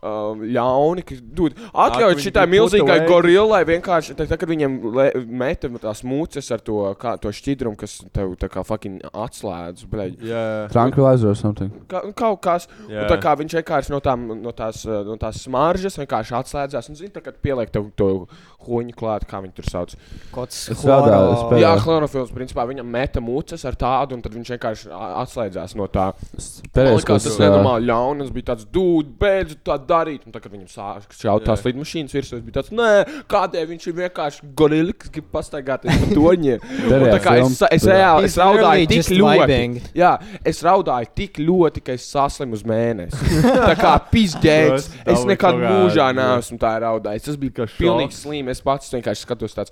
Speaker 9: um, ļauni, ka, dude, atļaut
Speaker 6: viņi
Speaker 9: šitai
Speaker 6: bija
Speaker 9: milzīgai
Speaker 6: putu
Speaker 9: gorilai vienkārši, tā, tā kad viņiem le, meta tās mūces ar to, kā, to šķidrumu, kas tev, tā kā, fucking atslēdz, bleģ.
Speaker 6: Jā,
Speaker 7: Tranquilizer or something.
Speaker 9: Ka, nu, kaut kas.
Speaker 6: Jā.
Speaker 9: Un Tā kā viņš vienkārši no, tām, no, tās, eh, no tās smaržas vienkārši atslēdzās. Un, zini, tā, kad pieliek tev to hoņu klāt, kā viņi tur sauc.
Speaker 8: Kots
Speaker 7: Es strādāju, es
Speaker 8: chloro-
Speaker 7: pēdējo-
Speaker 9: Jā, chlorofils, principā viņam meta mūces ar tādu, un tad viņš vienkārši a- atslēdzās no tā. Man
Speaker 7: Pēdējais,
Speaker 9: liekas,
Speaker 7: kas
Speaker 9: tas nenormāli ļaunas bija tāds, dūd, beidz tā darīt. Un tagad viņam sāk šaut tās lidmašīnas virsū. Es biju tāds, nē, kādēļ viņš ir vienkārši gorilla, kas grib pastaigāties pa toņiem. Un tā kā es, sa- es reāli es
Speaker 8: He's really
Speaker 9: raudāju tik
Speaker 8: just vibing.
Speaker 9: ļoti. Jā, es raudāju tik ļoti, ka es saslimu uz mēnesi. tā kā
Speaker 6: Tas
Speaker 9: pizdzēts. es
Speaker 6: daudz
Speaker 9: nekad
Speaker 6: kaut kā-
Speaker 9: mūžā
Speaker 6: jā.
Speaker 9: neesmu tā raudājis. Tas bija
Speaker 6: Kā
Speaker 9: pilnīgi
Speaker 6: šoks.
Speaker 9: slims. Es pats vienkārši skatos tāds,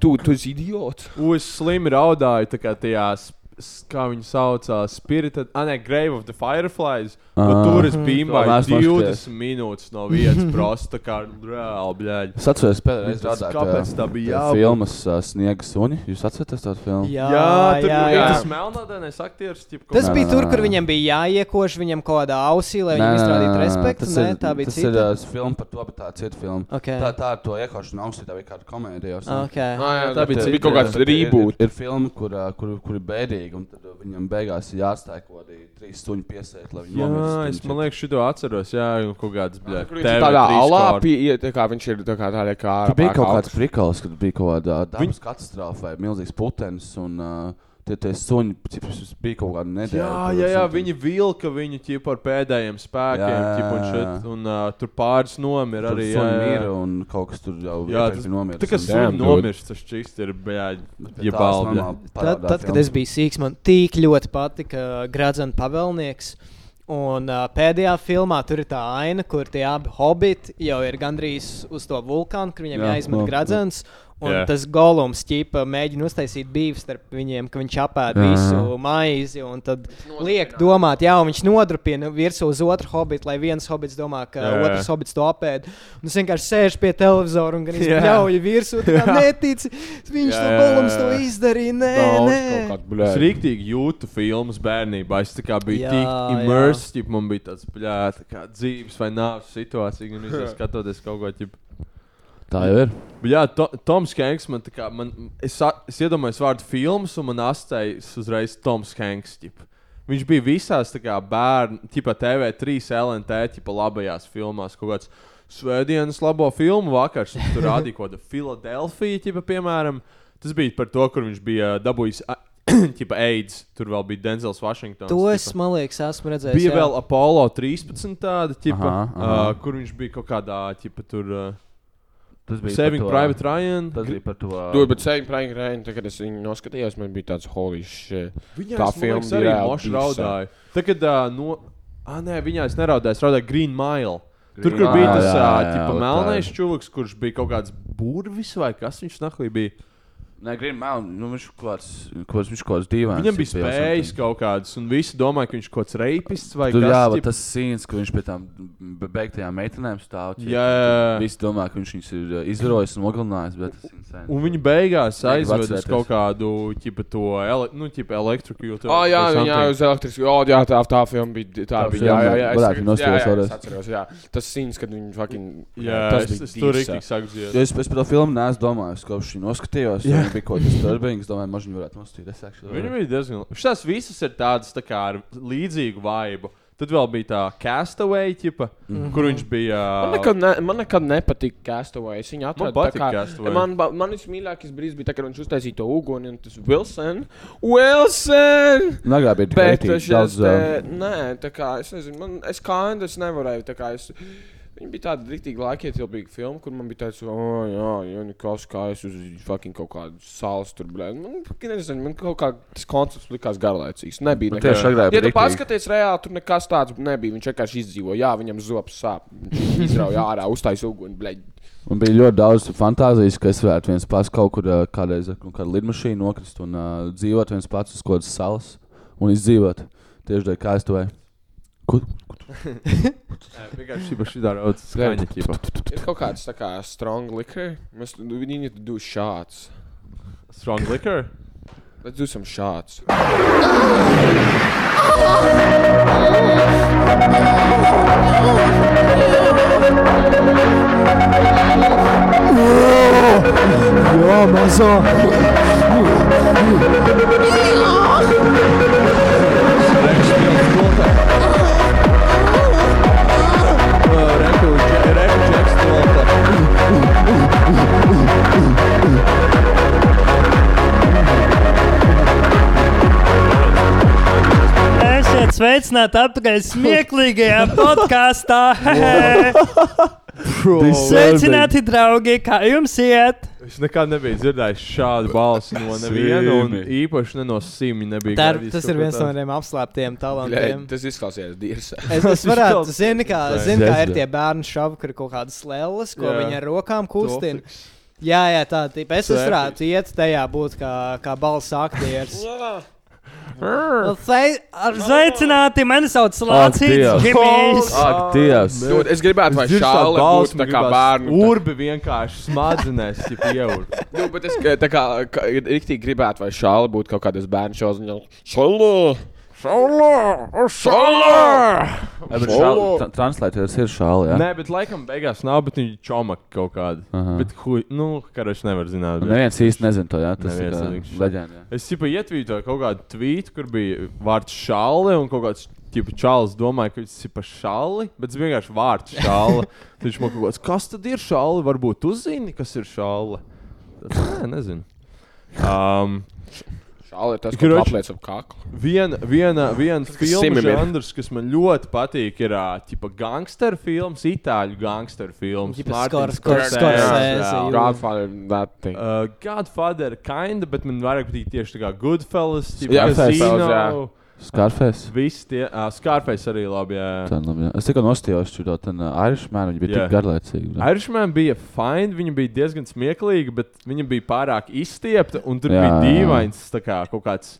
Speaker 9: tu, tu esi idiots.
Speaker 6: uz slimu raudāju, tā kā tajā, s- s- kā viņi saucās, Spirited, ah, nē, Grave of the Fireflies.
Speaker 7: Ah.
Speaker 6: Un tur es
Speaker 7: To
Speaker 6: bīmāju
Speaker 7: neesmu
Speaker 6: 20 minūtes no vienas prosta, kā reāli, bļēģi.
Speaker 7: Es atceros, pēdējais
Speaker 6: Tas
Speaker 7: rādāt,
Speaker 6: kāpēc
Speaker 7: ā,
Speaker 6: tā bija
Speaker 7: tā
Speaker 6: jābūt?
Speaker 7: Filmas ā, Sniega suņi. Jūs atceraties tādu filmu?
Speaker 8: Jā,
Speaker 6: Jā, tur
Speaker 8: jā,
Speaker 6: bija
Speaker 8: jā.
Speaker 6: tas melnādainais aktieris, tip,
Speaker 8: Tas
Speaker 7: Nē,
Speaker 8: bija
Speaker 7: nē,
Speaker 8: tur,
Speaker 7: nē,
Speaker 8: kur
Speaker 7: nē.
Speaker 8: viņam bija jāiekož viņam kaut kādā ausī, lai
Speaker 7: Nē, nē,
Speaker 8: viņam izrādītu
Speaker 7: nē, nē,
Speaker 8: respektu.
Speaker 7: tas
Speaker 8: Nē,
Speaker 7: ir-
Speaker 8: tā bija
Speaker 7: Tas ir
Speaker 8: cita.
Speaker 7: ā, filma par to, bet tā ir cita filma.
Speaker 8: Okay.
Speaker 7: Tā, tā ar to iekošanu augstu, tā bija kāda komēdija. or something.
Speaker 8: Okay.
Speaker 9: Ah, jā,
Speaker 6: tā bija
Speaker 7: eh,
Speaker 9: tas
Speaker 6: cita.
Speaker 9: bija kaut kāds
Speaker 7: Ir- ir-
Speaker 9: reboot.
Speaker 7: Ir filma, kur, ā, kur, kur ir bēdīga, un tad ā, viņam beigās ir jāstāj kaut kādi trīs suņi piesēt, lai viņi
Speaker 6: Jā,
Speaker 7: nomirst.
Speaker 6: es man liekas, šito atceros. Jā, un kaut kāds bija.
Speaker 9: Kur viņš ir tādā alā pieeja, tā kā viņš ir tā kā tādā kā
Speaker 7: Tur bija
Speaker 9: pārāk
Speaker 7: kaut kāds
Speaker 9: augsts.
Speaker 7: prikals, kad bija kaut kāda dabas katastrofa vai milzīgs putenis. Un, uh, tie, tie suņi cip, bija kaut kāda nedēļa.
Speaker 6: Jā,
Speaker 7: tur
Speaker 6: jā, jā,
Speaker 7: something.
Speaker 6: viņi vilka viņu ķipa ar pēdējiem spēkiem,
Speaker 7: Jā,
Speaker 6: ķipa un
Speaker 7: jā, jā.
Speaker 6: šit, un uh, tur pāris nomira
Speaker 7: Tur
Speaker 6: arī.
Speaker 7: suņi
Speaker 6: Jā,
Speaker 7: mira
Speaker 6: jā.
Speaker 7: un kaut kas tur jau
Speaker 6: Jā,
Speaker 7: vienkārši
Speaker 6: tas
Speaker 7: nomira.
Speaker 6: Tā kā
Speaker 7: suņi.
Speaker 6: sunim
Speaker 9: Damn, dude.
Speaker 6: nomirst, tas čīkst ir, jā,
Speaker 7: Bet
Speaker 6: ja
Speaker 7: tās
Speaker 6: balda.
Speaker 7: normāli
Speaker 8: Tad,
Speaker 7: parādā
Speaker 8: tad, kad
Speaker 7: filmas.
Speaker 8: es biju sīgs, man tik ļoti patika uh, Gradzena pavēlnieks. Un uh, pēdējā filmā tur ir tā aina, kur tie abi hobiti jau ir gandrīz uz to vulkānu, kur viņiem
Speaker 7: Jā,
Speaker 8: jāizmet
Speaker 7: no,
Speaker 8: no, gradzens. Un
Speaker 6: Jā.
Speaker 8: yeah. tas golums ķipa mēģina uztaisīt bīvu starp viņiem, ka viņš apēd visu maizi. Un tad liek domāt, jā, un viņš nodrupina virsū uz otru hobitu, lai viens hobits domā, ka
Speaker 6: Jā,
Speaker 8: yeah.
Speaker 6: jā.
Speaker 8: otrs hobits to apēd. Un es vienkārši sēžu pie televizora un gan
Speaker 6: Jā.
Speaker 8: izpļauju virsū. tā kā Netici, viņš
Speaker 6: Jā,
Speaker 8: to
Speaker 6: jā,
Speaker 8: golums to
Speaker 6: jā.
Speaker 8: izdarīja. Nē,
Speaker 9: Daudz kaut
Speaker 8: nē.
Speaker 9: kāds,
Speaker 6: Es
Speaker 9: bļē.
Speaker 6: rīktīgi jūtu filmas bērnībā. Es tā kā biju
Speaker 8: Jā,
Speaker 6: tik
Speaker 8: jā.
Speaker 6: immersed, ja man bija tāds bļā, tā kā dzīves vai nāves situācija, gan es skatoties kaut ko ķipa.
Speaker 7: Tā jau ir.
Speaker 6: Bet Jā, to, Toms Hanks man tā kā, man, es, a- es iedomājos vārdu filmas, un man astējas uzreiz Toms Hanks. Ģip. Viņš bija visās tā kā bērnu, tipā TV3, LNT, tipā labajās filmās. Kaut kāds svētdienas labo filmu vakars, un tur rādīja kaut kādu Filadelfiju, tipā, piemēram. Tas bija par to, kur viņš bija dabūjis, a- tipā, AIDS. Tur vēl bija Denzels Vašingtons.
Speaker 8: To es,
Speaker 6: tipa.
Speaker 8: man liekas, esmu redzējis.
Speaker 6: Bija
Speaker 8: jā.
Speaker 6: vēl Apollo 13, tāda, tipa,
Speaker 7: Aha, aha.
Speaker 6: Uh, kur viņš bija kaut kādā, tipa, tur. Uh,
Speaker 7: Tas bija
Speaker 6: Saving
Speaker 7: par to-
Speaker 6: Private Ryan.
Speaker 7: Tas bija par to. ā,
Speaker 9: Tur, bet sejam prāņu rēni, tagad es viņu noskatījos, man bija tāds holy shit.
Speaker 6: Viņā
Speaker 9: Tā
Speaker 6: tā filma
Speaker 9: filma
Speaker 6: arī
Speaker 9: bija
Speaker 6: moši
Speaker 9: reāli
Speaker 6: raudāja. Tagad, uh, no, ah, nē, viņā es neraudāju, es raudāju Green Mile. Tur, kur
Speaker 7: Mile,
Speaker 6: bija tas
Speaker 7: jā,
Speaker 6: ā,
Speaker 7: jā,
Speaker 6: tipa
Speaker 7: jā,
Speaker 6: melnais
Speaker 7: tā ir.
Speaker 6: čūlis, kurš bija kaut kāds burvis vai kas viņš nahlī bija.
Speaker 7: Nē, Green Mountain. Nu, viņš kaut kāds, kaut kāds, viņš kaut kāds dīvains.
Speaker 6: Viņam bija
Speaker 7: ir bijis,
Speaker 6: spējas
Speaker 7: something.
Speaker 6: kaut kādas, un visi domāja, ka viņš kaut kāds reipists vai
Speaker 7: Tur
Speaker 6: kas
Speaker 7: jā, bet
Speaker 6: tipa-
Speaker 7: tas sīns, ka viņš pie tām be- beigtajām meitenēm stāv. ķip.
Speaker 6: Jā.
Speaker 7: Visi domā, ka viņš viņus ir ā, izrojis un nogalinājis, bet tas ir insane.
Speaker 6: Un viņi beigās
Speaker 7: Negribu
Speaker 6: aizveda uz
Speaker 7: atcerēties.
Speaker 6: kaut kādu tipu to ele, nu, tipu elektriku.
Speaker 9: Ah, jā, jā, uz elektrisko. Oh, jā, tā, tā filma bija. Tā
Speaker 7: Tā
Speaker 9: bija.
Speaker 7: filma,
Speaker 9: Jā, jā, jā. es
Speaker 7: varētu
Speaker 9: tagad-
Speaker 7: noskatīties
Speaker 9: jā, jā,
Speaker 7: vēlreiz.
Speaker 9: es atceros, jā. Tas scenes, kad viņi fucking.
Speaker 6: jā,
Speaker 9: tas
Speaker 6: es,
Speaker 9: bija
Speaker 6: es tur
Speaker 9: dīsa.
Speaker 6: rīktīgi saku,
Speaker 7: Jo
Speaker 6: ziet.
Speaker 7: Es, es par to filmu neesmu domājis, kopš viņa noskatījās. Yeah. Viņa bija kaut kas tāds, domāju, maži viņa varētu nostīt. Es
Speaker 6: Viņam bija
Speaker 7: domāju,
Speaker 6: diezgan. Šīs visas ir tādas tā kā ar līdzīgu vaibu. Tad vēl bija tā castaway, tipa, mm
Speaker 9: Mhm.
Speaker 6: -hmm. kur viņš bija. uh,
Speaker 9: Man nekad, ne, man nekad nepatika Castaway. Es viņu atradu. tā
Speaker 6: patika
Speaker 9: kā-
Speaker 6: Castaway.
Speaker 9: Man, ba- man vismīļākais brīdis bija, tā, kad viņš uztaisīja to uguni un tas Wilson. Wilson!
Speaker 7: Nagā bija
Speaker 9: Bet
Speaker 7: grētīgi,
Speaker 9: es
Speaker 7: daudz, eh, um,
Speaker 9: te,
Speaker 7: ā,
Speaker 9: nē, tā kā es nezinu, man, es kā Andris nevarēju. tā Kā, es, Viņa bija tāda rīktīva laikietilpīga filma, kur man bija tāds, oh, jā, jā, nu, kaut kā es uz fucking kaut kādu salas tur blēdu. Man, fucking nezinu, man kaut kā tas koncepts likās garlaicīgs. Nebija
Speaker 7: Man
Speaker 9: nekā.
Speaker 7: Nu, tieši agrāk
Speaker 9: Ja
Speaker 7: bija
Speaker 9: tu
Speaker 7: riktīgi.
Speaker 9: paskaties reāli, tur nekas tāds nebija. Viņš vienkārši izdzīvoja, jā, viņam zops sāp. Viņš izrauja ārā, uztaisīja uguni, blēdu.
Speaker 7: Man bija ļoti daudz fantāzijas, ka es varētu viens pats kaut kur ā, kādreiz ar kaut kādu lidmašīnu nokrist un uh, dzīvot viens pats uz kaut kādas salas un izdzīvot. Tieši tādā kā es to vajag. Kur?
Speaker 6: Vienkārši šī pašā raudā skaņa. ķipa.
Speaker 9: Ir kaut kāds tā kā nu, strong liquor. Mēs, viņi ir du šāds.
Speaker 6: Strong liquor.
Speaker 9: Let's do some shots.
Speaker 10: Esiet sveicināti atpakaļ smieklīgajā podkāstā. Sveicināti, draugi, kā jums iet?
Speaker 6: Es nekad nebiju dzirdējis šādu balsi no neviena, un īpaši ne no simta nebija.
Speaker 8: Tā, ir-
Speaker 6: gaidījis
Speaker 8: tas
Speaker 6: kaut
Speaker 8: ir
Speaker 6: ko
Speaker 8: viens no
Speaker 6: tādu.
Speaker 8: maniem apslāptiem
Speaker 9: Bļaigi,
Speaker 8: talantiem.
Speaker 9: tas izklausījās dirsē.
Speaker 8: Es, es varētu,
Speaker 6: izklausās-
Speaker 8: zini, kā, zini, kā
Speaker 7: Zezda.
Speaker 8: ir tie bērnu šovi, kur ir kaut kādas lēlas, ko
Speaker 6: Jā.
Speaker 8: viņi ar rokām kustina.
Speaker 6: Topiks.
Speaker 8: Jā, jā, tā ir. Es
Speaker 6: Tērpi.
Speaker 8: varētu iet tajā būt kā, kā balss aktieris. Nu, sei- ar zei-
Speaker 10: Sveicināti, mani sauc
Speaker 6: Dievs.
Speaker 10: Lācis Gimijs.
Speaker 7: Ak, Dievs!
Speaker 9: Dude, Nu, es gribētu, lai
Speaker 6: Es dzirdu tādu
Speaker 9: šāda
Speaker 6: balsi,
Speaker 9: būtu tā
Speaker 6: man
Speaker 9: kā
Speaker 6: gribās
Speaker 9: bērnu.
Speaker 6: Urbi vienkārši smadzenēs, ja pieaug.
Speaker 9: Nu, bet es ka- tā kā ka- ir rīktīgi gribētu, lai šāda būtu kaut kādas bērnu šovs. Šāda! Šāda! Šāda!
Speaker 7: Jā, bet šāli- tra- Translētājs ir šāli.
Speaker 9: Ah.
Speaker 7: jā?
Speaker 6: Nē, bet laikam beigās nav, bet viņi čomaka kaut kādu.
Speaker 7: Aha.
Speaker 6: Bet, hui, nu, karač nevar zināt.
Speaker 7: Nu,
Speaker 6: bet-
Speaker 7: Neviens īsti nezina to, jā. Tas ir
Speaker 6: Neviens
Speaker 7: tā
Speaker 6: nezina.
Speaker 7: leģenda. jā.
Speaker 6: Es tikai ietvītoju kaut kādu tvītu, kur bija vārds šāle un kaut kāds. Tipa čālis domāja, ka viņš ir pa šāli, bet tas vienkārši vārds šāli. Viņš man kaut kāds, kas tad ir šāli? Varbūt tu zini, kas ir šāli. Tas, nē, nezinu. Um,
Speaker 9: Šāda ir tas, kas
Speaker 6: Kroč.
Speaker 9: apliec ap kaklu.
Speaker 6: Viena, viena, viena filma,
Speaker 9: simim ir.
Speaker 6: žanrs, kas man ļoti patīk, ir tipa gangsteru filmas, itāļu gangsteru filmas.
Speaker 8: Tipa
Speaker 6: Martins
Speaker 8: Scor- Scor-
Speaker 6: Scorsese,
Speaker 8: Scorsese,
Speaker 6: jā.
Speaker 8: jū.
Speaker 9: Godfather, that thing.
Speaker 6: Uh, Godfather kinda, bet man vairāk patīk tieši tā kā Goodfellas,
Speaker 9: Jā,
Speaker 6: tipa
Speaker 9: Goodfellas,
Speaker 6: Casino,
Speaker 9: jā.
Speaker 7: Scarface.
Speaker 6: visi tie, uh, Scarface arī labi, jā.
Speaker 7: Tā, nu, jā. Es tikai nostājos tur, tad Irishman viņa bija
Speaker 6: Jā.
Speaker 7: tik garlaicīga. bļa.
Speaker 6: Irishman bija fine, viņa bija diezgan smieklīga, bet viņa bija pārāk izstiepta un tur jā,
Speaker 7: Jā,
Speaker 6: bija
Speaker 7: jā, jā.
Speaker 6: dīvains tā kā kaut kāds.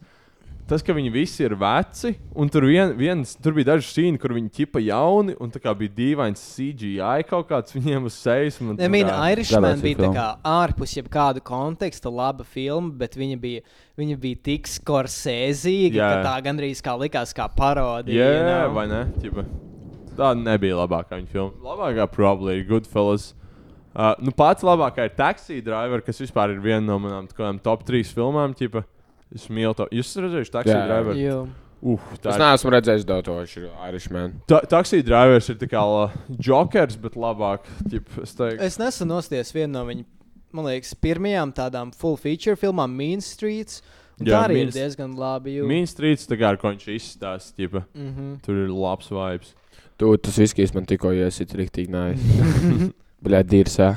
Speaker 6: Tas, ka viņi visi ir veci, un tur, vien, viens, tur bija daži sīni, kur viņi tipa jauni, un tā kā bija dīvains CGI kaut kāds viņiem uz sejas. un man tā
Speaker 8: I mean,
Speaker 6: kā-
Speaker 8: Irishman
Speaker 7: Tāpēc ir
Speaker 8: bija tā
Speaker 7: filma.
Speaker 8: kā ārpus jebkāda konteksta laba filma, bet viņa bija, viņa bija tik skorsēzīga,
Speaker 6: Jā.
Speaker 8: ka tā gandrīz kā likās kā parodija.
Speaker 6: Jā,
Speaker 8: you
Speaker 6: yeah,
Speaker 8: know?
Speaker 6: vai ne? Ķipa. Tā nebija labākā viņa filma. Labākā probably ir Goodfellas. Uh, nu, pats labākā ir Taxi Driver, kas vispār ir viena no manām tā kādām top 3 filmām. Ķipa. Es mīlu to. Jūs esat redzējuši Taxi
Speaker 9: Jā.
Speaker 6: Driver?
Speaker 8: Jū.
Speaker 6: Uf, tā
Speaker 9: Es
Speaker 6: ir.
Speaker 9: neesmu redzējis Dautošu, Irishman.
Speaker 6: Ta taxi drivers ir tā kā la, jokers, bet labāk. Ķip, es teiktu,
Speaker 8: Es nesen nosties vienu no viņa, man liekas, pirmajām tādām full feature filmām, Mean Streets. un
Speaker 6: Jā,
Speaker 8: Tā arī
Speaker 6: Mean
Speaker 8: ir diezgan labi. Mhm. jū.
Speaker 6: Mean Streets tā kā ar ko viņš izstāsta. ķipa. Tur ir labs vibes.
Speaker 9: Tu, tas viskijs man tikko iesit rīktīgi nājas. Bļaigi, dirsē.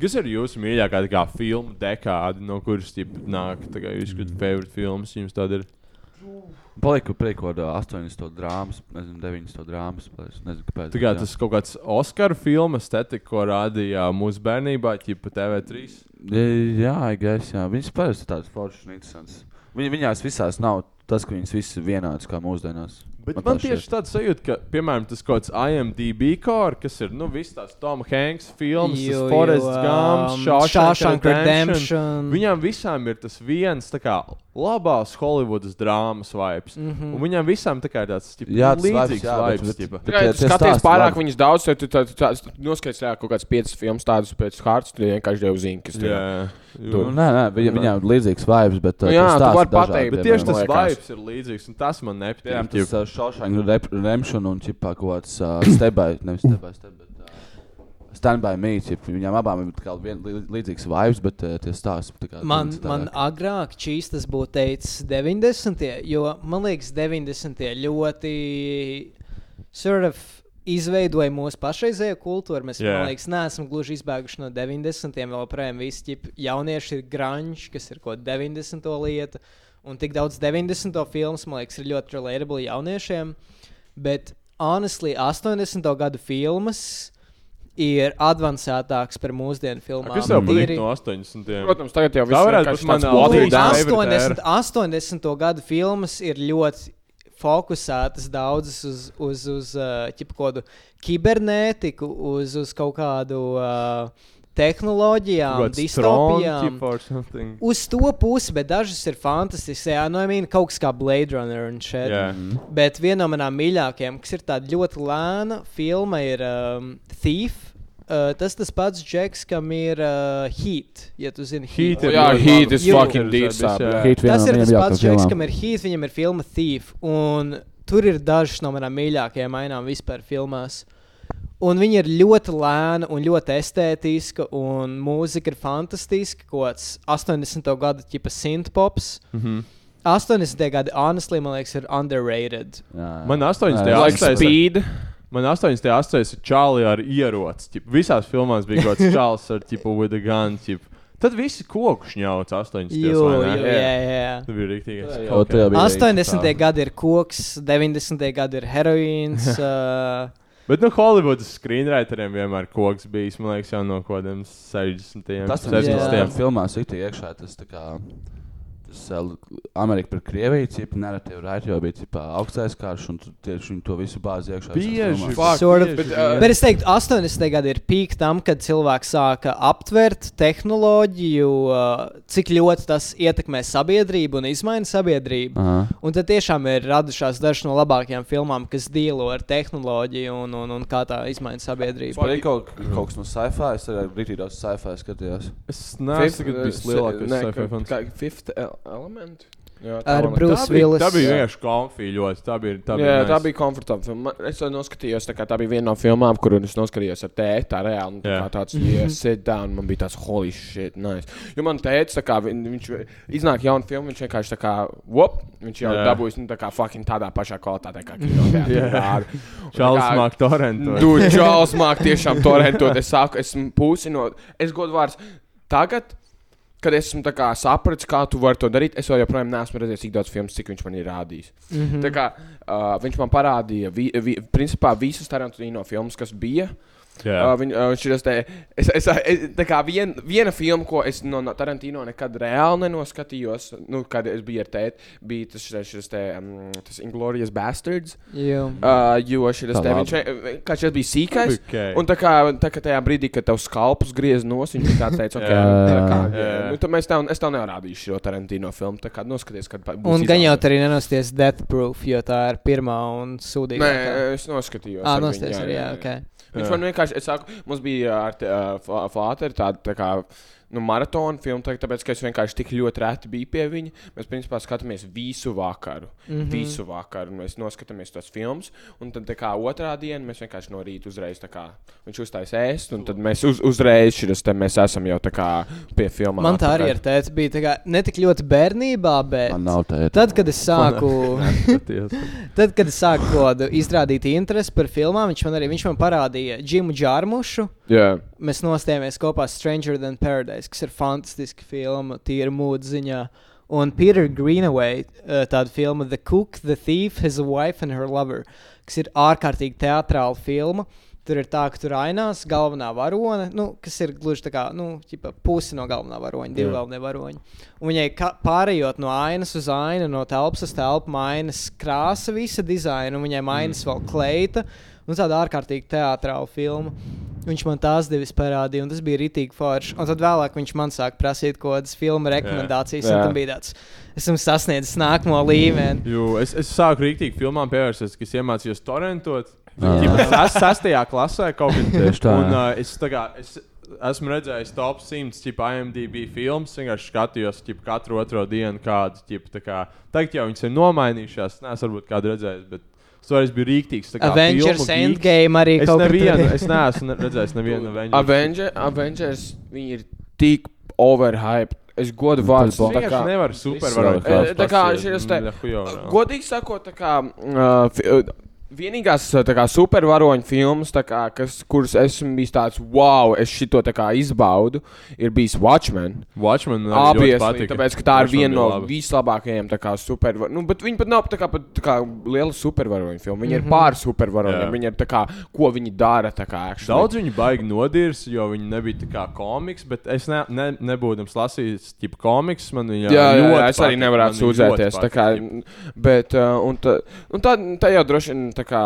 Speaker 6: Kas ir jūsu mīļākā tā kā, filmu dekāde, no kuras ķip, nāk? Tā kā jūs esat favorite filmas, jums tāda ir.
Speaker 7: Paliku priekšā 80 drāmas, nezinu, 90 drāmas. bet Es nezinu, kāpēc.
Speaker 6: Tā kā
Speaker 7: bet jā.
Speaker 6: tas kaut kāds Oskara filmas estetika, ko rādīja mūsu bērnībā, ķipa TV3.
Speaker 7: Jā, gais, jā. Viņas parasti ir tādas foršas un interesantas. Viņa, viņās visās nav tas, ka viņas visas ir vienādas kā mūsdienās.
Speaker 6: Bet man,
Speaker 7: tā
Speaker 6: man tieši
Speaker 7: šķiet.
Speaker 6: tāds sajūta, ka, piemēram, tas kaut kāds IMDB core, kas ir, nu, viss tās Tom Hanks filmas,
Speaker 8: Jū, jū,
Speaker 6: Forest
Speaker 8: um,
Speaker 6: Gump,
Speaker 8: Shawshank
Speaker 6: Shawshank Redemption.
Speaker 8: Redemption.
Speaker 6: Viņām visām ir tas viens, tā kā, labās Hollywoodas drāmas vibes. Mm -hmm. Un viņām visām tā kā ir tāds, ķipa,
Speaker 7: Mhm. Jā, tas
Speaker 6: līdzīgs
Speaker 7: vibes, jā, bet-
Speaker 6: vibes,
Speaker 7: bet-
Speaker 6: ķipa.
Speaker 7: bet
Speaker 9: Ja
Speaker 7: tie-
Speaker 9: tu
Speaker 7: tie
Speaker 9: skaties
Speaker 7: stāsti
Speaker 9: pārāk
Speaker 7: labi.
Speaker 9: viņas daudz, tad tu tā- tā- tā- noskaties jā, kaut kādas piecas filmas, tādas pēc Hārtas, tad vienkārši jau zini, kas tur ir.
Speaker 6: Jā, jū.
Speaker 7: Nu, nē, nē, viņa, viņām ir līdzīgs vibes, bet
Speaker 9: Nu
Speaker 7: uh,
Speaker 9: jā,
Speaker 7: tie
Speaker 9: tu
Speaker 7: stāsti
Speaker 9: vari
Speaker 7: dažādi,
Speaker 9: pateikt,
Speaker 6: Bet
Speaker 7: piemēram.
Speaker 6: tieši tas
Speaker 9: liekas.
Speaker 6: vibes ir līdzīgs, un tas man
Speaker 7: Piemēram,
Speaker 6: nepatīk.
Speaker 7: tas
Speaker 6: ķipa.
Speaker 7: uh, Shawshank Rep- Redemption un ķipā kaut kāds uh, Step by- nevis Step by Step, bet uh, Stand by Me. Ķip, viņām abām ir kā vien, lī- līdzīgs vibes, bet uh, tie stāsti tā kā
Speaker 8: Man,
Speaker 7: viens
Speaker 8: man
Speaker 7: citādāk.
Speaker 8: agrāk čīstas būtu teicis 90. jo man liekas, 90. ļoti sort of izveidoja mūsu pašreizējo kultūru. Mēs, yeah.
Speaker 6: Jā.
Speaker 8: man liekas, neesam gluži izbēguši no 90. vēl projām visi ķip, jaunieši ir grunge, kas ir kaut kāda 90. lieta. Un tik daudz 90. filmas, man liekas, ir ļoti relatable jauniešiem. Bet, honestly, 80. gadu filmas ir avansētākas par mūsdienu filmām.
Speaker 6: Kas tev
Speaker 8: Tīri-
Speaker 6: patīk no 80?
Speaker 9: Protams, tagad jau
Speaker 6: Tā
Speaker 9: viss
Speaker 6: varētu
Speaker 9: vienkārši
Speaker 6: būt
Speaker 9: tāds
Speaker 6: mana
Speaker 9: bloody
Speaker 6: Latvijas
Speaker 9: down.
Speaker 6: favorite
Speaker 8: 80, 80. gadu filmas ir ļoti fokusētas daudzas uz, uz, uz uh, ķip, kaut kādu kibernētiku, uz, uz kaut kādu uh, tehnoloģijām, distopijām.
Speaker 6: distopijām.
Speaker 8: Uz to pusi, bet dažas ir fantastiskas. Jā, no mīna kaut kas kā Blade Runner un šeit.
Speaker 6: Jā,
Speaker 8: Bet viena no manām mīļākajām, kas ir tāda ļoti lēna filma, ir um, Thief. Uh, tas tas pats Džeks, kam ir uh, Heat. Ja tu zini,
Speaker 6: Heat ir
Speaker 9: Jā,
Speaker 6: ļoti
Speaker 9: Heat
Speaker 6: laba.
Speaker 9: is
Speaker 8: Jū.
Speaker 9: fucking deep
Speaker 6: Jū.
Speaker 9: sap.
Speaker 6: Jā.
Speaker 7: Hate
Speaker 8: Tas
Speaker 7: vienam
Speaker 8: ir tas
Speaker 7: jātāk
Speaker 8: pats Džeks,
Speaker 7: filmām.
Speaker 8: kam ir Heat, viņam ir filma Thief. Un tur ir dažas no manām mīļākajām ainām vispār filmās. Un viņa ir ļoti lēna un ļoti estētiska, un mūzika ir fantastiska. Kods 80. gada tipa synthpops. Mm
Speaker 7: Mhm.
Speaker 8: -hmm. 80. gadi, honestly, man liekas, ir underrated.
Speaker 7: Jā, jā.
Speaker 6: Man 8.
Speaker 7: Jā,
Speaker 9: Like
Speaker 6: atstājas-
Speaker 9: speed.
Speaker 6: Man 8. astoņas ir čāli ar ieroci. Tip. Visās filmās bija kaut kāds čāls ar tipu with a gun. Tip. Tad visi kokus ņauts 8.
Speaker 8: Jū, jū, jā, jā.
Speaker 6: Tas bija rīktīgais.
Speaker 7: Kaut kā bija
Speaker 8: 80. gadi ir koks, 90. gadi ir heroīns. uh,
Speaker 6: Bet no Hollywoodas screenwriteriem vienmēr koks bijis, man liekas, jau no kaut kādiem 60.
Speaker 7: Tas ir
Speaker 8: Jā.
Speaker 7: tas, kas
Speaker 6: 70.
Speaker 7: filmās ir iekšā. Tas, tā kā, tas eh, Amerika par Krieviju, cip, narratīvi raiti jau bija cipā, augstais karš, un tu- tieši viņi to visu bāzi iekšā.
Speaker 6: Bieži
Speaker 7: Fuck.
Speaker 8: Sort of,
Speaker 6: bieži
Speaker 9: bet,
Speaker 6: vien.
Speaker 9: uh,
Speaker 8: Bet es teiktu, 80. gadi ir pīk tam, kad cilvēks sāka aptvert tehnoloģiju, uh, cik ļoti tas ietekmē sabiedrību un izmaina sabiedrību. Un tad tiešām ir radušās dažas no labākajām filmām, kas dīlo ar tehnoloģiju un, un, un kā tā izmaina sabiedrību.
Speaker 7: Arī kaut, kaut kas no sci-fi, es arī rītīgi daudz sci-fi skatījos.
Speaker 6: Es neesmu
Speaker 9: Fifth,
Speaker 6: bijis
Speaker 9: uh,
Speaker 6: lielākais
Speaker 9: ne,
Speaker 6: sci-fi fans.
Speaker 9: kā- Fifth ele- element. Jā, tā
Speaker 8: Ar
Speaker 9: man-
Speaker 8: Bruce
Speaker 6: Tā bija-
Speaker 8: Willis.
Speaker 6: Tā bija vienkārši konfija ļoti. Tā bija. Tā bija,
Speaker 9: Jā, tā
Speaker 6: nice.
Speaker 9: bija komfortabla filma. Man- Es to noskatījos, tā, kā, tā bija viena no filmām, kur es noskatījos ar tēti. Tā reāli un tā
Speaker 6: Jā.
Speaker 9: kā tāds iesaistīts, un man bija tāds holy shit. Nice. Jo man teica, ka viņš iznāk jaunu filmu, viņš vienkārši tā kā, wop, viņš jau
Speaker 6: Jā.
Speaker 9: dabūjis nu, tā kā fucking tādā pašā kvalitātē, kā kinoteātrī.
Speaker 6: Čāls Māk Torrents.
Speaker 9: Tur Čāls Mārk tiešām torentot. Es sāku, esmu pūsinot. Es godu vārds. Tagad, kad esmu tā kā sapratis, kā tu vari to darīt, es vēl joprojām neesmu redzējis tik daudz filmu, cik viņš man ir rādījis. Mm -hmm. Tā kā uh, viņš man parādīja, vi, vi, principā visas Tarantino filmas, kas bija. Uh,
Speaker 6: Jā,
Speaker 9: viņ, uh, viņš ir tas te, es, es, es, tā kā vien, viena filma, ko es no no Tarantino nekad reāli nenoskatījos, nu, kad es biju ar tēti, bija tas, šis, šis te, um, tas Inglorious Bastards.
Speaker 8: Jā.
Speaker 9: Uh, jo šis
Speaker 7: Tā
Speaker 9: te
Speaker 7: labi.
Speaker 9: viņš eh, kā šis bija sīkais.
Speaker 6: Okei.
Speaker 9: Un tā kā, tā kā tajā brīdī, kad tev skalpus griez nos, viņš tā teica, ok,
Speaker 6: Jā,
Speaker 9: tā kā,
Speaker 6: jā, jā.
Speaker 9: jā, nu, tad mēs tev, es tev nevarādīšu šo Tarantino filmu. Tā kā noskaties, kad pa- būs.
Speaker 8: Un gan jau
Speaker 9: izrāde.
Speaker 8: tur arī nenosties Death Proof, jo tā ir pirmā un
Speaker 9: Nē,
Speaker 8: sūdīgākā.
Speaker 9: es noskatījos.
Speaker 8: Ah,
Speaker 9: ar viņu,
Speaker 8: nosties arī, jā, ok.
Speaker 9: Viņš man vienkārši, es saku, mums bija ar te- ā, fa- Fāteru tāda tā kā. Nu, maratona filma, tā- tāpēc, ka es vienkārši tik ļoti reti biju pie viņa. Mēs, principā, skatāmies visu vakaru. Mm
Speaker 8: Mhm.
Speaker 9: -hmm. Visu vakaru. un Mēs noskatāmies tos filmus, un tad, tā kā otrā diena, mēs vienkārši no rīta uzreiz, tā kā viņš uzstājas ēst, un tad mēs uz, uzreiz, šis te mēs esam jau tā kā pie filmām.
Speaker 8: Man tā arī
Speaker 9: atpakaļ.
Speaker 8: ar tēti bija tā kā, ne tik ļoti bērnībā, bet
Speaker 7: Man nav tā,
Speaker 8: tad, kad es sāku.
Speaker 6: skatījos.
Speaker 8: Tad, kad es sāku kaut kādu izrādīt interesi par filmām, viņš man arī viņš man parādīja Džimu Čārmušu.
Speaker 9: Jā,
Speaker 8: Mēs nostājāmies kopā Stranger than Paradise, kas ir fantastiska filma, tīra mūziņā. Un Peter Greenaway, uh, tāda filma The Cook, The Thief, His Wife and Her Lover, kas ir ārkārtīgi teatrāla filma. Tur ir tā, ka tur ainās galvenā varone, nu, kas ir gluži tā kā nu, ķipa, pusi no galvenā varoņa, divi galvenie varoņi. Un viņai ka- pārējot no ainas uz ainu, no telpas uz telpu, mainās krāsa, visa dizaina, un viņai mainās vēl kleita. Un tāda ārkārtīgi teatrāla filma. Viņš man tās divas parādīja, un tas bija rītīgi forši. Un tad vēlāk viņš man sāka prasīt kaut kādas filmu rekomendācijas, un
Speaker 9: Jā.
Speaker 8: tam bija tāds, esmu sasniedzis nākamo
Speaker 6: Mm.
Speaker 8: līmeni.
Speaker 6: Jo es, es sāku rīktīgi filmām pievērsties, kas iemācījos torrentot.
Speaker 7: Jā.
Speaker 6: Jā, tas ir sastajā klasē kaut kad.
Speaker 7: Tieši tā,
Speaker 6: Un,
Speaker 7: jā.
Speaker 6: uh, es, tā kā, es esmu redzējis top 100 tipu IMDb filmas, vienkārši skatījos tipu, katru otro dienu kādu. Tipu, tā kā, tagad jau viņas ir nomainījušās, nes varbūt kādu redzējis, bet Svarīgs bija rīktīgs. tā kā filmu
Speaker 8: Avengers
Speaker 6: geeks.
Speaker 8: Endgame arī
Speaker 6: Es
Speaker 8: kaut kur
Speaker 6: nevienu,
Speaker 8: tur-
Speaker 6: es neesmu redzējis nevienu Avengers.
Speaker 9: Avenger, Avengers, viņi ir tik overhyped. Es godu vārdu.
Speaker 7: Tas
Speaker 6: Tā kā nevar supervarot.
Speaker 9: Eh, tā kā
Speaker 6: kāds
Speaker 9: šis
Speaker 6: pasties.
Speaker 9: te-
Speaker 6: Mm, nehujovā.
Speaker 9: Nu, Godīgi sakot, tā kā. Uh, fi- uh, Vienīgās uh, tā kā, supervaroņu filmas, tā kā, kas, kuras esmu bijis tāds, wow, es šito tā kā izbaudu, ir bijis Watchmen.
Speaker 6: Watchmen Nu, arī ļoti
Speaker 9: Obviously,
Speaker 6: patika.
Speaker 9: tāpēc, ka tā ir
Speaker 6: Watchmen
Speaker 9: viena no
Speaker 6: bija laba.
Speaker 9: vislabākajām tā kā, supervaroņu. Nu, bet viņi pat nav tā kā, pat, tā kā liela supervaroņu filma. Viņi mm -hmm. ir pār supervaroņiem.
Speaker 6: Jā.
Speaker 9: Viņi ir tā kā, ko viņi dara. Tā kā, actually.
Speaker 6: Daudz viņu baigi nodirs, jo viņi nebija tā kā komiks, bet es ne, ne, nebūtu lasījis tipu komiks. Man viņa
Speaker 9: Jā, jā,
Speaker 6: ļoti
Speaker 9: jā, es arī
Speaker 6: patika,
Speaker 9: nevarētu
Speaker 6: man viņa ļoti
Speaker 9: sūdzēties. tā
Speaker 6: patika,
Speaker 9: kā,
Speaker 6: tipu.
Speaker 9: Bet, uh, un nu, tā, un tā, tā jau droši vien tā tā kā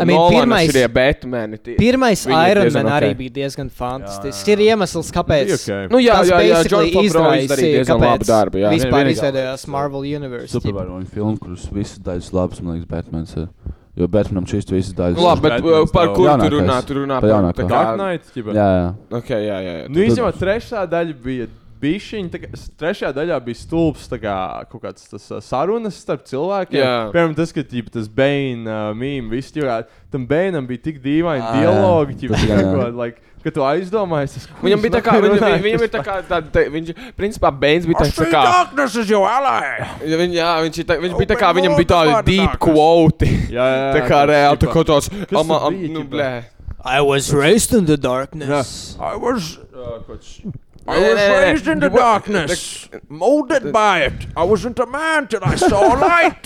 Speaker 8: I mean,
Speaker 9: Nolana
Speaker 8: pirmais-
Speaker 9: šie Batmani. tie-
Speaker 8: Pirmais
Speaker 9: viņi ir
Speaker 8: Iron
Speaker 9: diezgan
Speaker 8: Man
Speaker 9: ok.
Speaker 8: arī bija diezgan fantastisks. Ir iemesls, kāpēc.
Speaker 6: Bija ok.
Speaker 9: Nu, jā,
Speaker 8: tas
Speaker 9: jā, jā,
Speaker 8: basically
Speaker 9: John Favreau izdarīja
Speaker 8: izraisīja,
Speaker 9: diezgan labu
Speaker 8: kāpēc
Speaker 9: darbu. Jā,
Speaker 8: Vispār
Speaker 7: Vienīgā-
Speaker 8: izveidojās Marvel Universe. ķip.
Speaker 7: Supervaroņu filmu, kuras visas daļas labas, man liekas, Batmans ir. Jo Batmanam šīs visas daļas
Speaker 9: Nu, labi, bet uh,
Speaker 6: Batmans
Speaker 9: par
Speaker 6: nav.
Speaker 9: ko tu
Speaker 7: Jaunākais.
Speaker 9: runā? Tu
Speaker 7: Pa
Speaker 9: runā par
Speaker 7: jaunāko.
Speaker 9: tā kā-
Speaker 6: Dark Knight, ķipa.
Speaker 7: Jā, jā.
Speaker 9: Ok, jā, jā. jā.
Speaker 6: Nu, īstenībā trešā daļa bija bišķiņa. tā kā s- Trešajā daļā bija stulbs tā kā, kaut kāds tas, uh, sarunas starp cilvēkiem.
Speaker 9: Jā.
Speaker 6: Piemēram, tas, ka tīpa, tas Bane uh, mīmīm, viss jau tam Bainam bija tik dīvaini
Speaker 7: Ā,
Speaker 6: dialogi,
Speaker 7: jā.
Speaker 6: ķipa,
Speaker 7: Tas gan,
Speaker 6: kaut
Speaker 7: jā.
Speaker 6: kādi, like, ka tu aizdomājies. tas kuģis
Speaker 9: Viņam bija tā kā,
Speaker 6: nav
Speaker 9: viņam,
Speaker 6: runājis,
Speaker 9: viņam ir
Speaker 6: tas
Speaker 9: tā kā, tā, tā, viņš, principā, Bēns bija tāds tā kā.
Speaker 6: darkness is your ally!
Speaker 9: Ja Viņ, jā, viņš ir tā, viņš bija tā kā,
Speaker 6: Open
Speaker 9: viņam
Speaker 6: world
Speaker 9: bija tādi
Speaker 6: of
Speaker 9: deep
Speaker 6: darkness.
Speaker 9: quote.
Speaker 6: Jā, jā,
Speaker 9: Tā kā
Speaker 6: tas,
Speaker 9: reāli, tā
Speaker 6: ķipa,
Speaker 9: kā tos,
Speaker 6: tur
Speaker 9: ama, am-
Speaker 6: bija,
Speaker 9: nu,
Speaker 6: ķipa?
Speaker 9: blē.
Speaker 8: I was raised in the darkness.
Speaker 6: I was, uh, koč-
Speaker 9: Nē,
Speaker 6: Eh,
Speaker 9: nē, nē, nē. You were-
Speaker 6: molded by it. I wasn't a man till I saw light.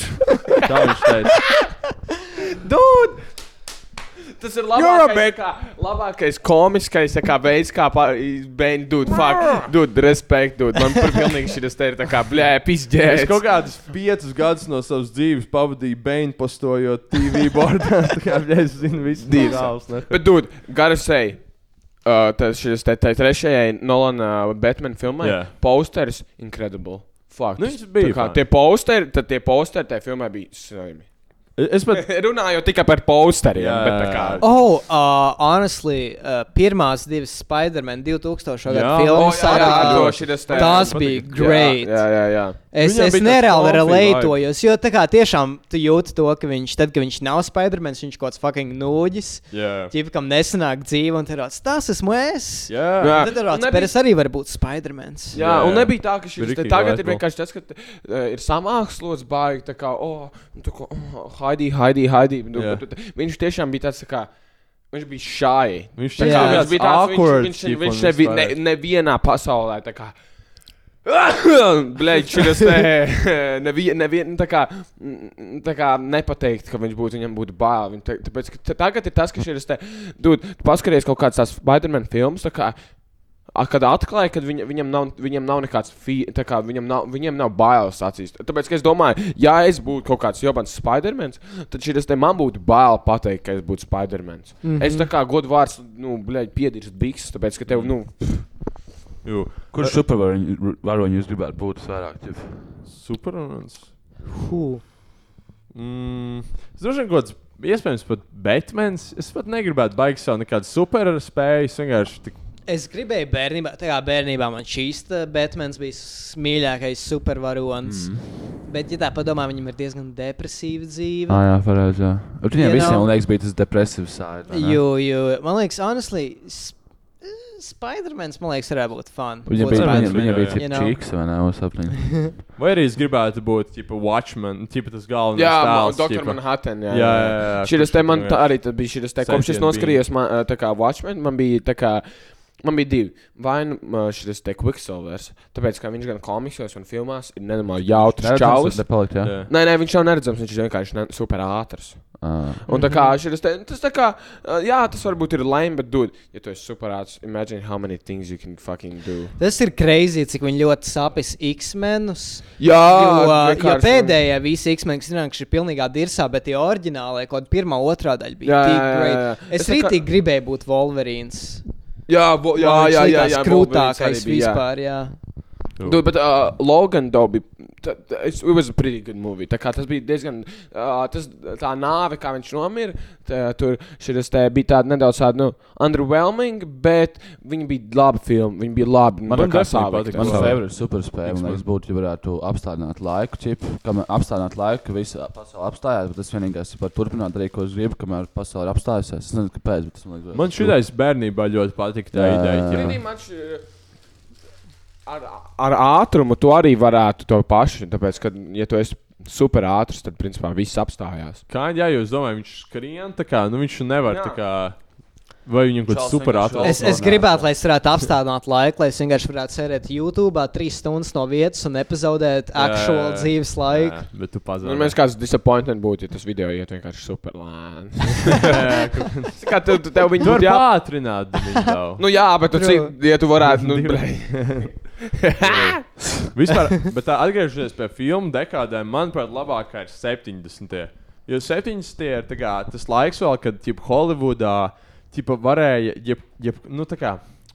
Speaker 6: Tā viņš teica.
Speaker 9: Dude! Tas ir labākais, kā, labākais komiskais tā kā, veids, kā bērnu dūdu. Fuck, dūdu, respekt, dūdu. Man par pilnīgi šis te ir tā kā blēpis,
Speaker 6: Es kaut
Speaker 9: ģērbs.
Speaker 6: kādus piecus gadus no savas dzīves pavadīju Bēņu postojot TV bordā. Tā kā bļa, es zinu, viss
Speaker 9: Dievs.
Speaker 6: dīvains.
Speaker 9: Bet, dūdu, garasēji. Uh, tas šis te, te trešajai Nolana Batman filmai
Speaker 6: Jā.
Speaker 9: yeah. posters incredible. Fuck.
Speaker 6: Nu,
Speaker 9: tas-
Speaker 6: viņš bija
Speaker 9: tā kā
Speaker 6: fine.
Speaker 9: Tie posteri, tad tie posteri tajā filmā bija slimi.
Speaker 6: Es pat
Speaker 9: Runāju tikai par posteriem,
Speaker 6: Jā,
Speaker 9: yeah. bet tā kā.
Speaker 6: jā, jā.
Speaker 8: Oh, uh, honestly, uh, pirmās divas Spider-Man 2000.
Speaker 6: Jā.
Speaker 8: gada filmas
Speaker 9: jā, jā,
Speaker 8: arī,
Speaker 9: to
Speaker 8: uh,
Speaker 9: šitas te-
Speaker 8: tās
Speaker 6: man
Speaker 8: bija
Speaker 6: patīk.
Speaker 8: great.
Speaker 9: Jā, jā, jā.
Speaker 8: Es,
Speaker 6: Viņam
Speaker 8: es
Speaker 6: bija tas
Speaker 8: nereāli
Speaker 6: comfy
Speaker 8: relatējos, jo tā kā tiešām tu jūti to, ka viņš, tad, kad viņš nav Spider-Man, viņš kaut kāds fucking nūģis,
Speaker 6: Jā.
Speaker 8: ķipkam nesanāk dzīve un tāds, tas esmu es.
Speaker 6: Jā.
Speaker 8: Un Tad
Speaker 9: Un
Speaker 8: tāds,
Speaker 9: nebija-
Speaker 8: Pēters arī var būt Spider-Man.
Speaker 9: Jā, jā, un nebija tā, ka šis te
Speaker 6: Ricky
Speaker 9: tagad ir
Speaker 6: Whitehall.
Speaker 9: vienkārši tas, ka uh, ir samākslots baigi, tā kā, oh, un tā kā, oh, Haidī, Haidī, Haidī. Nu,
Speaker 6: Jā.
Speaker 9: bet tu- Viņš tiešām bija tāds, tā kā, viņš bija šāji.
Speaker 6: Viņš
Speaker 9: Tā
Speaker 6: tā
Speaker 9: kā
Speaker 6: kā
Speaker 9: viņš bija tāds,
Speaker 6: awkward,
Speaker 9: viņš,
Speaker 6: ķipa,
Speaker 9: viņš, viņš
Speaker 6: un
Speaker 9: nevi,
Speaker 6: viss
Speaker 9: ne,
Speaker 6: pārējais.
Speaker 9: nevienā pasaulē, tā kā. Blēķis šis te nevienu, nevien, nu, tā kā, mm, tā kā nepateikt, ka viņš būtu, viņam būtu bail. Viņ, tā, tāpēc, ka t- tagad ir tas, ka šis te, dūd, paskaties kaut kāds tās Spider-Man films, tā kā, a, kad atklāja, ka viņ, viņam, nav, viņam nav nekāds, fi, tā kā, viņam nav, viņam nav bailes acīs. Tāpēc, ka es domāju, ja es būtu kaut kāds jobans Spider-Man, tad šis te man būtu bail pateikt, ka es būtu Spider-Man.
Speaker 6: Mhm.
Speaker 9: Mm -hmm. Es tā kā godu vārds, nu, blēķis, piedirst bikses, tāpēc, ka tev, nu,
Speaker 6: Jū,
Speaker 7: Kurš supervaroņu jūs gribētu būt vairāk? Ķip?
Speaker 6: Supermans. Mm, es droši vien kaut kāds, iespējams, pat Batmans. Es pat negribētu baigti savu nekādu superspēju. Es vienkārši tik
Speaker 8: Es gribēju bērnībā, tā kā bērnībā man šīs Batmans bija s- mīļākais supervaronis.
Speaker 9: Mhm.
Speaker 8: Mm. Bet, ja tā padomā, viņam ir diezgan depresīva dzīve.
Speaker 7: Ah, jā, pareizi. jā. Bet Viņiem
Speaker 8: You
Speaker 7: visiem,
Speaker 8: know-
Speaker 7: man liekas, bija tas depresīvs side. vai ne?
Speaker 8: Jo, jo, man liekas, honestly, sp Spidermans, man liekas, varētu būt fun.
Speaker 7: Viņam
Speaker 8: Būt
Speaker 7: bija,
Speaker 8: Spider-Man.
Speaker 7: viņam, viņam bija
Speaker 6: jā.
Speaker 7: tip
Speaker 8: You know.
Speaker 7: čīks, vai ne? O, sapniņ.
Speaker 6: Vai arī es gribētu būt tipa Watchman, tipa tas galvenais.
Speaker 9: Jā,
Speaker 6: tēls,
Speaker 9: Dr.
Speaker 6: ķipa.
Speaker 9: Manhattan. Jā,
Speaker 6: Jā, jā, jā, jā,
Speaker 9: Šis
Speaker 6: kurš
Speaker 9: te man
Speaker 6: tur
Speaker 9: tā,
Speaker 6: vienkārši-
Speaker 9: arī tad bija šis te, kopš es
Speaker 6: Sentience
Speaker 9: noskrījos, man, eh, tā kā Watchmen, man bija tā kā. Man bija divi. Vai nu eh, šis te Quicksilvers, tāpēc ka viņš gan komiksos, gan filmās ir nenormāli jautrs čalis.
Speaker 7: Nepalikt, jā.
Speaker 6: Jā.
Speaker 9: Nē, nē, viņš jau neredzams, viņš ir vienkārši ne, super ātrs.
Speaker 7: Ah.
Speaker 9: Un tā kā šis te, tas tā kā, eh, jā, tas varbūt ir laim, bet, dude, ja tu esi super ātrs, imagine how many things you can fucking do.
Speaker 8: Tas ir crazy, cik viņi ļoti sapis X-menus.
Speaker 9: Ah,
Speaker 8: Jo, jo
Speaker 9: Jā, vienkārši-
Speaker 8: pēdējā visi X-meni, kas zināms, ir pilnīgā dirsā, bet tie oriģinālie, kaut kāda pirmā, otrā daļa bija.
Speaker 9: Jā,
Speaker 8: tik
Speaker 9: jā, jā,
Speaker 8: great.
Speaker 9: jā.
Speaker 8: Es
Speaker 9: Es tā kā-
Speaker 8: rītīgi gribēju būt Wolverīns.
Speaker 9: Jā, vo- jā,
Speaker 8: Man viņš
Speaker 9: jā, jā,
Speaker 8: likās
Speaker 9: jā. Wolverines arī
Speaker 8: Krūtākais
Speaker 9: bija, jā.
Speaker 8: vispār, jā.
Speaker 9: Dude, bet uh, Logan though, bija, t- t- it's- it was a pretty good movie. Tā kā tas bija diezgan, uh, tas, tā nāve, kā viņš nomira, tā, tur šis te bija tāds nedaudz tāds, nu, underwhelming, bet viņi bija labi filmi, viņi bija labi.
Speaker 6: Man
Speaker 9: tā kā
Speaker 6: definitely
Speaker 9: salikti.
Speaker 6: patika.
Speaker 7: Mans
Speaker 6: Savu.
Speaker 7: favorite superspēle, man
Speaker 6: X-Men.
Speaker 7: liekas, būtu, ja varētu apstādināt laiku, čip, kamēr apstādināt laiku, ka visa pasaule apstājās, bet tas vienīgais ir par turpināt arī, ko es gribu, kamēr pasaule ir apstājusies. Es nezinu, kāpēc, bet tas man liekas.
Speaker 6: Man šitais bērnībā ļoti patika tā
Speaker 7: Jā,
Speaker 6: ideja.
Speaker 7: jā, jā.
Speaker 6: ķipa.
Speaker 9: Pretty much, uh, Ar, ar ātrumu tu arī varētu to pašu, tāpēc, ka, ja tu esi super ātrs, tad, principā, viss apstājās.
Speaker 6: Kā jā, jūs domājat, viņš skrien tā kā, nu viņš nevar
Speaker 9: Jā.
Speaker 6: tā kā. Vai viņam kaut
Speaker 7: Čels
Speaker 6: kas super
Speaker 7: vienkārši vēl-
Speaker 6: ātrs?
Speaker 8: Es, es
Speaker 7: Balkonā.
Speaker 8: gribētu, lai es varētu apstādināt laiku, lai es vienkārši varētu sēdēt YouTube, trīs stundas no vietas un nepazaudēt aktuālu dzīves laiku.
Speaker 6: Jā, bet tu
Speaker 9: Nu,
Speaker 6: pazaudēji.
Speaker 9: mēs kāds disappointment būtu, ja tas video iet vienkārši super lēni. Tā kā tu, tu tev viņi
Speaker 6: Tu vari
Speaker 9: būtu jā,
Speaker 6: pātrināt viņu daudz.
Speaker 9: Nu, jā, bet tu
Speaker 8: True.
Speaker 9: cik, ja tu varētu, nu,
Speaker 6: Divi.
Speaker 9: blei.
Speaker 6: Vispār, bet tā atgriežoties pie filmu dekādēm, manuprāt, labākā ir 70. Jo 70. ir tā kā, tas laiks, vēl, kad ģip, Holivudā ģip, varēja, ģip, ģip, nu, tā kā,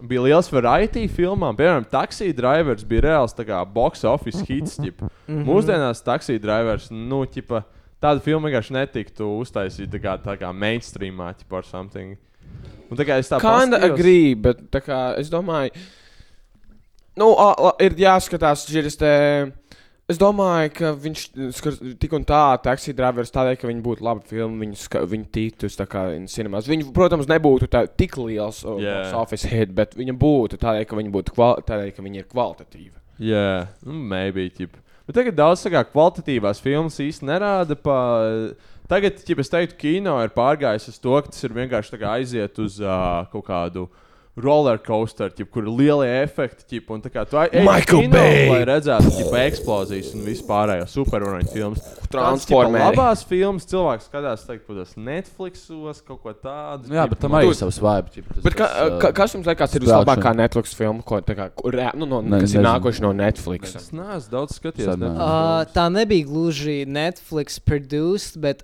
Speaker 6: bija liels variety filmām. Piemēram, Taxi Drivers bija reāls tā kā, box office hits. Ģip.
Speaker 9: Mhm.
Speaker 6: Mūsdienās Taxi Drivers, nu, ģip, tāda filma vienkārši netiktu uztaisīta tā kā, tā kā mainstreamā, ģip, or something. Un tā kā es tā
Speaker 9: Kinda
Speaker 6: paskatījos-
Speaker 9: agree, bet tā kā, es domāju, nu, a, la, ir jāskatās, šis te. Es domāju, ka viņš skar- tik un tā, taxi drivers tādēļ, ka viņi būtu labi filmi, viņi, ska, viņi tītus tā kā cinemās. Viņi, protams, nebūtu tā, tik liels
Speaker 6: Jā.
Speaker 9: yeah. office hit, bet viņi būtu tādēļ, ka viņi būtu kval, tādēļ, ka viņi ir kvalitatīvi.
Speaker 6: Jā, nu, maybe. Ķip. Bet tagad daudz tā kā kvalitatīvās filmas īstenībā nerāda. Pa... Tagad, ja es teiktu, kino ir pārgājis uz to, ka tas ir vienkārši tā kā aiziet uz uh, kaut kādu roller coaster, ķip, kur ir lielie efekti, ķip, un tā kā tu aizjūti uz
Speaker 9: Michael
Speaker 6: kino,
Speaker 9: Bay!
Speaker 6: lai redzētu ķip, eksplozijas un vispārējo supervaroņu filmas.
Speaker 9: Transformeri.
Speaker 6: Labās filmas cilvēks skatās, teikt, kaut kādos Netflixos, kaut ko tādu.
Speaker 7: Nu Jā,
Speaker 6: ķip,
Speaker 7: bet tam
Speaker 6: un-
Speaker 7: arī ir savs vibe.
Speaker 9: Bet kā, ka, kas jums liekas, ir
Speaker 7: Spēlēšana.
Speaker 9: vislabākā Netflix filma, ko tā kā, kur, rea- nu, no,
Speaker 7: Ne-
Speaker 9: ne, kas ir
Speaker 7: nezinu.
Speaker 9: nākoša no Netflix?
Speaker 6: Es neesmu daudz skatījies.
Speaker 7: Sen,
Speaker 9: Mhm.
Speaker 6: Netflix.
Speaker 8: Uh, tā nebija gluži Netflix produced, bet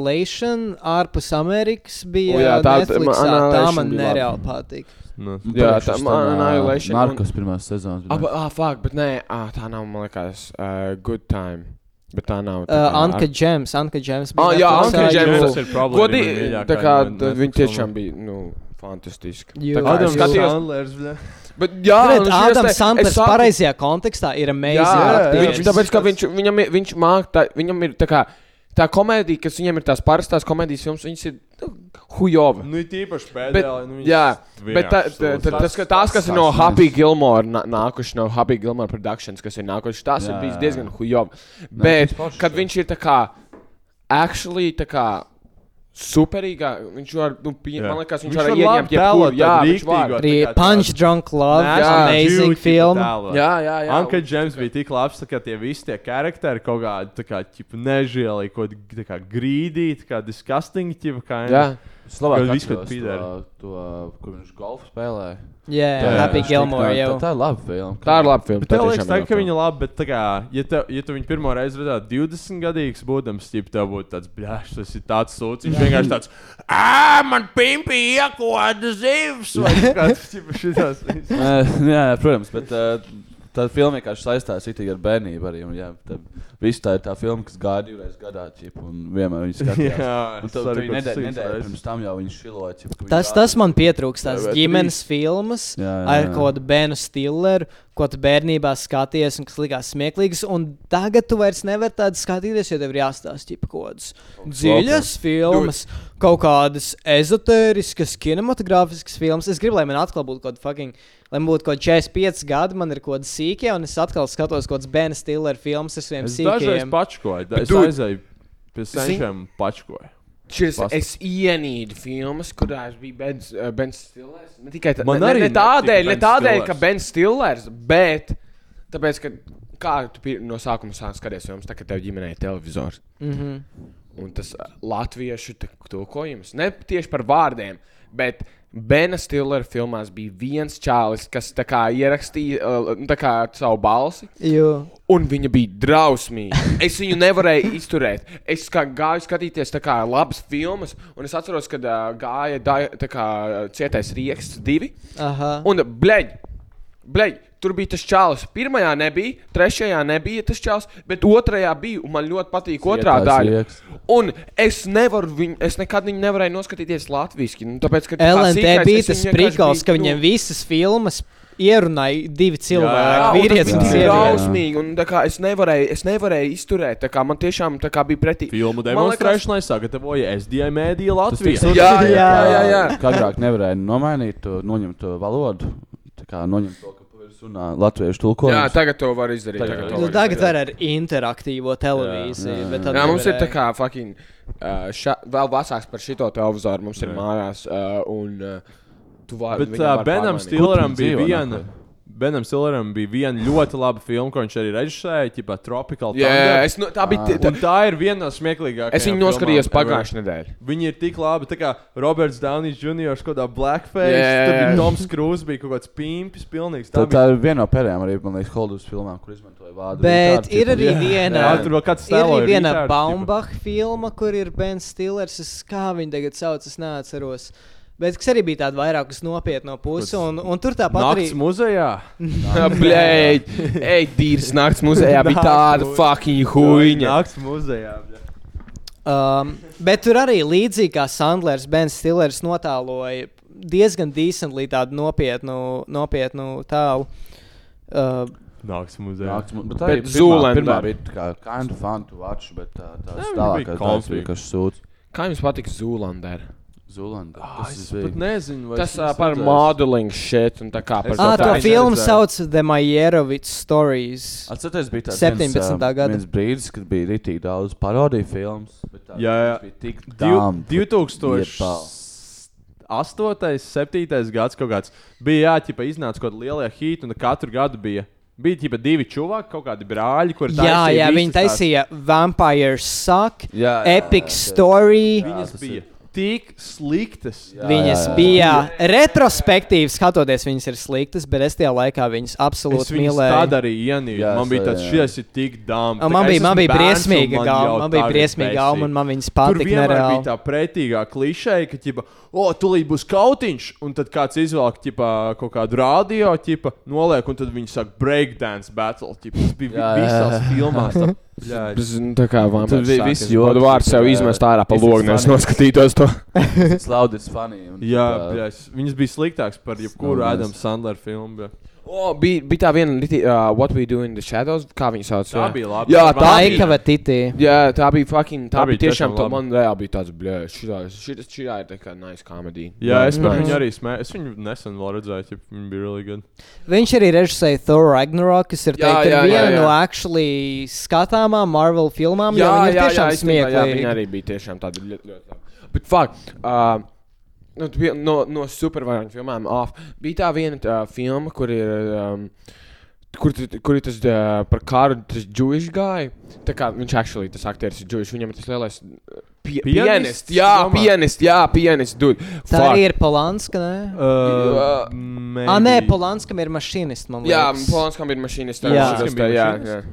Speaker 8: Annihilation ārpus Amerikas bija.
Speaker 9: O, jā, tā-
Speaker 8: Netflixā.
Speaker 9: man
Speaker 8: tā
Speaker 9: Annihilation
Speaker 8: man
Speaker 9: bija laba.
Speaker 8: nereāli patīk.
Speaker 6: Nu,
Speaker 9: Jā, tā Annihilation un-
Speaker 7: Markas pirmās sezonas. bija.
Speaker 9: Ab, ah, fuck, bet nē, ah, tā nav, man liekas, uh, good time. Bet tā nav.
Speaker 8: Uh, Anka Džems, Anka Džems bija.
Speaker 9: Ah, jā,
Speaker 8: Netflixā,
Speaker 9: Anka
Speaker 8: jo-
Speaker 9: Džems.
Speaker 6: tas ir problēma.
Speaker 9: Godīgi, tā kā tā viņi tiešām bija, nu, fantastiski.
Speaker 8: Jū.
Speaker 9: Tā kā
Speaker 8: Adam
Speaker 9: es skatījos,
Speaker 6: Sandlers.
Speaker 9: bet jā,
Speaker 8: Bet
Speaker 9: un šis te-
Speaker 8: Ādams
Speaker 9: Ah, es
Speaker 8: Sanders
Speaker 9: sāku-
Speaker 8: pareizajā kontekstā ir amazing.
Speaker 9: Jā,
Speaker 8: aktieris.
Speaker 9: viņš, tāpēc, ka viņš, viņam ir, viņš māk, tā, viņam ir tā kā, tā komēdija, kas viņam ir tās parastās komēdijas filmas, viņas ir, nu, hujova.
Speaker 6: Nu, ir tīpaši
Speaker 9: Bet,
Speaker 6: pēdējā. nu, viņas
Speaker 9: jā, bet
Speaker 6: vienkārši
Speaker 9: tā, tā, tā,
Speaker 6: sūdzas.
Speaker 9: tas, ka tās, kas ir no Happy Gilmore, nā- nākuši no Happy Gilmore Productions, kas ir nākuši, tās ir
Speaker 7: Jā,
Speaker 9: bijis
Speaker 7: jā.
Speaker 9: diezgan hujovi. Bet,
Speaker 7: tas pašs
Speaker 9: kad
Speaker 7: ir.
Speaker 9: viņš ir tā kā, actually, tā kā, superīgā, viņš var, nu, pie,
Speaker 6: Jā.
Speaker 9: man liekas, viņš,
Speaker 6: Viņš
Speaker 9: var
Speaker 6: var
Speaker 9: ieņemt
Speaker 6: labi
Speaker 9: jebkuru,
Speaker 6: tēlot
Speaker 9: jā,
Speaker 6: tādu
Speaker 9: viņš var.
Speaker 6: rīktīgo.
Speaker 8: Arī Punch Drunk Love,
Speaker 9: Nē,
Speaker 8: jā,
Speaker 9: jā,
Speaker 8: amazing filma.
Speaker 9: Jā, jā, jā.
Speaker 6: Anka Džems bija tik labs, tā ka tie visi tie charakteri kaut kādi tā kā ķipa nežieli, kaut kā, kā grīdī, tā kā disgusting, ķipa kā.
Speaker 9: jā.
Speaker 7: Slavāk
Speaker 6: Kad viss, kad
Speaker 7: atceros
Speaker 6: pīdēri.
Speaker 7: to- To, kur viņš golfu spēlēja.
Speaker 8: Jā, Happy Gilmore jau.
Speaker 7: Tā, tā ir laba filma.
Speaker 9: Tā ir laba filma.
Speaker 6: Bet tev
Speaker 9: tiešām
Speaker 6: liekas,
Speaker 9: ir
Speaker 6: tā,
Speaker 9: laba
Speaker 6: ka
Speaker 9: filma.
Speaker 6: viņa labi, bet tā kā, ja, tev, ja tu viņu pirmo reizi redzētu 20 gadīgs būdams, tad tev būtu tāds bļāšs, tas ir tāds sūds, viņš vienkārši tāds, ah, man pimpi iekoda zivs, vai kāds, ķipa, šitās.
Speaker 7: Eh, jā, jā, protams, bet eh, tā filma vienkārši saistās itī ar bērnību. Arī, un, jā, tā, visu tā ir tā filma, kas gāja divreiz gadā, ķip, un vienmēr viņa skatījās.
Speaker 6: Jā,
Speaker 7: un tad
Speaker 6: sorry,
Speaker 7: arī
Speaker 6: kaut kas
Speaker 7: nedēļa
Speaker 6: cits
Speaker 7: nedēļa
Speaker 6: reiz.
Speaker 7: pirms tam jau viņš šiloja. Ķip, ka viņi
Speaker 8: Tas,
Speaker 7: gāja.
Speaker 8: tas man pietrūkst, tās
Speaker 6: Jā, vai
Speaker 8: ģimenes filmas
Speaker 7: Jā, jā,
Speaker 8: ar
Speaker 7: jā.
Speaker 8: kādu bērnu stileru, ko tu bērnībā skaties un kas likās smieklīgs. Un tagad tu vairs nevari tādu skatīties, jo tev ir jāstāsta kaut kādas dziļas filmas, kaut kādas ezotēriskas, kinematogrāfiskas filmas. Es gribu, lai man atkal būtu kaut kāda fucking. Lai man būtu kaut kādi 45 gadi, man ir kaut kāda sīkā, un es atkal skatos kaut kādas bērnu stileru filmas ar saviem
Speaker 6: Es dažreiz
Speaker 8: sīkiem.
Speaker 6: pačkoju, da- es
Speaker 9: dude,
Speaker 6: aizēju pie senčiem un pačkoju.
Speaker 9: Šis,
Speaker 6: Pasaka.
Speaker 9: es ienīdu filmas, kurās bija Bens, uh, Bens Stillers. Ne tikai tā,
Speaker 6: Man
Speaker 9: ne,
Speaker 6: arī
Speaker 9: ne, ne tādēļ,
Speaker 6: netika
Speaker 9: ne
Speaker 6: Bens
Speaker 9: tādēļ
Speaker 6: Stillers.
Speaker 9: ka Bens Stillers, bet tāpēc, ka kā tu pir- no sākuma sāc skaties filmas, tā kā tev ģimenē ir televizors.
Speaker 8: Mhm.
Speaker 9: Un tas uh, latviešu te- tulkojums, ne tieši par vārdiem, bet Bena Stillera filmās bija viens čālis, kas tā kā ierakstīja uh, nu, tā kā savu balsi.
Speaker 8: Jo.
Speaker 9: Un viņa bija drausmīga. Es viņu nevarēju izturēt. Es kā gāju skatīties tā kā labas filmas, un es atceros, kad uh, gāja dai- tā kā ā, cietais rieksts divi.
Speaker 8: Aha.
Speaker 9: Un, bleģ, bleģ, tur bija tas čālis. Pirmajā nebija, trešajā nebija tas čālis, bet otrajā bija, un man ļoti patīk otrā
Speaker 7: Cietās
Speaker 9: daļa.
Speaker 7: rieksts.
Speaker 9: Un es nevaru, viņu, es nekad viņu nevarēju noskatīties latviešu. Nu, tāpēc, ka tā kā
Speaker 8: LNT
Speaker 9: sīkais,
Speaker 8: bija
Speaker 9: es
Speaker 8: tas
Speaker 9: viņu vienkārši
Speaker 8: prikals,
Speaker 9: biju,
Speaker 8: ka
Speaker 9: nu,
Speaker 8: viņiem visas filmas ierunāja divi
Speaker 9: Jā,
Speaker 8: cilvēki.
Speaker 9: Ah, un tas
Speaker 8: Vīrietis
Speaker 9: bija
Speaker 8: un
Speaker 9: tik
Speaker 8: sieviete.
Speaker 9: drausmīgi, un tā kā es nevarēju, es nevarēju izturēt. tā kā Man tiešām tā kā bija pretī.
Speaker 6: Filmu
Speaker 9: Man liekas-
Speaker 6: demonstrēšanai sagatavoja SDI mēdīja Latvijas.
Speaker 7: tik-
Speaker 9: Jā, jā, jā.
Speaker 7: Kā-
Speaker 9: jā, jā.
Speaker 7: Kā agrāk nevarēja nomainīt, to, noņemt to valodu. Tā kā noņemt to, ka pavisam runā latviešu tulkojumu.
Speaker 9: jā, tagad to var izdarīt.
Speaker 7: Tagad
Speaker 9: Tagad
Speaker 7: to
Speaker 9: to
Speaker 8: Nu,
Speaker 9: var
Speaker 8: tagad
Speaker 9: izdarīt.
Speaker 8: var ar interaktīvo televīziju. bet tad
Speaker 9: Jā, mums ir tā
Speaker 8: nevarēja.
Speaker 9: kā fucking, uh, ša, vēl vasāks par šito televizoru. Mums ir mājās, uh, un uh, tu vari.
Speaker 6: Bet uh, Benam Stilleram
Speaker 7: Kur tu
Speaker 6: bija
Speaker 7: dzīvo
Speaker 6: viena,
Speaker 7: nākotnē?
Speaker 6: Benam Sileram bija viena ļoti laba filma, ko viņš arī režisēja, tipā Tropical
Speaker 9: Jā,
Speaker 6: Thunder.
Speaker 9: es, nu, tā bija.
Speaker 6: Un
Speaker 9: Tā,
Speaker 6: tā ir viena no smieklīgākajām.
Speaker 9: es viņu
Speaker 6: filmām
Speaker 9: noskatījos
Speaker 6: ever.
Speaker 9: pagājušajā nedēļā.
Speaker 6: Viņi ir tik labi, tā kā Roberts Downijs Jr. kaut kādā blackface,
Speaker 9: Jā,
Speaker 6: yeah,
Speaker 9: jā,
Speaker 6: tad
Speaker 9: jā.
Speaker 6: bija Toms Krūzs, bija kaut kāds pīmpis, pilnīgs.
Speaker 7: Tā,
Speaker 6: Tā,
Speaker 7: tā
Speaker 6: bija-
Speaker 7: ir viena no pēdējām, arī, man liekas, Holdus filmām, kur izmantoja vārdu.
Speaker 8: Bet ir arī
Speaker 6: jā,
Speaker 8: viena.
Speaker 6: tur vēl kāds
Speaker 8: Ir
Speaker 6: stēloja
Speaker 8: arī viena
Speaker 6: retard,
Speaker 8: Baumbach filma, kur ir Bens Stilers, es- kā viņa tagad sauc, es neatceros. Bet kas arī bija tāda vairāk uz nopietno pusi, un, un tur
Speaker 6: tipa,
Speaker 8: tāpat
Speaker 6: Nakts
Speaker 8: arī.
Speaker 6: muzejā.
Speaker 9: Blēģ, ej, dīrs naktas muzejā bija tāda fucking huīņa.
Speaker 6: Nakts muzejā. bļa.
Speaker 8: Um, bet tur arī līdzīgi kā Sandlers, Bens Stilers notāloja diezgan decently tādu nopietnu, nopietnu tēlu. Uh,
Speaker 6: Nakts muzejā.
Speaker 7: Nāks, bet tā
Speaker 9: Bet
Speaker 7: ir pirmā,
Speaker 9: Zoolander.
Speaker 7: pirmā bija tā kā kind of fun to watch, bet tā, tās
Speaker 6: Jā, viņa bija
Speaker 7: tālākās tās
Speaker 6: konflikta.
Speaker 7: bija, kas sūta
Speaker 9: Kā jums patika Zūlandera?
Speaker 7: Zulanda.
Speaker 6: Ah,
Speaker 7: Kas
Speaker 6: Es
Speaker 7: tas
Speaker 6: pat
Speaker 7: bija?
Speaker 6: nezinu, vai
Speaker 9: Tas
Speaker 6: es
Speaker 9: ā,
Speaker 6: esmu
Speaker 9: par
Speaker 6: redzējis.
Speaker 9: modeling šeit un tā kā par
Speaker 6: Es
Speaker 8: ah,
Speaker 6: tā
Speaker 8: to
Speaker 6: es
Speaker 8: filmu
Speaker 6: neredzēju.
Speaker 8: sauc The Majerovic Stories.
Speaker 7: Atcerieties, bija tāds
Speaker 8: 17. gada.
Speaker 7: viens brīdis, kad bija rītīgi daudz parodiju filmas. bet tā-
Speaker 6: Jā, jā.
Speaker 7: tas Bija tik
Speaker 6: Div-
Speaker 7: dām.
Speaker 6: 2008. 7. gads kaut kāds. Bija jāķipa iznāca kaut kāda lielā hīta, un katru gadu bija. Bija ģipa divi čuvaki, kaut kādi brāļi, kuriem
Speaker 8: Jā, jā, viņi taisīja Vampire Suck,
Speaker 7: Jā, jā,
Speaker 8: Epic
Speaker 7: jā, jā.
Speaker 8: Story.
Speaker 7: Jā,
Speaker 6: Viņas
Speaker 7: tas
Speaker 6: bija
Speaker 7: ir.
Speaker 6: tik sliktas.
Speaker 7: Jā,
Speaker 8: Viņas
Speaker 7: jā, jā.
Speaker 8: bija retrospektīvi skatoties, viņas ir sliktas, bet es tajā laikā
Speaker 6: Es
Speaker 8: viņas absolūti
Speaker 6: viņu
Speaker 8: mīlēju.
Speaker 6: tādu arī ienīdu.
Speaker 7: Jā,
Speaker 6: Man bija
Speaker 7: jā,
Speaker 6: tāds,
Speaker 7: jā.
Speaker 6: šis ir tik dāmas.
Speaker 8: Un Man bija, man bija briesmīga gauma, man bija briesmīga gauma, un man viņas
Speaker 6: Tur
Speaker 8: patika.
Speaker 6: vienmēr bija
Speaker 8: nereāli.
Speaker 6: tā pretīgā klišeja, ka, ja, oh, tūlīt būs kautiņš, un tad kāds izvelk ķipa, kaut kādu rādio, ķipa, noliek, un tad viņi saka, breakdance battle. Ķipa. Tas bija jā,
Speaker 7: Jā, jā, jā.
Speaker 6: visās filmās. tā- Bļaļ.
Speaker 9: Tas, nu, Tā kā
Speaker 7: Tur bija
Speaker 9: vampīrs
Speaker 7: visi
Speaker 9: sākas. Vārdu vārds sev
Speaker 7: joki,
Speaker 9: izmest
Speaker 7: jā.
Speaker 9: ārā pa
Speaker 7: Visi
Speaker 9: logiem, es
Speaker 7: fani.
Speaker 9: noskatītos to.
Speaker 7: It's loud, it's funny. un
Speaker 6: Jā,
Speaker 7: tā-
Speaker 6: jā, viņas bija sliktākas par jebkuru
Speaker 7: Snow
Speaker 6: Ādama Sandlera filmu. bļa.
Speaker 9: O, bija, bija tā viena, riti- uh, What We Do in the Shadows, kā viņi sauc.
Speaker 6: Tā
Speaker 9: jā.
Speaker 6: bija laba.
Speaker 9: Jā,
Speaker 6: Tā
Speaker 9: tā
Speaker 6: bija-
Speaker 9: bija.
Speaker 8: Taika Vatiti.
Speaker 9: Jā, tā bija fucking. Tā,
Speaker 6: Tā
Speaker 9: tā
Speaker 6: bija
Speaker 9: bija tiešām
Speaker 6: tiešām
Speaker 9: tā,
Speaker 6: laba.
Speaker 9: man reāli bija tāds, blē, šitā, šitā, šitā ir tā kā nice comedy.
Speaker 6: Jā, es par
Speaker 9: Nice.
Speaker 6: viņu arī smēju. Es viņu nesen vēl redzēju, ja viņi bija really good.
Speaker 8: Viņš arī režisēja Thor Ragnarok, kas ir
Speaker 9: Jā,
Speaker 8: teikt, ir
Speaker 9: jā, jā,
Speaker 8: viena
Speaker 9: jā.
Speaker 8: no actually skatāmām Marvel filmām, jo viņa ir tiešām
Speaker 9: es domāju, Jā, viņa
Speaker 8: smieklīga.
Speaker 9: arī bija tiešām tāda ļoti, ļoti laba. Bet, fuck, uh, nu, tu biji no, no supervaroņu filmām off. bija tā viena tā filma, kur ir. Um, Kur, tu- kur ir tas uh, par kāru, tas Jewish guy? Tā kā viņš actually, tas aktieris ir Jewish, viņam ir tas lielais uh, pie,
Speaker 6: Pianists,
Speaker 9: pianists. Jā,
Speaker 6: domā?
Speaker 9: pianists, jā, pianists, dude.
Speaker 8: Tā
Speaker 9: Fuck.
Speaker 8: arī ir Polanska, nē?
Speaker 6: Uh,
Speaker 9: Uh,
Speaker 8: Ah,
Speaker 6: maybe.
Speaker 8: nē, Polanskam ir mašīnists, man
Speaker 9: Jā,
Speaker 8: liekas.
Speaker 9: Polanskam ir mašīnists.
Speaker 8: Jā.
Speaker 9: Jā,
Speaker 6: Polanskam
Speaker 9: tā,
Speaker 6: bija
Speaker 9: jā,
Speaker 6: mašīnists?
Speaker 9: jā.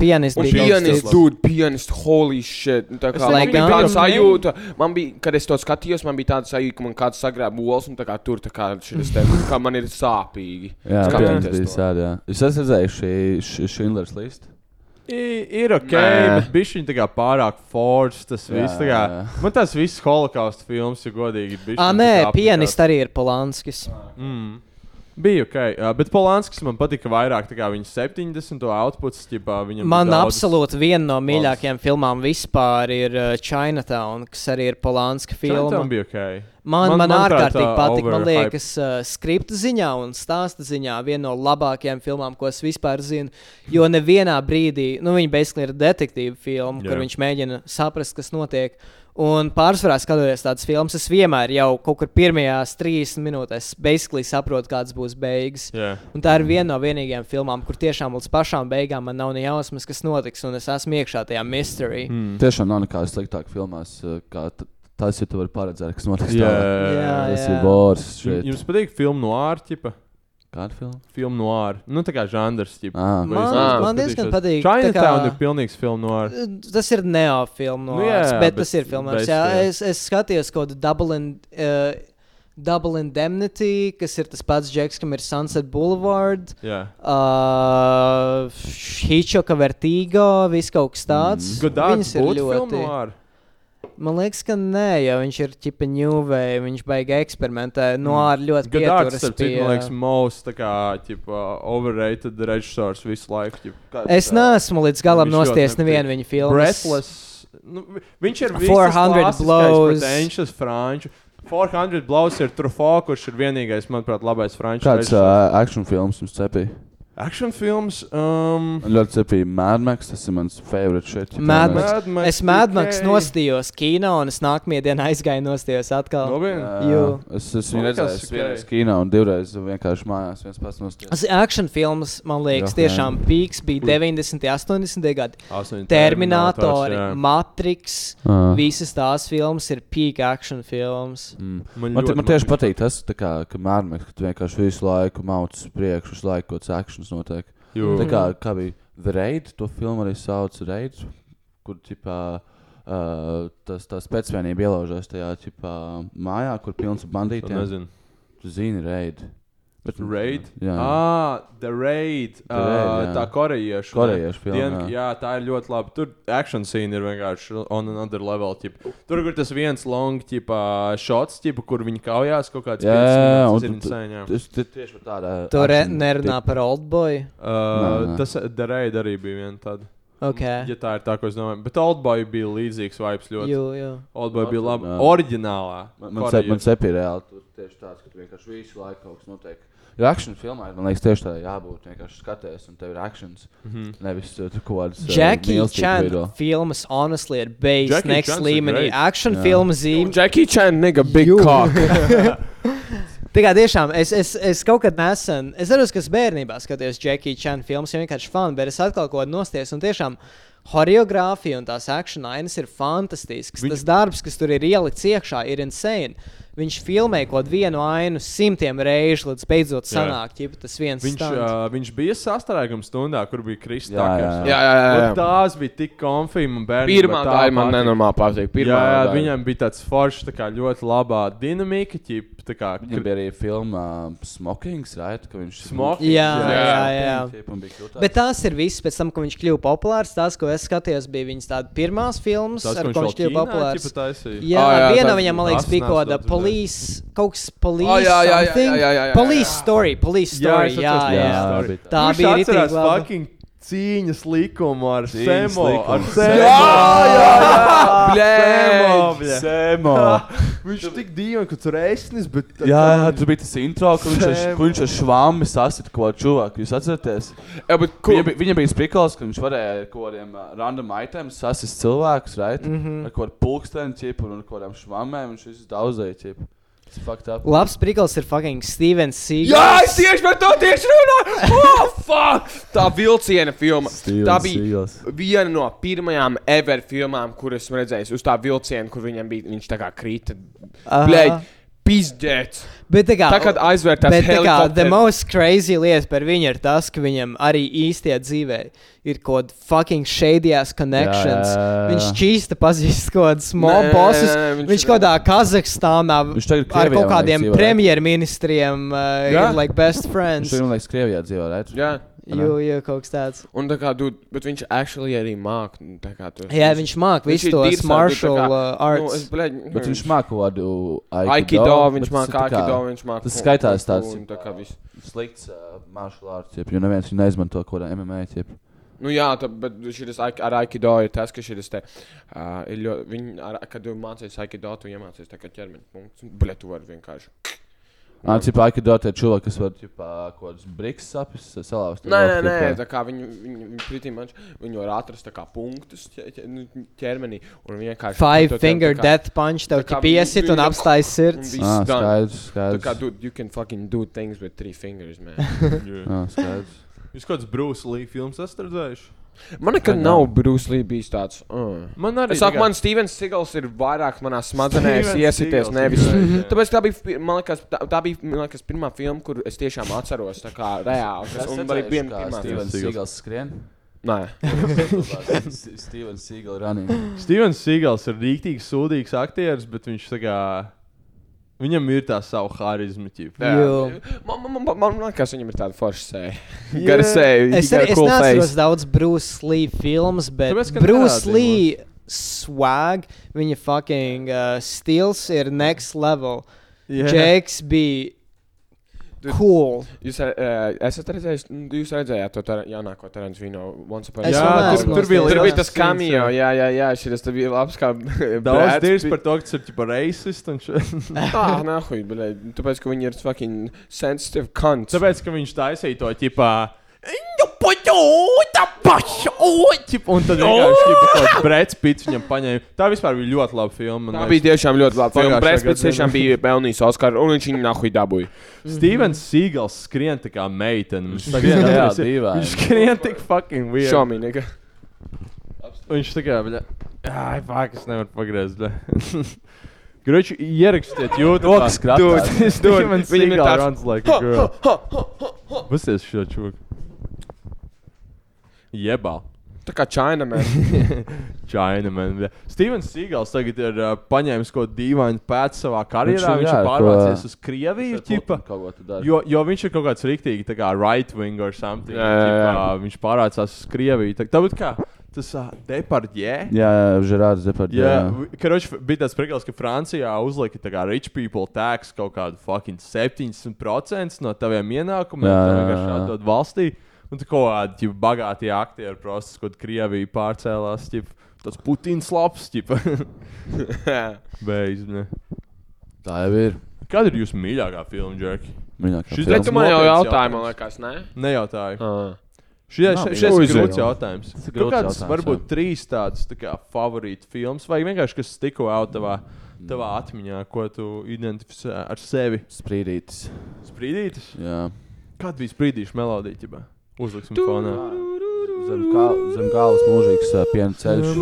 Speaker 8: Pianists
Speaker 9: Un
Speaker 8: bija
Speaker 9: pianists,
Speaker 8: Gauss.
Speaker 9: dude, pianists, holy shit. Nu, Tā
Speaker 6: Es
Speaker 9: kā
Speaker 8: Lai
Speaker 9: man bija
Speaker 8: gan-
Speaker 9: tāda sajūta, man bija, kad es to skatījos, man bija tāda sajūta, ka man kāds sagrāba olas un tā kā tur, tā kā šis te, kā man ir sāpīgi.
Speaker 7: Jā,
Speaker 9: Skatīties
Speaker 7: tas bija
Speaker 9: to.
Speaker 7: sādi, jā. Es esmu redzējis šī- šī Schindler's list.
Speaker 6: I, ir ok, Nē.
Speaker 9: Nē.
Speaker 6: bet bija viņa tā kā pārāk forša. Tas
Speaker 7: Jā,
Speaker 6: viss tā kā.
Speaker 7: jā, jā.
Speaker 6: Man tas viss holokausta films, ja godīgi. bišķiņ
Speaker 8: Ah,
Speaker 6: tā kā
Speaker 8: nē,
Speaker 6: apnikās.
Speaker 8: pianists arī ir Polanskis.
Speaker 6: Mm. Bija ok, uh, bet Polānskis man patika vairāk. tā kā Viņa 70. outputs, ķipā, viņam ir
Speaker 8: Man
Speaker 6: daudz-
Speaker 8: absolūti viena no mīļākajām filmām vispār ir uh, Chinatown, kas arī ir Polānska filma.
Speaker 6: Chinatown bija ok.
Speaker 8: Man,
Speaker 6: Man-
Speaker 8: man, man
Speaker 6: manuprāt, tā
Speaker 8: ārkārtīgi patīk. Man
Speaker 6: overhype.
Speaker 8: liekas, uh, skripta ziņā un stāsta ziņā viena no labākajām filmām, ko es vispār zinu. Jo nevienā brīdī, nu, viņa beigās ir detektīva filma,
Speaker 6: Jā.
Speaker 8: kur viņš mēģina saprast, kas notiek. Un pārsvarā skatoties tādas filmas, es vienmēr jau kaut kur pirmajās 30 minūtēs beigās saprotu, kādas būs beigas.
Speaker 6: Jā.
Speaker 8: Un tā ir viena no vienīgajām filmām, kur tiešām līdz pašām beigām man nav ne jausmas, kas notiks, un es esmu iekšā tajā mystery.
Speaker 6: Mhm.
Speaker 8: Mm.
Speaker 7: Tiešām nav nekādas sliktākas filmās, uh, kā t- tas, ja tu vari paredzēt, kas notiks. tālāk.
Speaker 6: Jā.
Speaker 8: Jā,
Speaker 7: Tas ir vārds
Speaker 6: Jum-
Speaker 7: šeit.
Speaker 6: Jums patīk filmu no ārķipa?
Speaker 7: Kāda filma?
Speaker 6: Filmu no ārķipa. Nu, tā kā žanrs. ķipa.
Speaker 7: Ah,
Speaker 6: Vai jūs
Speaker 8: Man,
Speaker 9: Ah.
Speaker 8: man diezgan patīk. tā
Speaker 6: Chinatown
Speaker 8: kā-
Speaker 6: ir pilnīgs filmu no ārķipa.
Speaker 8: Tas ir neofilms, no
Speaker 6: Nu jā,
Speaker 8: kuras, bet
Speaker 6: bet
Speaker 8: tas ir filmas.
Speaker 6: bez,
Speaker 8: Jā,
Speaker 6: jā.
Speaker 8: es, es skatījos kaut kādu Double, in, uh, double Indemnity, kas ir tas pats Džeks, kam ir Sunset Boulevard,
Speaker 6: Jā.
Speaker 8: uh, Hitchcock Vertigo, viss kaut kas tāds.
Speaker 6: Good dārgs,
Speaker 8: Viņas ir
Speaker 6: būtu filmu
Speaker 8: ļoti.
Speaker 6: no ārķipa.
Speaker 8: Man liekas, ka nē, jo viņš ir tipa ņūvei, viņš baigi eksperimentē. No ārā ļoti
Speaker 6: Gadārs,
Speaker 8: pieturas
Speaker 6: Mm. starp citu, man liekas,
Speaker 8: pie.
Speaker 6: most tā kā, ķipa, overrated režisors visu laiku. ķipa.
Speaker 8: Es neesmu līdz galam
Speaker 6: Viņš ļoti
Speaker 8: nosties
Speaker 6: nepatīk.
Speaker 8: nevienu viņa filmu.
Speaker 6: Breathless. Nu, vi- viņš ir
Speaker 8: 400
Speaker 6: 400
Speaker 8: blows.
Speaker 6: blows. Viņš franču. 400 blows ir trufo, kurš ir vienīgais, manuprāt, labais franču.
Speaker 7: Kāds uh, action films jums cepīja?
Speaker 6: Action films. Um,
Speaker 7: Man ļoti cepīja Mad Max, tas ir mans favorite šeit. ja
Speaker 8: Mad
Speaker 7: tā
Speaker 8: Max.
Speaker 7: mēs-
Speaker 6: Mad Max
Speaker 8: Es mēdmaks
Speaker 6: tikai-
Speaker 8: nostījos kino, un es nākamajā dienā aizgāju nostījos atkal.
Speaker 6: Nopietni.
Speaker 7: Jā,
Speaker 8: Jū.
Speaker 7: Es esmu
Speaker 6: Man liekas,
Speaker 7: redzējis
Speaker 6: ka-
Speaker 7: vienreiz kino un divreiz vienkārši mājās. Viens pats no stūra.
Speaker 8: Tas ir action filmas, man liekas,
Speaker 7: Jā.
Speaker 8: tiešām pīks bija 90, 80 gadi.
Speaker 6: Astoņi
Speaker 8: Terminatori,
Speaker 6: Terminatori, jā.
Speaker 8: Matrix,
Speaker 7: Ah.
Speaker 8: visas tās filmas ir pīka action filmas.
Speaker 6: Man,
Speaker 7: Man,
Speaker 6: ļoti
Speaker 7: te, man tieši
Speaker 6: patīk.
Speaker 7: patīk tas, tā kā, ka Mārcis Kalniņš vienkārši visu laiku mauc uz priekšu, visu laiku kaut kāds akcents notiek.
Speaker 6: Jū.
Speaker 7: Tā kā, kā bija The Raid, to filmu arī sauc par Raid, kur tipā, uh, tas, tas pēcvienība ielaužās tajā tipā, mājā, kur pilns ar
Speaker 6: To
Speaker 7: bandītiem.
Speaker 6: Nezinu.
Speaker 7: Tu zini, Raid. Bet,
Speaker 6: Raid?
Speaker 7: Jā, jā.
Speaker 6: Ah, The Raid.
Speaker 7: The Raid,
Speaker 6: Uh,
Speaker 7: jā.
Speaker 6: tā korejiešu.
Speaker 7: Korejiešu
Speaker 6: ne?
Speaker 7: filma,
Speaker 6: Dien,
Speaker 7: jā.
Speaker 6: jā, tā ir ļoti labi. Tur action scene ir vienkārši on another level. Tip. Tur, kur tas viens long tipa, shots, tipa, kur viņi kaujās kaut kāds
Speaker 7: Jā, jā, jā, un
Speaker 6: tas ir
Speaker 7: tu-
Speaker 6: insane, jā.
Speaker 7: Tas ir tieši par tādu.
Speaker 8: Tur re- nerunā par Oldboy.
Speaker 6: Uh,
Speaker 7: Nā, nā.
Speaker 6: Tas The Raid arī bija viena tāda.
Speaker 8: Okay.
Speaker 6: Ja tā ir tā, ko es domāju. Bet Oldboy bija līdzīgs vibes ļoti.
Speaker 8: Jū, jū.
Speaker 6: Oldboy bija labi.
Speaker 7: Jā.
Speaker 6: Oriģinālā.
Speaker 7: Man sep- man sep ir reāli tur tieši tāds, ka tu vienkārši visu laiku kaut kas notiek. Jo akciju filmā ir, man liekas, tieši tā jābūt. Vienkārši skaties, un tev ir akcijas. Mm
Speaker 6: Mhm.
Speaker 7: -hmm. Nevis uh, tu kaut kādas. uh,
Speaker 8: Jackie
Speaker 7: mīlestību
Speaker 8: Chan
Speaker 7: veido.
Speaker 8: filmas, honestly, ir base
Speaker 6: Jackie
Speaker 8: next
Speaker 6: Chan's ir
Speaker 8: līmenī.
Speaker 6: great.
Speaker 8: Action filmu zīme.
Speaker 9: Jackie Chan, nigga, big cock.
Speaker 8: Tā kā tiešām es, es, es kaut kad nesen, es zinu, ka es bērnībā skatījos Jackie Chan filmas, jau vienkārši fanu, bet es atkal kaut ko nosties. Un tiešām choreogrāfija un tās action ainas ir fantastisks. Viņš... Tas darbs, kas tur ir ielikts iekšā, ir insane. Viņš filmē kaut vienu ainu simtiem reižu, līdz beidzot sanāk, ja tas viens
Speaker 6: Viņš,
Speaker 8: stunds.
Speaker 6: uh, viņš bija sastrēgums stundā, kur bija
Speaker 7: Jā,
Speaker 6: Kristāns.
Speaker 7: jā,
Speaker 9: jā, jā, jā. jā.
Speaker 6: Tās bija tik konfirmas.
Speaker 9: Pirmā tā ir man nenormāli patīk.
Speaker 6: Jā,
Speaker 9: Pirmā
Speaker 6: jā,
Speaker 9: daļa.
Speaker 6: viņam bija tāds foršs, tā kā ļoti labā dinamika, ķip, tā kā
Speaker 7: Viņam bija arī filma uh, Smokings, right? Ka viņš
Speaker 6: Smoking,
Speaker 8: Jā,
Speaker 6: jā,
Speaker 8: jā, jā.
Speaker 7: jā.
Speaker 8: Bet tās ir visas, pēc tam, kad viņš kļuva populārs. Tās, ko es skatījos, bija viņas tādas pirmās filmas,
Speaker 6: tas,
Speaker 8: ar
Speaker 6: ko
Speaker 8: ko viņš kļuva populārs.
Speaker 6: ķipa taisīja.
Speaker 8: Jā,
Speaker 9: Ah,
Speaker 8: jā,
Speaker 9: jā,
Speaker 8: viena
Speaker 9: tas
Speaker 8: viņam, man liekas, bija
Speaker 6: Asnās
Speaker 8: kaut kāda
Speaker 6: daudz
Speaker 8: police, kaut kas police.
Speaker 9: Ah, jā, jā, jā,
Speaker 8: something.
Speaker 9: jā, jā, jā, jā,
Speaker 8: Police
Speaker 9: jā.
Speaker 8: story, police
Speaker 6: Jā,
Speaker 8: story.
Speaker 6: es
Speaker 8: Jā,
Speaker 6: atceros,
Speaker 8: jā,
Speaker 6: jā,
Speaker 8: jā.
Speaker 6: tā bija.
Speaker 8: Tā
Speaker 6: Kurš
Speaker 8: bija
Speaker 6: atcerās
Speaker 8: rītīgi laba.
Speaker 6: fucking cīņas likumu ar
Speaker 7: Cīņas
Speaker 6: Semo. Ar
Speaker 7: likumu.
Speaker 6: Semo. Semo,
Speaker 9: Blēņ!
Speaker 6: bļa.
Speaker 7: Semo!
Speaker 6: Viņš tik dīvaini, ka tur ēsnis, bet
Speaker 7: Jā, jā, tur bija tas intro, kur viņš ar-
Speaker 6: Semo.
Speaker 7: kur viņš ar švāmi sasita kaut ko čuvāku. Jūs atceraties?
Speaker 9: Jā, bet ko?
Speaker 7: Viņam bija, viņam bija spriglis, ka viņš varēja ar kaut kādiem ā, random itemiem sasist cilvēkus, right? Mm
Speaker 9: Mhm.
Speaker 7: -hmm. Ar kaut kādiem pulksteņiem, ķipu, un ar kaut kādiem švamēm. Viņš visu daudzēja ķipu. Tas ir fucked up.
Speaker 8: Labs priglis ir fucking Stevens Seagals.
Speaker 9: Jā, es tieši par to tieši runāju! Oh, fuck! Tā vilciena filma. tā bija viena no pirmajām ever filmām, kuras esmu redzējis. Uz tā vilciena, kur viņam bija, viņš tā kā krīt. Blēņ! Pizdēts!
Speaker 8: Bet tā kā,
Speaker 9: Tā kā aizvērtās
Speaker 8: bet, tā kā the
Speaker 9: helikopteri.
Speaker 8: most crazy lieta par viņu ir tas, ka viņam arī īstajā dzīvē ir kaut kāda fucking shadijās connections.
Speaker 7: Jā, jā, jā.
Speaker 8: Viņš čīsta pazīst kaut kādas small
Speaker 9: Nē,
Speaker 8: bosses.
Speaker 9: viņš-
Speaker 8: Viņš kaut kādā Kazahstānā
Speaker 7: Viņš tagad Krievijā,
Speaker 8: ar kaut
Speaker 7: man liekas,
Speaker 8: kādiem
Speaker 7: dzīvo, right?
Speaker 8: premjerministriem uh,
Speaker 9: Jā.
Speaker 8: ir like best friends.
Speaker 7: Viņš jau, man liekas, Krievijā dzīvo, right?
Speaker 9: Jā.
Speaker 8: Jū, jū, kaut kas tāds.
Speaker 9: Un tā kā, dude, bet viņš actually arī māk. nu, tā kā tu-
Speaker 8: Jā, viņš māca
Speaker 9: Viņš
Speaker 8: visu
Speaker 9: ir
Speaker 8: tos
Speaker 9: dirsā,
Speaker 8: martial
Speaker 9: dude, tā kā,
Speaker 8: uh,
Speaker 9: Nu,
Speaker 8: arts.
Speaker 9: es, blēņ,
Speaker 7: Bet viņš māca kaut kādu aikido.
Speaker 9: Aikido,
Speaker 7: bet tas
Speaker 9: viņš
Speaker 7: ir tā
Speaker 9: māca
Speaker 7: kā
Speaker 9: Aikido, viņš māca.
Speaker 7: tas skaitās
Speaker 9: kung
Speaker 7: tāds,
Speaker 9: fu un tā kā viss.
Speaker 7: Slikts uh, martial arts, jeb, jo neviens viņu neizmanto kaut kādā MMA. Jeb.
Speaker 9: Nu jā, tā, bet šis aik- ar Aikido ir tas, ka šis te, uh, ir ļoti, viņi, ar, kad tu mācies Aikido, tu iemācies tā kā ķermeni punkts, un, bļa, tu vari vienkārši.
Speaker 7: Ah, tipā aikido tie cilvēki, kas var, tipā, kaut kādas briks sapis salauzt.
Speaker 9: Nē, nē,
Speaker 7: Jeb,
Speaker 9: nē,
Speaker 7: jeb,
Speaker 9: tā kā viņi, viņi, viņi pretī manš, viņi var atrast tā kā punktus ķe- ķe- nu, ķermenī, un viņi vienkārši.
Speaker 8: Five
Speaker 9: to tev
Speaker 8: finger
Speaker 9: tā kā-
Speaker 8: death punch tev
Speaker 9: tā kā
Speaker 8: piesit
Speaker 9: viņi-
Speaker 8: un apstājas
Speaker 9: un
Speaker 8: sirds.
Speaker 9: viss
Speaker 7: Ah,
Speaker 9: done.
Speaker 7: skaidrs,
Speaker 9: Tā
Speaker 7: skaidrs.
Speaker 9: kā, dude, you can fucking do things with three fingers, man.
Speaker 7: Ah, skaidrs.
Speaker 6: Jūs kāds Bruce Lee films esat redzējuši?
Speaker 9: Man nekad
Speaker 7: Kad
Speaker 9: nav Bruce Lee bijis tāds. Uh.
Speaker 6: Man arī.
Speaker 9: Es saku,
Speaker 6: tā kā-
Speaker 9: man Stevens Sigals ir vairāk manā smadzenēs
Speaker 6: Stevens
Speaker 9: iesities.
Speaker 6: Seagals
Speaker 9: Nevis.
Speaker 6: ir great, jā.
Speaker 9: Tāpēc tā bija, pi- man liekas, tā, tā bija man liekas, pirmā filma, kur es tiešām atceros, tā kā reāli. Tas un arī bija pirmā filma.
Speaker 7: Stevens Seagals skrien.
Speaker 9: Nē,
Speaker 7: Stevens Seagals running.
Speaker 6: Stevens Seagals ir rīktīgi sūdīgs aktieris, bet viņš tā kā. Viņam ir tā sava harizma. ķip.
Speaker 8: Jū.
Speaker 9: man, man, man, man liekas, viņam ir tāda forša sēja. Gara sēja.
Speaker 8: Es,
Speaker 9: he got
Speaker 8: arī,
Speaker 9: a
Speaker 8: es
Speaker 9: cool
Speaker 8: neatceros
Speaker 9: face.
Speaker 8: daudz Bruce Lee filmas, bet
Speaker 6: Tāpēc, ka
Speaker 8: Bruce
Speaker 6: nerādi
Speaker 8: Lee swag, viņa fucking uh, stils ir next level.
Speaker 6: Jā.
Speaker 8: Jakes bija cool.
Speaker 9: Jūs uh, esat redzējis, nu, jūs redzējāt to tar jaunāko Tarantino Once Upon a
Speaker 8: Es
Speaker 6: Jā,
Speaker 8: vēl
Speaker 6: tur-
Speaker 8: neesmu
Speaker 6: tur bija
Speaker 8: nosties.
Speaker 9: Tur
Speaker 6: liels
Speaker 9: bija tas
Speaker 6: scenes,
Speaker 9: kamijo,
Speaker 6: jā.
Speaker 9: jā, jā, jā, šis te bija labs kā
Speaker 6: Daudz
Speaker 9: Brad
Speaker 6: dirz
Speaker 9: Pitt. Ah,
Speaker 6: par to, ka tas ir tipa racist. un šo-
Speaker 9: Tā, nahuj, blēd, tāpēc, ka viņi ir fucking sensitive cunts.
Speaker 6: Tāpēc, ka viņš taisīja to ķipā. Viņa puķa, oi, tā paša, oi, čip, un tad vienkārši ķipa, kaut kāds brēc pits viņam paņēma. Tā vispār bija ļoti laba filma.
Speaker 9: Tā bija tiešām ļoti labi.
Speaker 6: Pagājušā
Speaker 9: Filma Brēspēts
Speaker 6: gada
Speaker 9: tiešām bija pelnījis Oskaru, un viņš viņu nahuj dabūja.
Speaker 6: Stevens Seagals skrien tā kā meitene. Viņš
Speaker 7: skrien,
Speaker 6: skrien,
Speaker 7: jā,
Speaker 6: viņš-
Speaker 7: dīvaini.
Speaker 6: viņš skrien tik fucking weird.
Speaker 9: Šaumīgi.
Speaker 6: Viņš tā kā, bļa, ai, fuck, es nevaru pagriezt, bļa. Gruči, ierakstiet, jūtu.
Speaker 7: Rokas kratās.
Speaker 6: Dude, Steven
Speaker 9: Viņam ir
Speaker 6: Seagals runs
Speaker 9: tāds-
Speaker 6: like a girl. Pusies šo čuku. Jebal.
Speaker 9: Tā kā Čaina mēs.
Speaker 6: China, man. bļa. Stevens Seagals tagad ir uh, paņēmis kaut ko dīvainu pēc savā karjerā.
Speaker 7: ir,
Speaker 6: Viņš
Speaker 7: jā,
Speaker 6: ir
Speaker 7: ko-
Speaker 6: pārvācies uz Krieviju, ķipa.
Speaker 7: Kaut ko tu dari.
Speaker 6: Jo, jo viņš ir kaut kāds rīktīgi, tā kā right-wing or something.
Speaker 9: Jā, jā, jā.
Speaker 6: Ķipā, viņš pārācās uz Krieviju. Tā, tāpat kā tas uh, Depardjē.
Speaker 7: Jā, jā, Žerārs Zepard.
Speaker 6: Jā, karoči, bija tāds priekals, ka Francijā uzlika tā kā rich people tax kaut kādu fucking 70% no taviem ienākumiem.
Speaker 7: Jā,
Speaker 6: Tā
Speaker 7: jā,
Speaker 6: vienkārši
Speaker 7: jā.
Speaker 6: atdod valstī. Un tā kaut kādi ķip, bagātie aktieri procesi, kad Krievija pārcēlās. Ķip, tas Putins labs, ķip. Beidz, ne.
Speaker 7: Tā jau ir.
Speaker 6: Kāda ir jūsu mīļākā filma, Džeki?
Speaker 7: Mīļākā
Speaker 6: Šis-
Speaker 9: Bet
Speaker 6: Tas
Speaker 9: tu man jau
Speaker 6: nopietns
Speaker 9: jautāji, man
Speaker 6: jautājums.
Speaker 9: liekas, nē?
Speaker 6: Nejautāju.
Speaker 9: Ah.
Speaker 6: Šis
Speaker 7: Nav
Speaker 6: šis ir
Speaker 7: mīļākā.
Speaker 6: grūts jautājums.
Speaker 7: Tas ir
Speaker 6: Kaut
Speaker 7: grūts
Speaker 6: kādas
Speaker 7: jautājums,
Speaker 6: varbūt trīs tādas tā kā, favorīta filmas, vai vienkārši kas tikko out tavā, tavā atmiņā, ko tu identificē ar sevi?
Speaker 7: Sprīdītis.
Speaker 6: Sprīdītis?
Speaker 7: Jā.
Speaker 6: Kāda bija sprīdīša melodija? Ķibā? Uzliksim to fonā.
Speaker 7: Zem, kā, zem galvas mūžīgs uh, piena ceļš.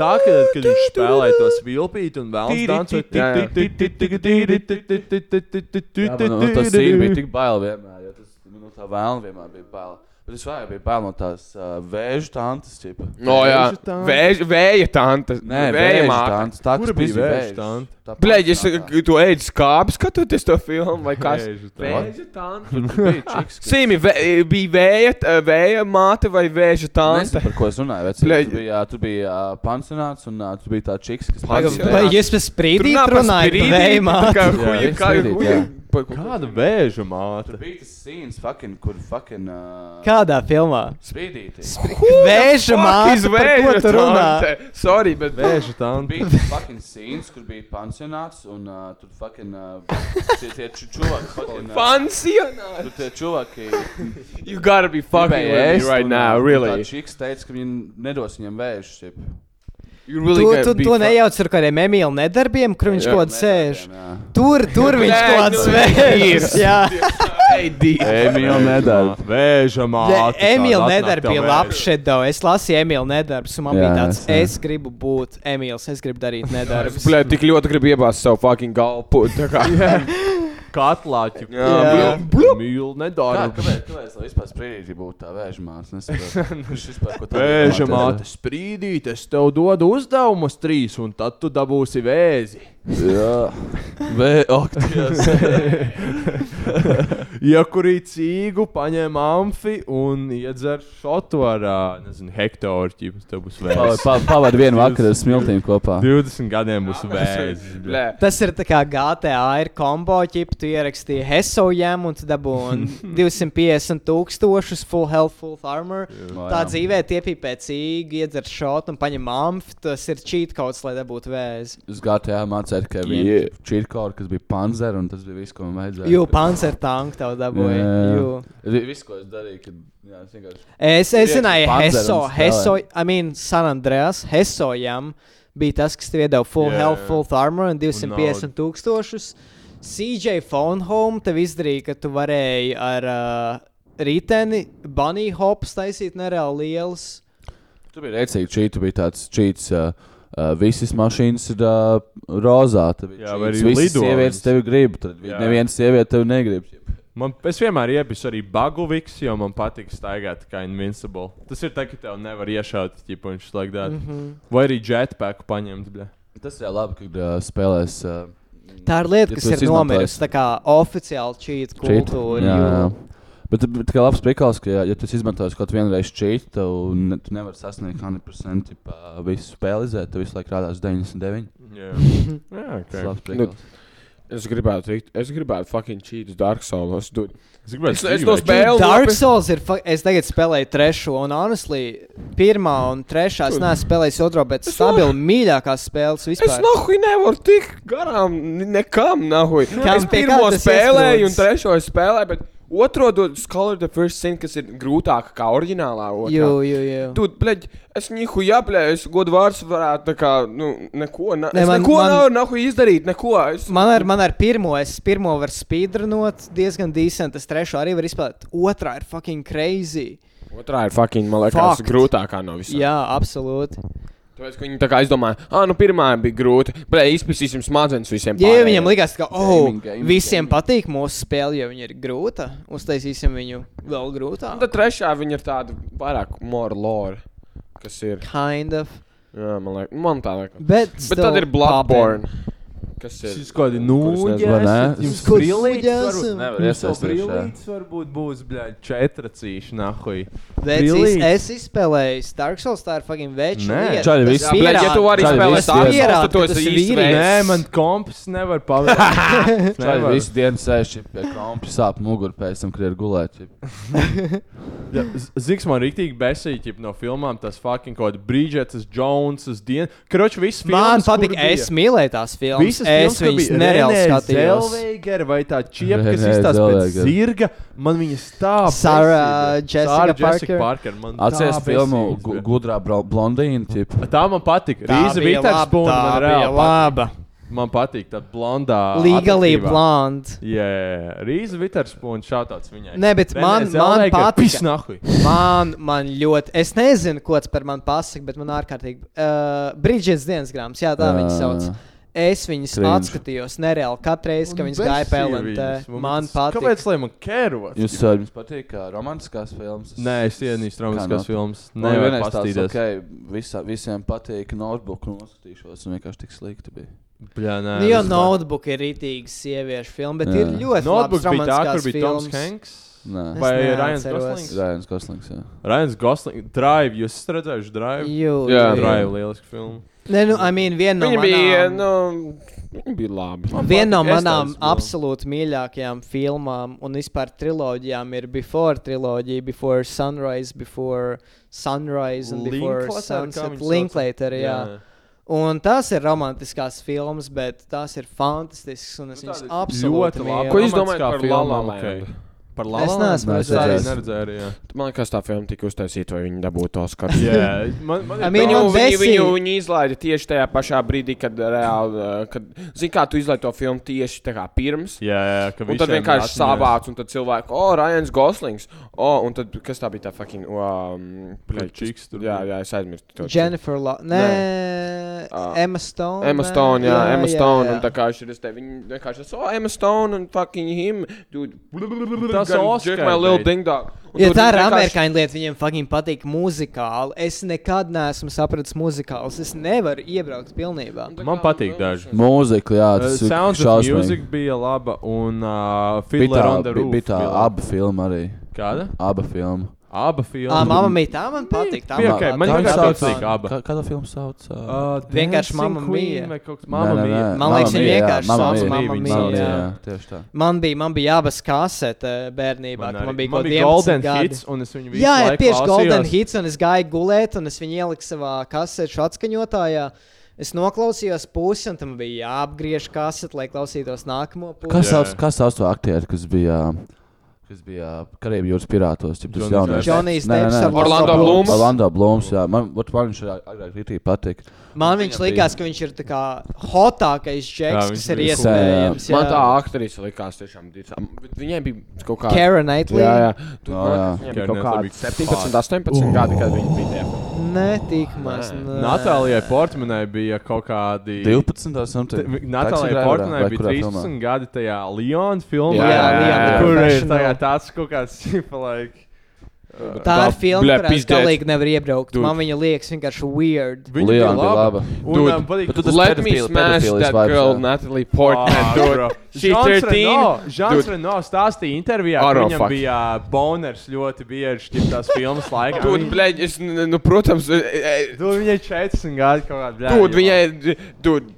Speaker 6: Tā, kad, kad viņš spēlēja to svilpīti un vēl
Speaker 9: Jā, jā.
Speaker 7: Jā, man, nu, tas īri bija
Speaker 6: tādu
Speaker 7: tik bail vienmēr. Jo tas man no tā vēlna vienmēr bija bail. Bet es vēl biju bail no tās uh, vēža tantes. Čipa.
Speaker 9: No jā,
Speaker 6: Vēža tante.
Speaker 9: Vēž, vēja tante.
Speaker 7: Nē,
Speaker 9: vēja
Speaker 7: vēža
Speaker 9: māte.
Speaker 7: tantes. Tā
Speaker 6: Kura
Speaker 7: kas
Speaker 6: bija
Speaker 7: bija
Speaker 6: vēža
Speaker 7: vēža
Speaker 6: tante?
Speaker 7: Tā
Speaker 9: Blēģi, es
Speaker 7: pašā tā.
Speaker 9: tu ēdi skābi, skatoties to filmu, vai kas?
Speaker 6: Vēža tante.
Speaker 9: Vēja tante. Simi, vē- bija vēja, t- vēja māte vai vēja
Speaker 7: Nezinu,
Speaker 9: tante?
Speaker 7: par ko es runāju. Vecīt,
Speaker 9: Blēģi.
Speaker 7: tur bija, tur bija uh, pansionāts un uh, tur bija tā čiks, kas
Speaker 9: Pansionāts?
Speaker 7: Vai,
Speaker 9: Vai
Speaker 7: ja-
Speaker 8: Jūs pēc sprīdīt runājat, veimā.
Speaker 9: Kā
Speaker 7: Jā,
Speaker 9: huja, kā
Speaker 7: sprīdīt,
Speaker 9: huja.
Speaker 7: jā.
Speaker 9: Pa- ko-
Speaker 6: vēža māte.
Speaker 7: Bija tas scenes, fucking, kur fucking uh,
Speaker 8: Kādā filmā?
Speaker 7: sprīdītis.
Speaker 8: Vēža
Speaker 9: Fuck is
Speaker 8: māte, par ko
Speaker 9: vēja
Speaker 8: tu runā?
Speaker 9: tante. Sorry, bet
Speaker 6: Vēža tante.
Speaker 7: Bija tas fucking scenes, kur bija pansionāts un uh, tur fucking uh, tie, tie ču- čuvaki. fucking, uh,
Speaker 9: Pansionāri!
Speaker 7: Tur tie čuvaki.
Speaker 9: You gotta be fucking
Speaker 7: Fucking
Speaker 9: with me right now, really.
Speaker 7: Čiks teica, ka viņi nedos viņam vēžus. jeb.
Speaker 9: You really
Speaker 8: Tu,
Speaker 9: gotta
Speaker 8: tu
Speaker 9: be
Speaker 8: to
Speaker 9: fuck-
Speaker 8: nejauc ar kādiem emīļiem nedarbiem, kur viņš
Speaker 9: Jā,
Speaker 8: kaut kādā sēž.
Speaker 7: Jā.
Speaker 8: Tur, tur viņš
Speaker 9: Nē,
Speaker 8: kaut kāds
Speaker 9: nu,
Speaker 8: vērs. Jā,
Speaker 9: Hey, D.
Speaker 7: Emīļa nedara.
Speaker 6: Vēža māte.
Speaker 8: Emīļa
Speaker 6: tāda atnāk
Speaker 8: nedara
Speaker 6: tev
Speaker 8: bija
Speaker 6: vēža.
Speaker 8: labs šeit, daudz. Es lasīju Emīļa nedarbus, un man
Speaker 7: Jā,
Speaker 8: bija tāds,
Speaker 7: es zinu.
Speaker 8: es gribu būt Emīls, es gribu darīt
Speaker 9: Es
Speaker 8: nedarbus.
Speaker 9: blē, tik ļoti gribu iebāzt savu fucking galvu. Tā kā
Speaker 6: Katlāķi.
Speaker 9: Jā.
Speaker 6: Mīlu
Speaker 7: Kā,
Speaker 6: nedaru.
Speaker 7: kāpēc, kāpēc lai vispār sprīdīgi būtu tā vēža māsa? Nesaprotu. Viņš vispār ko tā
Speaker 6: Vēža māte sprīdīt, es tev dodu uzdevumus trīs, un tad tu dabūsi vēzi.
Speaker 7: Jā. Vē, ok, Dievs.
Speaker 6: Iekurīja cīgu, paņēma amfi un iedzer šotu ar, ā, nezinu, hektāru ķīpus. Tev būs
Speaker 7: Pa-
Speaker 6: vēzi.
Speaker 7: pa- Pavadi vienu vakaru ar smiltīm kopā.
Speaker 6: 20 gadiem būs vēzi.
Speaker 9: blē.
Speaker 8: Tas ir tā kā GTA ir kombo, ķip, tu ierakstīji Hesojam un tu dabūji 250 tūkstošus full health, full armor. Tā dzīvē tiepīpē cīgi, iedzer šot un paņem amf, tas ir cheat codes, lai dabūtu vēzi.
Speaker 7: Uz GTA mācīja, ka
Speaker 9: Yeah.
Speaker 7: bija čirkaura, kas bija panzer, un tas bija viss, ko man vajadzēja.
Speaker 8: Jū, panzer tank tev dabūja.
Speaker 7: Jā.
Speaker 8: Jū.
Speaker 7: Vi- Viss, ko es darīju, kad. Jā, es vienkārši.
Speaker 8: Es, es zināju,
Speaker 7: Panzer un
Speaker 8: Heso,
Speaker 7: spēlē.
Speaker 8: Heso, I mean, San Andreas, Hesojam bija tas, kas tev iedeva full
Speaker 6: Jā,
Speaker 8: yeah. health,
Speaker 6: jā.
Speaker 8: full armor un
Speaker 6: Un
Speaker 8: 250 tūkstošus. CJ Phone Home tev izdarīja, ka tu varēji ar uh, rīteni bunny hops taisīt nereāli liels.
Speaker 7: Tur bija rēcīgi čīts, tur bija tāds čīts. Uh, Uh, visas mašīnas ir uh, rozā. tad bija
Speaker 6: Jā,
Speaker 7: cheats,
Speaker 6: vai arī
Speaker 7: visas
Speaker 6: lido
Speaker 7: sievietes
Speaker 6: viņas.
Speaker 7: tevi grib. Tad vi-
Speaker 6: Jā.
Speaker 7: neviena sieviete tevi negrib.
Speaker 6: Man, es vienmēr iepisu arī Bagoviks, jo man patīk staigāt kā Invincible. Tas ir tā, ka tev nevar iešaut, ja viņš slēdz
Speaker 8: Mhm.
Speaker 6: dārstu. Vai arī jetpacku paņemt. Bļa.
Speaker 7: Tas ir labi, kad uh, spēlēs. Uh,
Speaker 8: Tā ir lieta,
Speaker 7: Ja
Speaker 8: kas
Speaker 7: tu
Speaker 8: ir
Speaker 7: esi
Speaker 8: nomirusi. Tā
Speaker 7: izmantojis.
Speaker 8: kā oficiāli cheat
Speaker 7: cheat.
Speaker 8: kultūra.
Speaker 7: Jā,
Speaker 8: jū.
Speaker 7: jā. Bet bet tā kā labs priekals, ka, ja, ja tu izmantosi kaut kādu reizi čītu, tad ne, tu nevari sasniegt 100% tip, uh, visu spēlizēt. Tu visu laiku rādās 99.
Speaker 6: Jā, Jā
Speaker 7: Tas
Speaker 6: ok.
Speaker 7: ir labs priekals.
Speaker 9: Es gribētu, tikt- es gribētu fucking cheatus Dark Souls. dude.
Speaker 6: Es gribēju
Speaker 9: Es, es
Speaker 6: dzīvēt.
Speaker 9: to spēlu.
Speaker 8: Dark
Speaker 9: nopi-
Speaker 8: Souls ir. fa- Es tagad spēlēju trešo, un honestly, pirmā un trešā es neesmu spēlējis otro, bet stabili mīļākās spēles
Speaker 9: Es
Speaker 8: vispār.
Speaker 9: nahuj nevaru tik garām, ni- nekam nahuj.
Speaker 8: Kam
Speaker 9: Es
Speaker 8: pie
Speaker 9: pirmo
Speaker 8: kā tas
Speaker 9: spēlēju un
Speaker 8: iesprūdis?
Speaker 9: trešo es spēlēju, bet Otro dod Scholar the First Sin, kas ir grūtāka kā oriģinālā. otrā.
Speaker 8: Jū, jū, jū.
Speaker 9: Tur, blēģ, es nihu jāplēju, es godu vārds varētu, tā kā, nu, neko, ne,
Speaker 8: Ne,
Speaker 9: es
Speaker 8: man-
Speaker 9: neko
Speaker 8: man-
Speaker 9: nevaru nahu izdarīt, neko. Es,
Speaker 8: Man ar, man ar pirmo, es pirmo varu spīdrunot, diezgan decent, es trešo arī varu izspēlēt. Otrā ir fucking crazy.
Speaker 9: otrā ir fucking, man liekas,
Speaker 8: Fakt.
Speaker 9: grūtākā no visām.
Speaker 8: Jā, absolūti.
Speaker 9: Tāpēc, ka viņi tā kā aizdomāja, ah, nu pirmā bija grūta, bet izpētīsim smadzenes visiem.
Speaker 8: Ja
Speaker 9: pārējiem."
Speaker 8: viņam likās, ka oh,
Speaker 7: Gaming, gaming,
Speaker 8: visiem patīk mūsu spēle, jo viņa ir grūta, uztaisīsim viņu vēl
Speaker 9: Un
Speaker 8: grūtāku.
Speaker 9: tad trešā viņa ir tāda vairāk more lore, kas ir.
Speaker 8: Kind of.
Speaker 9: Jā, man liekas, man tā liekas.
Speaker 8: Bet,
Speaker 9: Bet tad ir Bloodborne, kas ir.
Speaker 6: Šis kaut kādi
Speaker 7: nezinu, vai
Speaker 6: nūģēs,
Speaker 7: ne?
Speaker 6: jums
Speaker 8: Es-
Speaker 6: krillīts
Speaker 8: Nūģēsim.
Speaker 6: varbūt-
Speaker 7: Nevar
Speaker 6: jums vēl
Speaker 7: iesaistīties, jā.
Speaker 6: krillīts varbūt būs, bļaļ, četracīši, nahuj.
Speaker 8: Vecīs,
Speaker 6: Krillīts.
Speaker 8: es izspēlēju Dark Souls, tā ir fucking veča.
Speaker 6: Nē.
Speaker 8: lieta.
Speaker 7: Čaļi,
Speaker 8: Tas
Speaker 7: viss.
Speaker 9: Jā, blē, ja tu vari
Speaker 7: Čaļi,
Speaker 9: spēlēt
Speaker 7: viss
Speaker 9: tādu
Speaker 8: pierāda,
Speaker 9: spēku,
Speaker 8: ka
Speaker 9: tad
Speaker 8: tas
Speaker 9: tas
Speaker 8: ir
Speaker 9: ir
Speaker 8: vīrietis.
Speaker 6: Nē, man
Speaker 9: īstenībā.
Speaker 6: komps nevar pavērst.
Speaker 7: Čaļi
Speaker 6: Nevar.
Speaker 7: visu dienu sēž pie kompa, sāp muguru pēc tam, kad ir gulēt. čip.
Speaker 6: Ja, Z- Ziks man rīktīgi besīķi no filmām, tas fucking kaut kāds Bridžets, Jones, Dien. Kroč, viss
Speaker 8: Man
Speaker 6: filmas,
Speaker 8: patīk,
Speaker 6: kur bija.
Speaker 8: es mīlēju tās filmas.
Speaker 6: Visas
Speaker 8: Es viņas nereāli skatījos.
Speaker 6: Zelveiger vai tā čiep, kas
Speaker 7: Renē
Speaker 6: izstās pēc
Speaker 7: Zellweger.
Speaker 6: zirga, man viņa stāv.
Speaker 8: Sarah uh,
Speaker 6: besīga.
Speaker 8: Jessica
Speaker 6: Sarah
Speaker 8: Parker.
Speaker 6: Parker. man tā
Speaker 7: Atceries filmu
Speaker 6: besīga.
Speaker 7: gu- Gudrā bro- blondīna. čip.
Speaker 6: Tā man patīk. Rīza Viterspūna man reāli patīk.
Speaker 8: laba.
Speaker 6: Man patīk tā blondā.
Speaker 8: Legally
Speaker 6: atraktīvā.
Speaker 8: blonde.
Speaker 6: Jā, jā, jā. Rīza Viterspūna šātāts viņai.
Speaker 8: Nē, bet
Speaker 6: Renē
Speaker 8: man- man
Speaker 6: Zellweger,
Speaker 8: patika.
Speaker 6: Pis nahuj.
Speaker 8: Man, man ļoti, es nezinu, ko tas par mani pasaka, bet man ārkārtīgi. Uh, Bridžets dienas grāmatas, jā, tā uh, viņas sauc.
Speaker 7: Ā.
Speaker 8: Es viņas
Speaker 7: Cringe.
Speaker 8: atskatījos nereāli katru reizi, kad viņas gāja
Speaker 6: Besīja
Speaker 8: PLNT.
Speaker 6: viņas.
Speaker 8: Man
Speaker 6: Kāpēc,
Speaker 8: patīk.
Speaker 6: lai man kērot?
Speaker 7: Jums, ā, uh, jums patīk ā, romantiskās filmas?
Speaker 6: Nē, es ienīstu romantiskās
Speaker 7: Kā nav?
Speaker 6: filmas. Nē,
Speaker 7: Nē,
Speaker 6: vai
Speaker 7: vienais tāds,
Speaker 6: pastīties.
Speaker 7: ok, visā, visiem patīk notebook, un noskatīšos, un vienkārši tik slikti bija.
Speaker 6: Bļā, nē.
Speaker 8: Nu, jo
Speaker 6: vispār.
Speaker 8: notebook ir rītīga sieviešu filma, bet
Speaker 7: Jā.
Speaker 8: ir ļoti
Speaker 6: Notebook bija tā, kur
Speaker 8: labs
Speaker 6: bija Toms
Speaker 8: romantisks.
Speaker 6: Hanks.
Speaker 7: Nē.
Speaker 8: Es
Speaker 6: Vai Ryan
Speaker 8: neatceros.
Speaker 6: Goslings?
Speaker 7: Rājans Goslings, jā.
Speaker 6: Ryan Goslings, Drive. Jūs esat redzējuši Drive?
Speaker 8: Jā,
Speaker 9: Jā,
Speaker 6: Drive, lieliski filma.
Speaker 8: Nē, nu, I mean, viena no
Speaker 9: Viņa bija,
Speaker 8: manām-
Speaker 9: nu, viņa bija labi.
Speaker 8: Viena no
Speaker 6: patīk. Es
Speaker 8: manām
Speaker 6: tās vēl.
Speaker 8: absolūti mīļākajām filmām un vispār trilogijām ir Before triloģija, Before Sunrise, Before Sunrise un Before Sunset. Linklater, jā. jā. Un tās ir romantiskās filmas, bet tās ir fantastiskas un es viņas
Speaker 6: Ļoti
Speaker 8: absolūti
Speaker 6: labi.
Speaker 8: mīlu.
Speaker 9: Nu, Ko jūs domājat
Speaker 6: Romantiskā
Speaker 9: par
Speaker 6: filma,
Speaker 9: La La
Speaker 6: ok.
Speaker 9: Land?
Speaker 6: Par
Speaker 8: Es
Speaker 6: Lalalandu?
Speaker 8: neesmu
Speaker 6: Es arī
Speaker 7: redzējis.
Speaker 6: neredzēju. arī, jā.
Speaker 9: Man liekas, tā filma tika uztaisīta, vai viņa dabūtu Oskaru.
Speaker 6: Jā, man, man
Speaker 8: I
Speaker 6: ir tā-
Speaker 8: mean,
Speaker 9: Viņu,
Speaker 8: un
Speaker 9: viņu,
Speaker 8: Besī-
Speaker 9: viņu, viņu izlaida tieši tajā pašā brīdī, kad reāli, eh, kad, zini, kā tu izlaidi to filmu tieši tā kā pirms.
Speaker 6: Jā, jā, ka
Speaker 9: Un
Speaker 6: visiem
Speaker 9: tad
Speaker 6: ir
Speaker 9: vienkārši
Speaker 6: atmiņā.
Speaker 9: savāc, un tad cilvēki, oh, Ryan Goslings, oh, un tad kas tā bija tā fucking. Um,
Speaker 6: Tur čiks tur
Speaker 9: Jā,
Speaker 6: bija.
Speaker 9: jā, es aizmirsu. to.
Speaker 8: Jennifer Lo... Nē,
Speaker 9: Ā.
Speaker 8: Emma Stone.
Speaker 9: Emma
Speaker 8: vai?
Speaker 9: Stone, jā, Emma Stone.
Speaker 8: jā.
Speaker 9: un Tā kā viņš ir. Viņa vienkārši ir. Oh, Emma Stone un fucking him. Dude,
Speaker 6: Tas Oscar
Speaker 9: my little
Speaker 6: bait.
Speaker 9: ding dong. Un
Speaker 8: Ja
Speaker 9: tur
Speaker 8: tā ir
Speaker 9: vienkārši-
Speaker 8: amerikāņu lieta, viņiem fucking patīk muzikāli. Es nekad neesmu sapratis muzikālus. Es nevaru iebraukt pilnībā.
Speaker 9: un tā
Speaker 6: Man
Speaker 9: kā,
Speaker 6: patīk
Speaker 9: nu,
Speaker 6: daži.
Speaker 7: Mūzika, jā,
Speaker 6: Uh,
Speaker 7: tas
Speaker 6: Sounds
Speaker 7: ir
Speaker 6: of
Speaker 7: šausmīgi.
Speaker 6: Music bija laba un uh,
Speaker 7: Bija
Speaker 6: Fiddler on the
Speaker 7: tā,
Speaker 6: Roof.
Speaker 7: bija tā
Speaker 6: bija laba.
Speaker 7: abi filma arī.
Speaker 6: Kāda?
Speaker 7: Aba filma.
Speaker 6: Aba filma.
Speaker 8: Ah, mamma mīja, tā man patīk. Tā
Speaker 6: bija
Speaker 8: man
Speaker 6: ok,
Speaker 8: patīk.
Speaker 6: man
Speaker 7: Kā
Speaker 6: vienkārši
Speaker 7: sauc?
Speaker 6: patīk abi.
Speaker 7: Kā- Kāda filma sauc? ā?
Speaker 6: Uh,
Speaker 8: Vienkārši
Speaker 6: Dancing
Speaker 8: Mamma
Speaker 6: Queen
Speaker 8: Mia.
Speaker 6: vai kaut kas-
Speaker 7: Nē,
Speaker 6: Mamma
Speaker 7: nē,
Speaker 6: Mia.
Speaker 7: nē,
Speaker 8: Man
Speaker 7: Mamma
Speaker 8: liekas, viņa
Speaker 7: Mia, jā,
Speaker 8: vienkārši
Speaker 7: Mamma
Speaker 8: sauc
Speaker 7: Mia,
Speaker 8: Mamma
Speaker 7: viņa
Speaker 8: Mia,
Speaker 7: sauc,
Speaker 8: jā.
Speaker 7: Tieši tā.
Speaker 8: Man bija, man bija jābas kasete bērnībā,
Speaker 6: Man
Speaker 8: kad man
Speaker 6: arī.
Speaker 8: bija
Speaker 6: Man
Speaker 8: kaut
Speaker 6: bija
Speaker 8: kāda
Speaker 6: Golden Hits, un es viņu visu
Speaker 8: Jā, jā
Speaker 6: laiku
Speaker 8: tieši Golden
Speaker 6: klausījos.
Speaker 8: Hits, un es gāju gulēt, un es viņu ieliku savā kasešu atskaņotājā. Es noklausījos pusi, un tam bija jāapgriež kasete, lai klausītos nākamo
Speaker 7: Kas
Speaker 8: pusi.
Speaker 6: Jā.
Speaker 7: sauc, kas sauc to aktieru, kas bija, kas bija Karību jūras pirātos? Jeb,
Speaker 6: Johnny
Speaker 7: tas
Speaker 6: Depp.
Speaker 7: jaunais.
Speaker 8: Johnny's
Speaker 7: Nē, nē,
Speaker 8: Depps
Speaker 7: nē.
Speaker 8: ar
Speaker 9: Orlando Bloom. Blooms.
Speaker 7: Orlando Blooms, jā. Man, vat man viņš ir agrāk rītīgi patīk.
Speaker 8: Man viņš
Speaker 7: Viņam
Speaker 8: likās, ka viņš ir tā kā hotākais
Speaker 6: Jā,
Speaker 8: džeks,
Speaker 6: viņš
Speaker 8: kas ir
Speaker 6: bija
Speaker 8: iespējams.
Speaker 9: Man
Speaker 8: jā.
Speaker 9: tā aktrise likās tiešām. dīvaina. Bet Viņai bija kaut kāda.
Speaker 8: Kara Knightley.
Speaker 9: Jā, jā. Tur
Speaker 7: Jā, jā.
Speaker 9: bija kaut
Speaker 6: Karen Knightley
Speaker 9: kāda
Speaker 6: bija
Speaker 9: 17, 18 gadi, kad viņa bija. tajā filmā.
Speaker 8: Nē, tik maz. nē.
Speaker 6: Natālijai Portmanai bija kaut kādi.
Speaker 7: 12. vai something.
Speaker 6: Natālijai Portmanai bija 13 gadi tajā Leonas filmā,
Speaker 9: Jā, Jā, jā,
Speaker 8: Leon jā.
Speaker 6: kur ir
Speaker 8: Professional.
Speaker 6: tagad tāds kaut kāds simpālāk.
Speaker 8: Tā ir filma,
Speaker 9: Bļā,
Speaker 8: kurā es
Speaker 9: pizdēts.
Speaker 8: galīgi nevar iebraukt.
Speaker 9: Dude.
Speaker 8: Man viņa liekas vienkārši weird.
Speaker 6: Viņa
Speaker 7: Leon
Speaker 6: bija
Speaker 7: bija
Speaker 6: laba.
Speaker 7: laba.
Speaker 6: Un
Speaker 9: Dude,
Speaker 6: man patīk, Ah,
Speaker 7: bet tu tas
Speaker 9: Let me
Speaker 7: pedofili-
Speaker 9: smash
Speaker 7: pedofilijas
Speaker 9: that
Speaker 7: vibes,
Speaker 9: girl,
Speaker 7: jā.
Speaker 9: Natalie Portman. dude. She
Speaker 6: Žans
Speaker 9: 13.
Speaker 6: Reno, Žans
Speaker 9: Dude.
Speaker 6: Reno stāstīja intervijā,
Speaker 9: Aro,
Speaker 6: ka viņam
Speaker 9: fuck.
Speaker 6: bija uh, boners ļoti bieži, ja tās filmas laikā.
Speaker 9: Dude,
Speaker 6: Viņa-
Speaker 9: blēģ, es, n- nu, protams, e- e-
Speaker 6: Dude, Viņai 14 gadi kaut kādā veidā.
Speaker 9: dude, viņai, d- dude,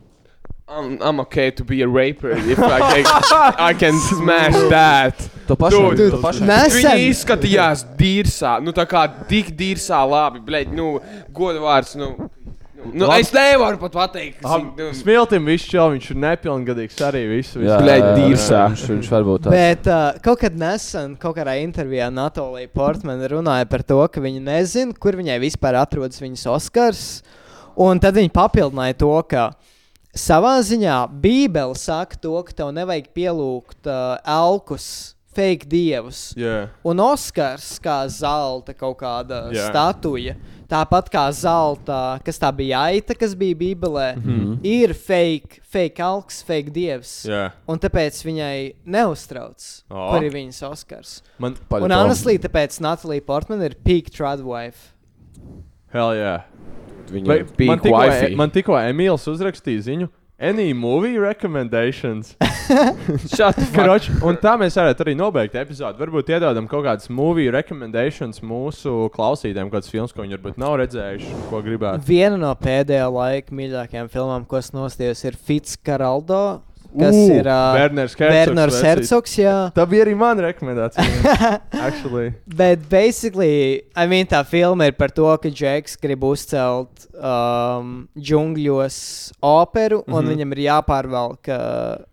Speaker 9: I'm, I'm okay to be a raper if I can, I can smash that.
Speaker 7: To pašu.
Speaker 9: Dude.
Speaker 7: To pašu.
Speaker 9: Viņa
Speaker 8: Nesen
Speaker 9: izskatījās dīrsā, nu tā kā tik dīrsā labi, blēģ, nu, godvārds, nu. nu, Nu,
Speaker 6: Labi.
Speaker 9: es nevaru pat pateikt, nu, kas
Speaker 6: Smiltim viss čau, viņš ir nepilngadīgs arī visu. visu.
Speaker 9: Bļaļ, dīrsā.
Speaker 7: Viņš, viņš varbūt tāds.
Speaker 8: Bet uh, kaut kad nesen, kaut kādā intervijā Natālija Portmana runāja par to, ka viņa nezina, kur viņai vispār atrodas viņas Oskars. Un tad viņa papildināja to, ka savā ziņā Bībele saka to, ka tev nevajag pielūgt uh, elkus, fake dievus.
Speaker 6: Jā.
Speaker 8: Un Oskars kā zelta kaut kāda
Speaker 6: Jā.
Speaker 8: yeah. statuja, tāpat kā zelta, kas tā bija aita, kas bija Bībelē, mm -hmm. ir fake, fake alks, fake dievs.
Speaker 6: Mhm. Jā.
Speaker 8: Un tāpēc viņai neuztrauc,
Speaker 6: O.
Speaker 8: oh. kur ir viņas Oskars.
Speaker 6: Man,
Speaker 8: Un honestly, tāpēc Natālija Portmana ir peak tradwife.
Speaker 6: hell yeah.
Speaker 9: Viņa
Speaker 6: Vai, man tikko e- man tikko Emīls uzrakstīja ziņu. Any movie recommendations?
Speaker 9: Šādi
Speaker 6: Kroč, un tā mēs varētu arī nobeigt epizodi. Varbūt iedodam kaut kādas movie recommendations mūsu klausītājiem, kādas filmas, ko viņi varbūt nav redzējuši, ko gribētu.
Speaker 8: Viena no pēdējā laika mīļākajām filmām, ko esmu nostājis, ir Fitzgeraldo, kas
Speaker 6: Ū,
Speaker 8: ir uh,
Speaker 6: Werners Herzogs
Speaker 8: Werners
Speaker 6: versija.
Speaker 8: Herzogs. jā.
Speaker 6: Tā bija arī mana rekomendācija. Actually.
Speaker 8: Bet basically, I mean, tā filma ir par to, ka Džeks grib uzcelt um, džungļos operu, un mm -hmm. viņam ir jāpārvelk uh,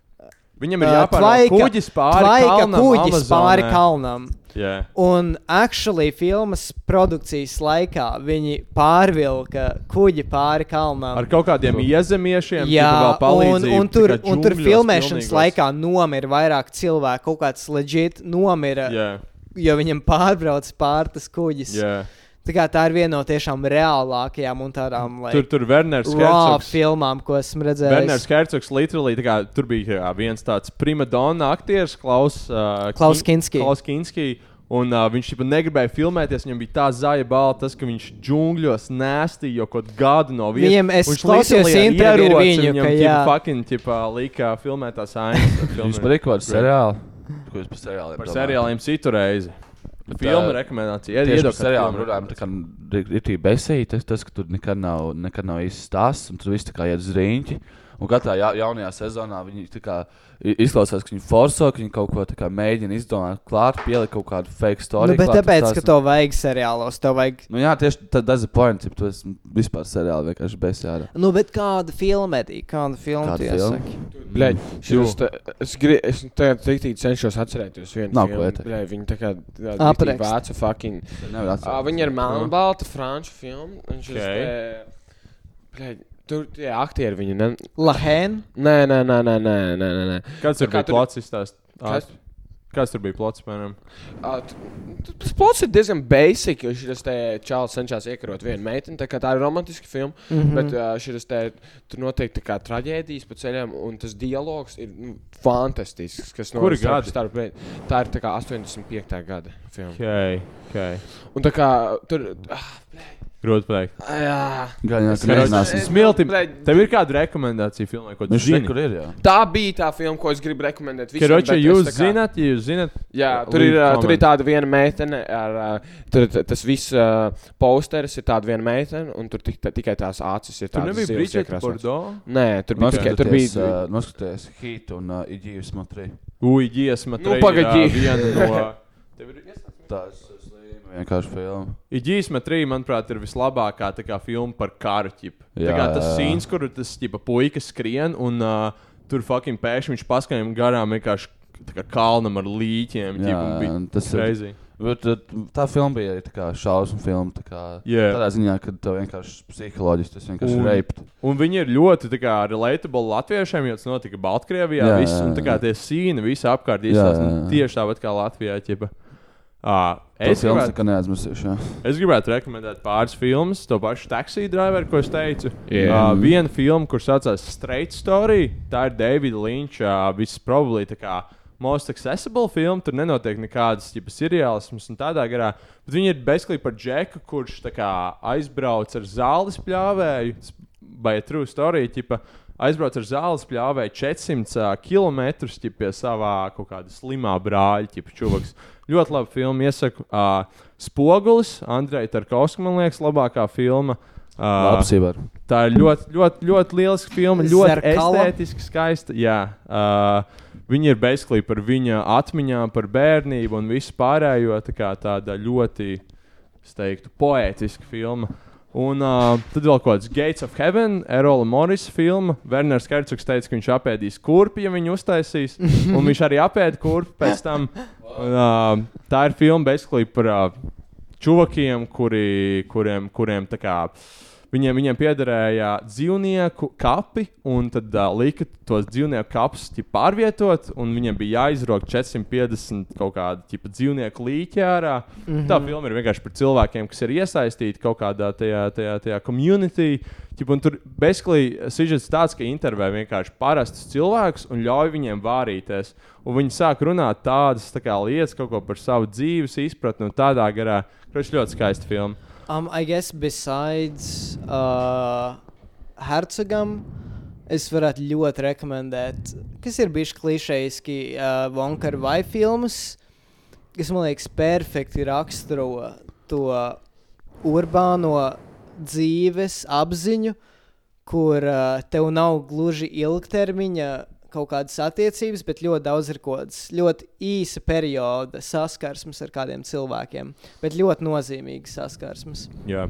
Speaker 6: Mhm. Viņam ir
Speaker 8: uh,
Speaker 6: jāpārāk kuģis pāri
Speaker 8: tvaika
Speaker 6: kalnam.
Speaker 8: kuģis pāri
Speaker 6: Amazonē.
Speaker 8: kalnam.
Speaker 6: Jā.
Speaker 8: Un actually filmas produkcijas laikā viņi pārvilka kuģi pāri kalnam.
Speaker 6: Ar kaut kādiem iezemiešiem,
Speaker 8: Jā, un,
Speaker 6: palīdzību,
Speaker 8: un, tur,
Speaker 6: tikai
Speaker 8: un tur
Speaker 6: džungļos
Speaker 8: filmēšanas
Speaker 6: pilnīgos.
Speaker 8: laikā nomira vairāk cilvēku. Kaut kāds leģit nomira,
Speaker 6: Jā,
Speaker 8: jo viņam pārbrauc pāri tas kuģis.
Speaker 6: jā.
Speaker 8: Tā, kā, tā ir viena no tiešām reālākajām un tādām
Speaker 6: Tur,
Speaker 8: like,
Speaker 6: tur Werners
Speaker 8: raw
Speaker 6: Herzogs.
Speaker 8: filmām, ko esmu
Speaker 6: Berners
Speaker 8: redzējis.
Speaker 6: Hercogs literally, tā kā, tur bija tā kā, viens tāds primadona aktieris, Klaus, uh,
Speaker 8: Klaus Kinski.
Speaker 6: Klaus Kinski. Un uh, viņš jau negribēja filmēties. Viņam bija tā zaļa balva, tas, ka viņš džungļos nēstīja jau kaut kādu no vietas.
Speaker 8: Viņam- es
Speaker 6: Un viņš
Speaker 8: klausījos
Speaker 6: literally ar
Speaker 8: interviju ar
Speaker 6: ieroci
Speaker 8: viņu,
Speaker 6: Viņam
Speaker 8: ka
Speaker 6: ķipa
Speaker 8: jā.
Speaker 6: fucking ķipa, lika filmēt tās
Speaker 7: Jums
Speaker 6: ainas.
Speaker 7: patīk kaut kāds seriāls? Ko jūs par seriāliem?
Speaker 6: Par
Speaker 7: domājat? Nu,
Speaker 6: seriāliem citu reizi. Filmu rekomendācija.
Speaker 7: Tieši par
Speaker 6: Iedod
Speaker 7: seriāliem runājam, tā kā nu, ir tik besīga, tas, tas, ka tur nekad nav, nekad nav īsts stāsts, un tur viss tā kā iet uz rīņķi. Un katrā ja, jaunajā sezonā viņi tā kā i- izklausās, ka viņi forso, ka viņi kaut ko tā kā mēģina izdomāt, klāt, pielikt kaut kādu fake
Speaker 8: Nu,
Speaker 7: story.
Speaker 8: bet
Speaker 7: klāt,
Speaker 8: tāpēc,
Speaker 7: tās-
Speaker 8: ka to vajag seriālos, to vajag.
Speaker 7: Nu, jā, tieši tā, tas ir points, ja tu esi vispār seriāli vienkārši besīga.
Speaker 8: Nu, bet kāda filma ir? Kāda filma
Speaker 7: Kāda
Speaker 8: tu
Speaker 7: filma?
Speaker 8: iesaki?
Speaker 9: Bļaļ, šis te- es gri- es tagad tiktīgi cenšos atcerēties vienu
Speaker 7: Nav ko
Speaker 9: filmu.
Speaker 7: ieteikt.
Speaker 9: Bļaļ, viņa tā kā
Speaker 8: Apraksti.
Speaker 9: tāda vāca fucking.
Speaker 6: Ah,
Speaker 9: Ā, Viņa ir melnbalta, franču filma. un šis
Speaker 6: Okei.
Speaker 9: te- Bļaļ, Tur tie aktieri, viņi. ne-
Speaker 8: Lahēna.
Speaker 9: Nē, nē, nē, nē, nē, nē, nē, nē.
Speaker 6: Kāds tur
Speaker 9: Tā kā
Speaker 6: bija
Speaker 9: tur-
Speaker 6: plots? izstāst?
Speaker 9: Kas?
Speaker 6: Ā, Kāds tur bija plots? piemēram?
Speaker 9: Ā, t- Tas plots ir diezgan basic, jo šis te čels cenšas iekarot vienu meiteni. Tā, kā tā ir romantiska filma, mm -hmm. bet ā, šis te tur notiek tā kā traģēdijas pa ceļam, un tas dialogs ir nu, fantastisks. Kas
Speaker 6: Kuri
Speaker 9: notiek starp-
Speaker 6: gadi?
Speaker 9: starp mei- Tā ir tā kā 85. gada filma. Okay.
Speaker 6: Okay, okay.
Speaker 9: Un tā kā tur. ah,
Speaker 6: Grūti pateikt.
Speaker 9: Jā,
Speaker 7: Gan jau tur
Speaker 6: Karoči,
Speaker 7: nezināsim.
Speaker 6: Smiltim,
Speaker 9: Blēģ.
Speaker 6: tev ir kāda rekomendācija filmai,
Speaker 9: Nu,
Speaker 6: ko tu
Speaker 7: Viņš zina,
Speaker 6: zini?
Speaker 7: kur ir. Jā.
Speaker 9: tā bija tā filma, ko es gribu rekomendēt. visiem,
Speaker 6: Karoči,
Speaker 9: bet es
Speaker 6: jūs
Speaker 9: tā kā-
Speaker 6: zināt, ja jūs zināt,
Speaker 9: Jā,
Speaker 6: Leave
Speaker 9: tur ir, uh, tur ir
Speaker 6: comment.
Speaker 9: tāda viena meitene, ar, uh, tur, ir t- tas viss uh, posteris ir tāda viena meitene, un tur tik, tā, tikai tās acis ir
Speaker 6: tur
Speaker 9: tādas.
Speaker 6: nebija
Speaker 9: zivs
Speaker 6: Bridžeta
Speaker 9: iekrāsās.
Speaker 6: Bordeaux.
Speaker 9: Nē, tur bija tikai
Speaker 7: Noskaties,
Speaker 9: tur bija.
Speaker 7: uh, noskaties Heat un uh, Igijas Matri.
Speaker 6: Ui, dziesma.
Speaker 9: Nu, pagaidi.
Speaker 6: Viena no.
Speaker 7: Tas ir slims, vienkārši filma.
Speaker 6: Iģīsma 3, manuprāt, ir vislabākā tā kā, filma par kartiņu.
Speaker 7: Jā,
Speaker 6: Tā kā tas
Speaker 7: jā, jā.
Speaker 6: sīns, kur tas ķipa, puika skrien un uh, tur fucking pēkšņi viņš paskaņojam garām vienkārši tā kā kalnam ar līķiem.
Speaker 7: Jā,
Speaker 6: Ķipa, un bija
Speaker 7: tas ir-
Speaker 6: crazy.
Speaker 7: Bet, uh, tā filma bija arī tā kā šausmu filma. Tā kā,
Speaker 6: Jā.
Speaker 7: Tādā ziņā, ka tev vienkārši psiholoģiski tas vienkārši
Speaker 6: Un-
Speaker 7: ir reipt.
Speaker 6: Un viņi ir ļoti tā kā, relatable latviešiem, jo tas notika Baltkrievijā.
Speaker 7: Jā,
Speaker 6: Jā, viss,
Speaker 7: jā,
Speaker 6: un tā kā
Speaker 7: jā.
Speaker 6: tie sīni visi apkārt
Speaker 7: Jā, jā,
Speaker 6: izstāsta nu,
Speaker 7: jā.
Speaker 6: tieši tāpat kā Latvijā. Ķipa. À,
Speaker 7: Es
Speaker 6: es,
Speaker 7: jau tādu
Speaker 6: gribētu,
Speaker 7: kā neaizmirsīšu. jā.
Speaker 6: es gribētu rekomendēt pāris filmas, to pašu taxi driveru, ko es teicu.
Speaker 9: Jā.
Speaker 6: Uh, viena filma, kur saucās Straight Story, tā ir Davida Linča uh, visprobably tā kā most accessible filma. Tur nenotiek nekādas tipas seriālismas un tādā garā. Bet viņi ir bezklīgi par džeku, kurš tā kā aizbrauc ar zāles pļāvēju, s- vai true story, tipa. Aizbrauc ar zāles pļāvēju 400 km pie savā kaut kāda slimā brāļa, tipa čūvaks. Ļoti labi filma. Iesaku uh, Spogulis, Andrejs Tarkovskis, man liekas, labākā filma. Ā,
Speaker 7: Labs Ivar.
Speaker 6: Tā ir ļoti, ļoti, ļoti liela filma. Ļoti
Speaker 8: Zerkala.
Speaker 6: estētiski skaista. Jā, uh, viņa ir bezsklīgi par viņa atmiņām, par bērnību un visu pārējo. Tā kā tāda ļoti, es teiktu, poētiska filma. Un uh, tad vēl kaut kāds Gates of Heaven, Erola Morris filma. Werners Kerčuks teica, ka viņš apēdīs kurpi, ja viņu uztaisīs. Un viņš arī apēda kurpi pēc tam. Un, uh, tā ir filma basically par uh, čuvakiem, kuri, kuriem, kuriem tā kā. Viņiem, viņiem piederēja dzīvnieku kapi, un tad uh, lika tos dzīvnieku kapus ķip, pārvietot, un viņiem bija jāizrok 450 kaut kāda tipa dzīvnieku līķa ārā. Mm -hmm. Tā filma ir vienkārši par cilvēkiem, kas ir iesaistīti kaut kādā tajā, tajā, tajā community. Ķip, un tur bezklīgi sižets tāds, ka intervē vienkārši parastus cilvēkus un ļauj viņiem vārīties. Un viņi sāk runāt tādas tā kā, lietas, kaut ko par savu dzīves izpratni un tādā garā. Tas ļoti skaisti filma.
Speaker 8: Um, I guess besides uh, Hercogam, es varētu ļoti rekomendēt, kas ir bijis klišejiski uh, Vonkara vai filmas, kas man liekas perfekti raksturo to urbāno dzīves apziņu, kur uh, tev nav gluži ilgtermiņa kaut kādas attiecības, bet ļoti daudz ir kaut kādas ļoti īsa perioda saskarsmes ar kādiem cilvēkiem, bet ļoti nozīmīgas saskarsmes.
Speaker 6: Jā.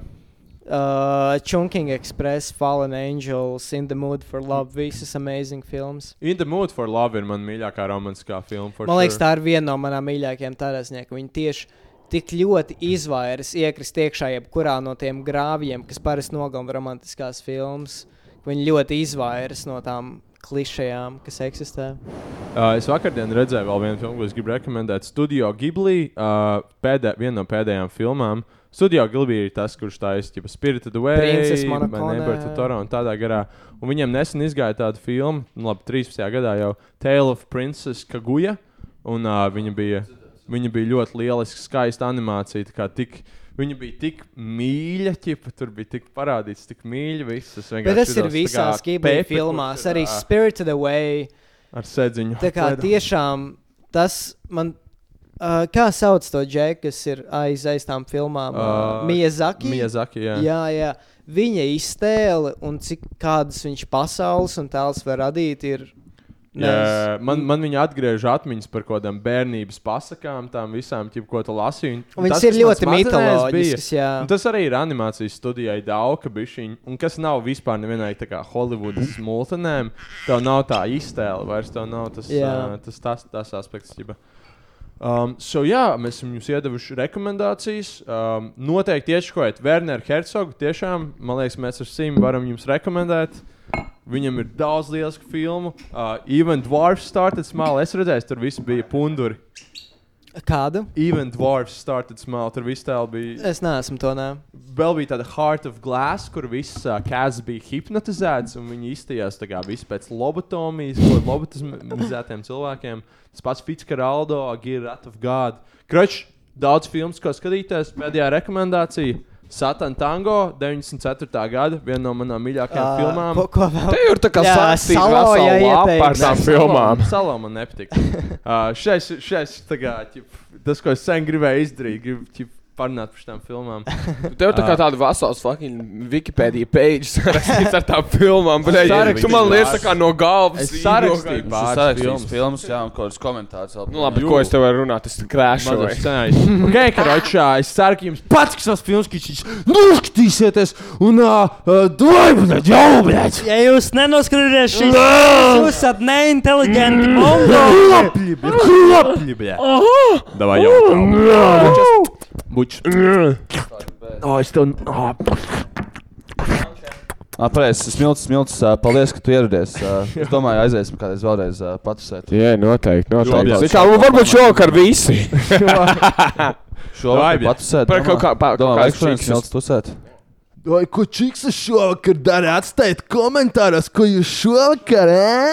Speaker 8: Uh, Chunking Express, Fallen Angels, In the Mood for
Speaker 6: Mm.
Speaker 8: Love, visas amazing filmas.
Speaker 6: In the Mood for Love ir mana mīļākā romantiskā filma. for
Speaker 8: Man liekas,
Speaker 6: sure.
Speaker 8: tā ir viena no manām mīļākajām tērēsniekiem. Viņa tieši tik ļoti izvairās iekrist iekšā jebkurā no tiem grāvjiem, kas parasti nogalina romantiskās filmas. Viņa ļoti izvairās no tām klišejām, kas eksistē.
Speaker 6: Uh, es vakardien redzēju vēl vienu filmu, ko es gribu rekomendēt. Studio Ghibli, uh, pēdē, viena no pēdējām filmām. Studio Ghibli ir tas, kurš taisa tipa Spirited Away,
Speaker 8: Princess Mononoke.
Speaker 6: Neberta Toro un tādā garā. Un viņiem nesen izgāja tāda filma, nu labi, 13. gadā jau Tale of Princess Kaguja. Un uh, viņa, bija, viņa bija ļoti lieliska, skaista animācija. tā kā Tik, viņa bija tik mīļa, ķipa, tur bija tik parādīts, tik mīļa. Visas,
Speaker 8: Bet tas ir visās Ghibli filmās, arī Spirited Away.
Speaker 6: ar sēdziņu.
Speaker 8: Tā kā tiešām tas man. Uh, kā sauc to džeku, kas ir aiz aiz tām filmām? Uh,
Speaker 6: Ā,
Speaker 8: Miyazaki.
Speaker 6: Miyazaki, jā.
Speaker 8: jā, jā. Viņa iztēle un cik kādas viņš pasaules un tēls var radīt, ir.
Speaker 6: Jā, man, man viņa atgriež atmiņas par kaut kādām bērnības pasakām, tām visām, ķip, ko tu lasīji. Un
Speaker 8: Viņas
Speaker 6: tas,
Speaker 8: ir
Speaker 6: kas man
Speaker 8: ļoti
Speaker 6: smadzenēs bija-
Speaker 8: mitoloģiskas, jā.
Speaker 6: un Tas arī ir animācijas studijai Dauka bišķiņ, un kas nav vispār nevienai tā kā Hollywoodas multinēm. Tev nav tā iztēle, vairs tev nav tas,
Speaker 8: Jā.
Speaker 6: uh, tas, tas, tas aspekts. Ķipa. Um, so, jā, mēs esam jums iedevuši rekomendācijas. Um, noteikti ieškojiet Werneru Hercogu. Tiešām, man liekas, mēs ar Simu varam jums rekomendēt. Viņam ir daudz lielisku filmu. Uh, Even Dwarfs started small. Es redzēju, tur viss bija punduri.
Speaker 8: Kādu?
Speaker 6: Even Dwarfs started small. Tur viss tēl bija.
Speaker 8: Es neesmu to nē.
Speaker 6: Vēl bija tāda Heart of Glass, kur viss uh, kāds bija hipnotizēts, un viņi iztījās tā kā viss pēc lobotomijas, ko lobotomizētiem cilvēkiem. Tas pats Fitzgeraldo, Girat of God. Kroč, daudz filmas, ko skatīties. Pēdējā rekomendācija - Satan Tango, 94. gada, viena no manām mīļākajām uh, filmām.
Speaker 8: ko, ko vēl?
Speaker 9: Te jau ir tā kā
Speaker 8: Jā,
Speaker 9: sāpīgi
Speaker 8: Salo,
Speaker 9: vesela
Speaker 8: jā,
Speaker 9: lapa ar
Speaker 8: ieteikts.
Speaker 9: tām filmām.
Speaker 6: Salām man nepatīk. Uh, šais, šais, tā kā, ķip, tas, ko es sen gribēju izdarīt, gribu ķip, parunāt par šīm filmām.
Speaker 9: Tev tā kā tāda vesels fucking Wikipedia page sarakstīts ar tām filmām, bļaļ.
Speaker 6: Sarakstīts.
Speaker 9: Tu man liekas tā kā no galvas.
Speaker 6: Es
Speaker 9: īro-
Speaker 6: sarakstīju
Speaker 7: Es
Speaker 6: pāris
Speaker 7: sarakstīju
Speaker 6: filmas.
Speaker 7: filmas, jā, un kaut kāds komentārs vēl.
Speaker 9: Nu labi, ko es tev varu runāt, es krāšoju.
Speaker 6: Okay, karočā, es ceru, ka jums patiks tas filmas, ka viņš noskatīsieties un dabūjāt jau, blēķi!
Speaker 10: Ja jūs nenoskatāties šīs filmas, jūs esat neinteliģenti.
Speaker 6: Mm.
Speaker 10: mongo.
Speaker 6: Klapļi, klapļi, blēķi! Davai jau! Buč! O, es tev... o,
Speaker 7: Apreiz, smilts, smilts, ā, paldies, ka tu ieradies. ā. Es domāju, aiziesim kādreiz vēlreiz ā, patusēt.
Speaker 9: Jā, noteikti.
Speaker 6: noteikti.
Speaker 9: noteikti. Kā, nu, varbūt šovakar visi.
Speaker 7: Šo
Speaker 6: Vai,
Speaker 7: vajag
Speaker 6: bija.
Speaker 7: patusēt.
Speaker 9: Par kaut kā- par kaut
Speaker 7: Domāju,
Speaker 9: kāds
Speaker 7: vajag šodien
Speaker 9: čiks.
Speaker 7: smilts tusēt.
Speaker 11: Vai ko Čiks šovakar dara? Atstājiet komentāros, ko jūs šovakar, eh?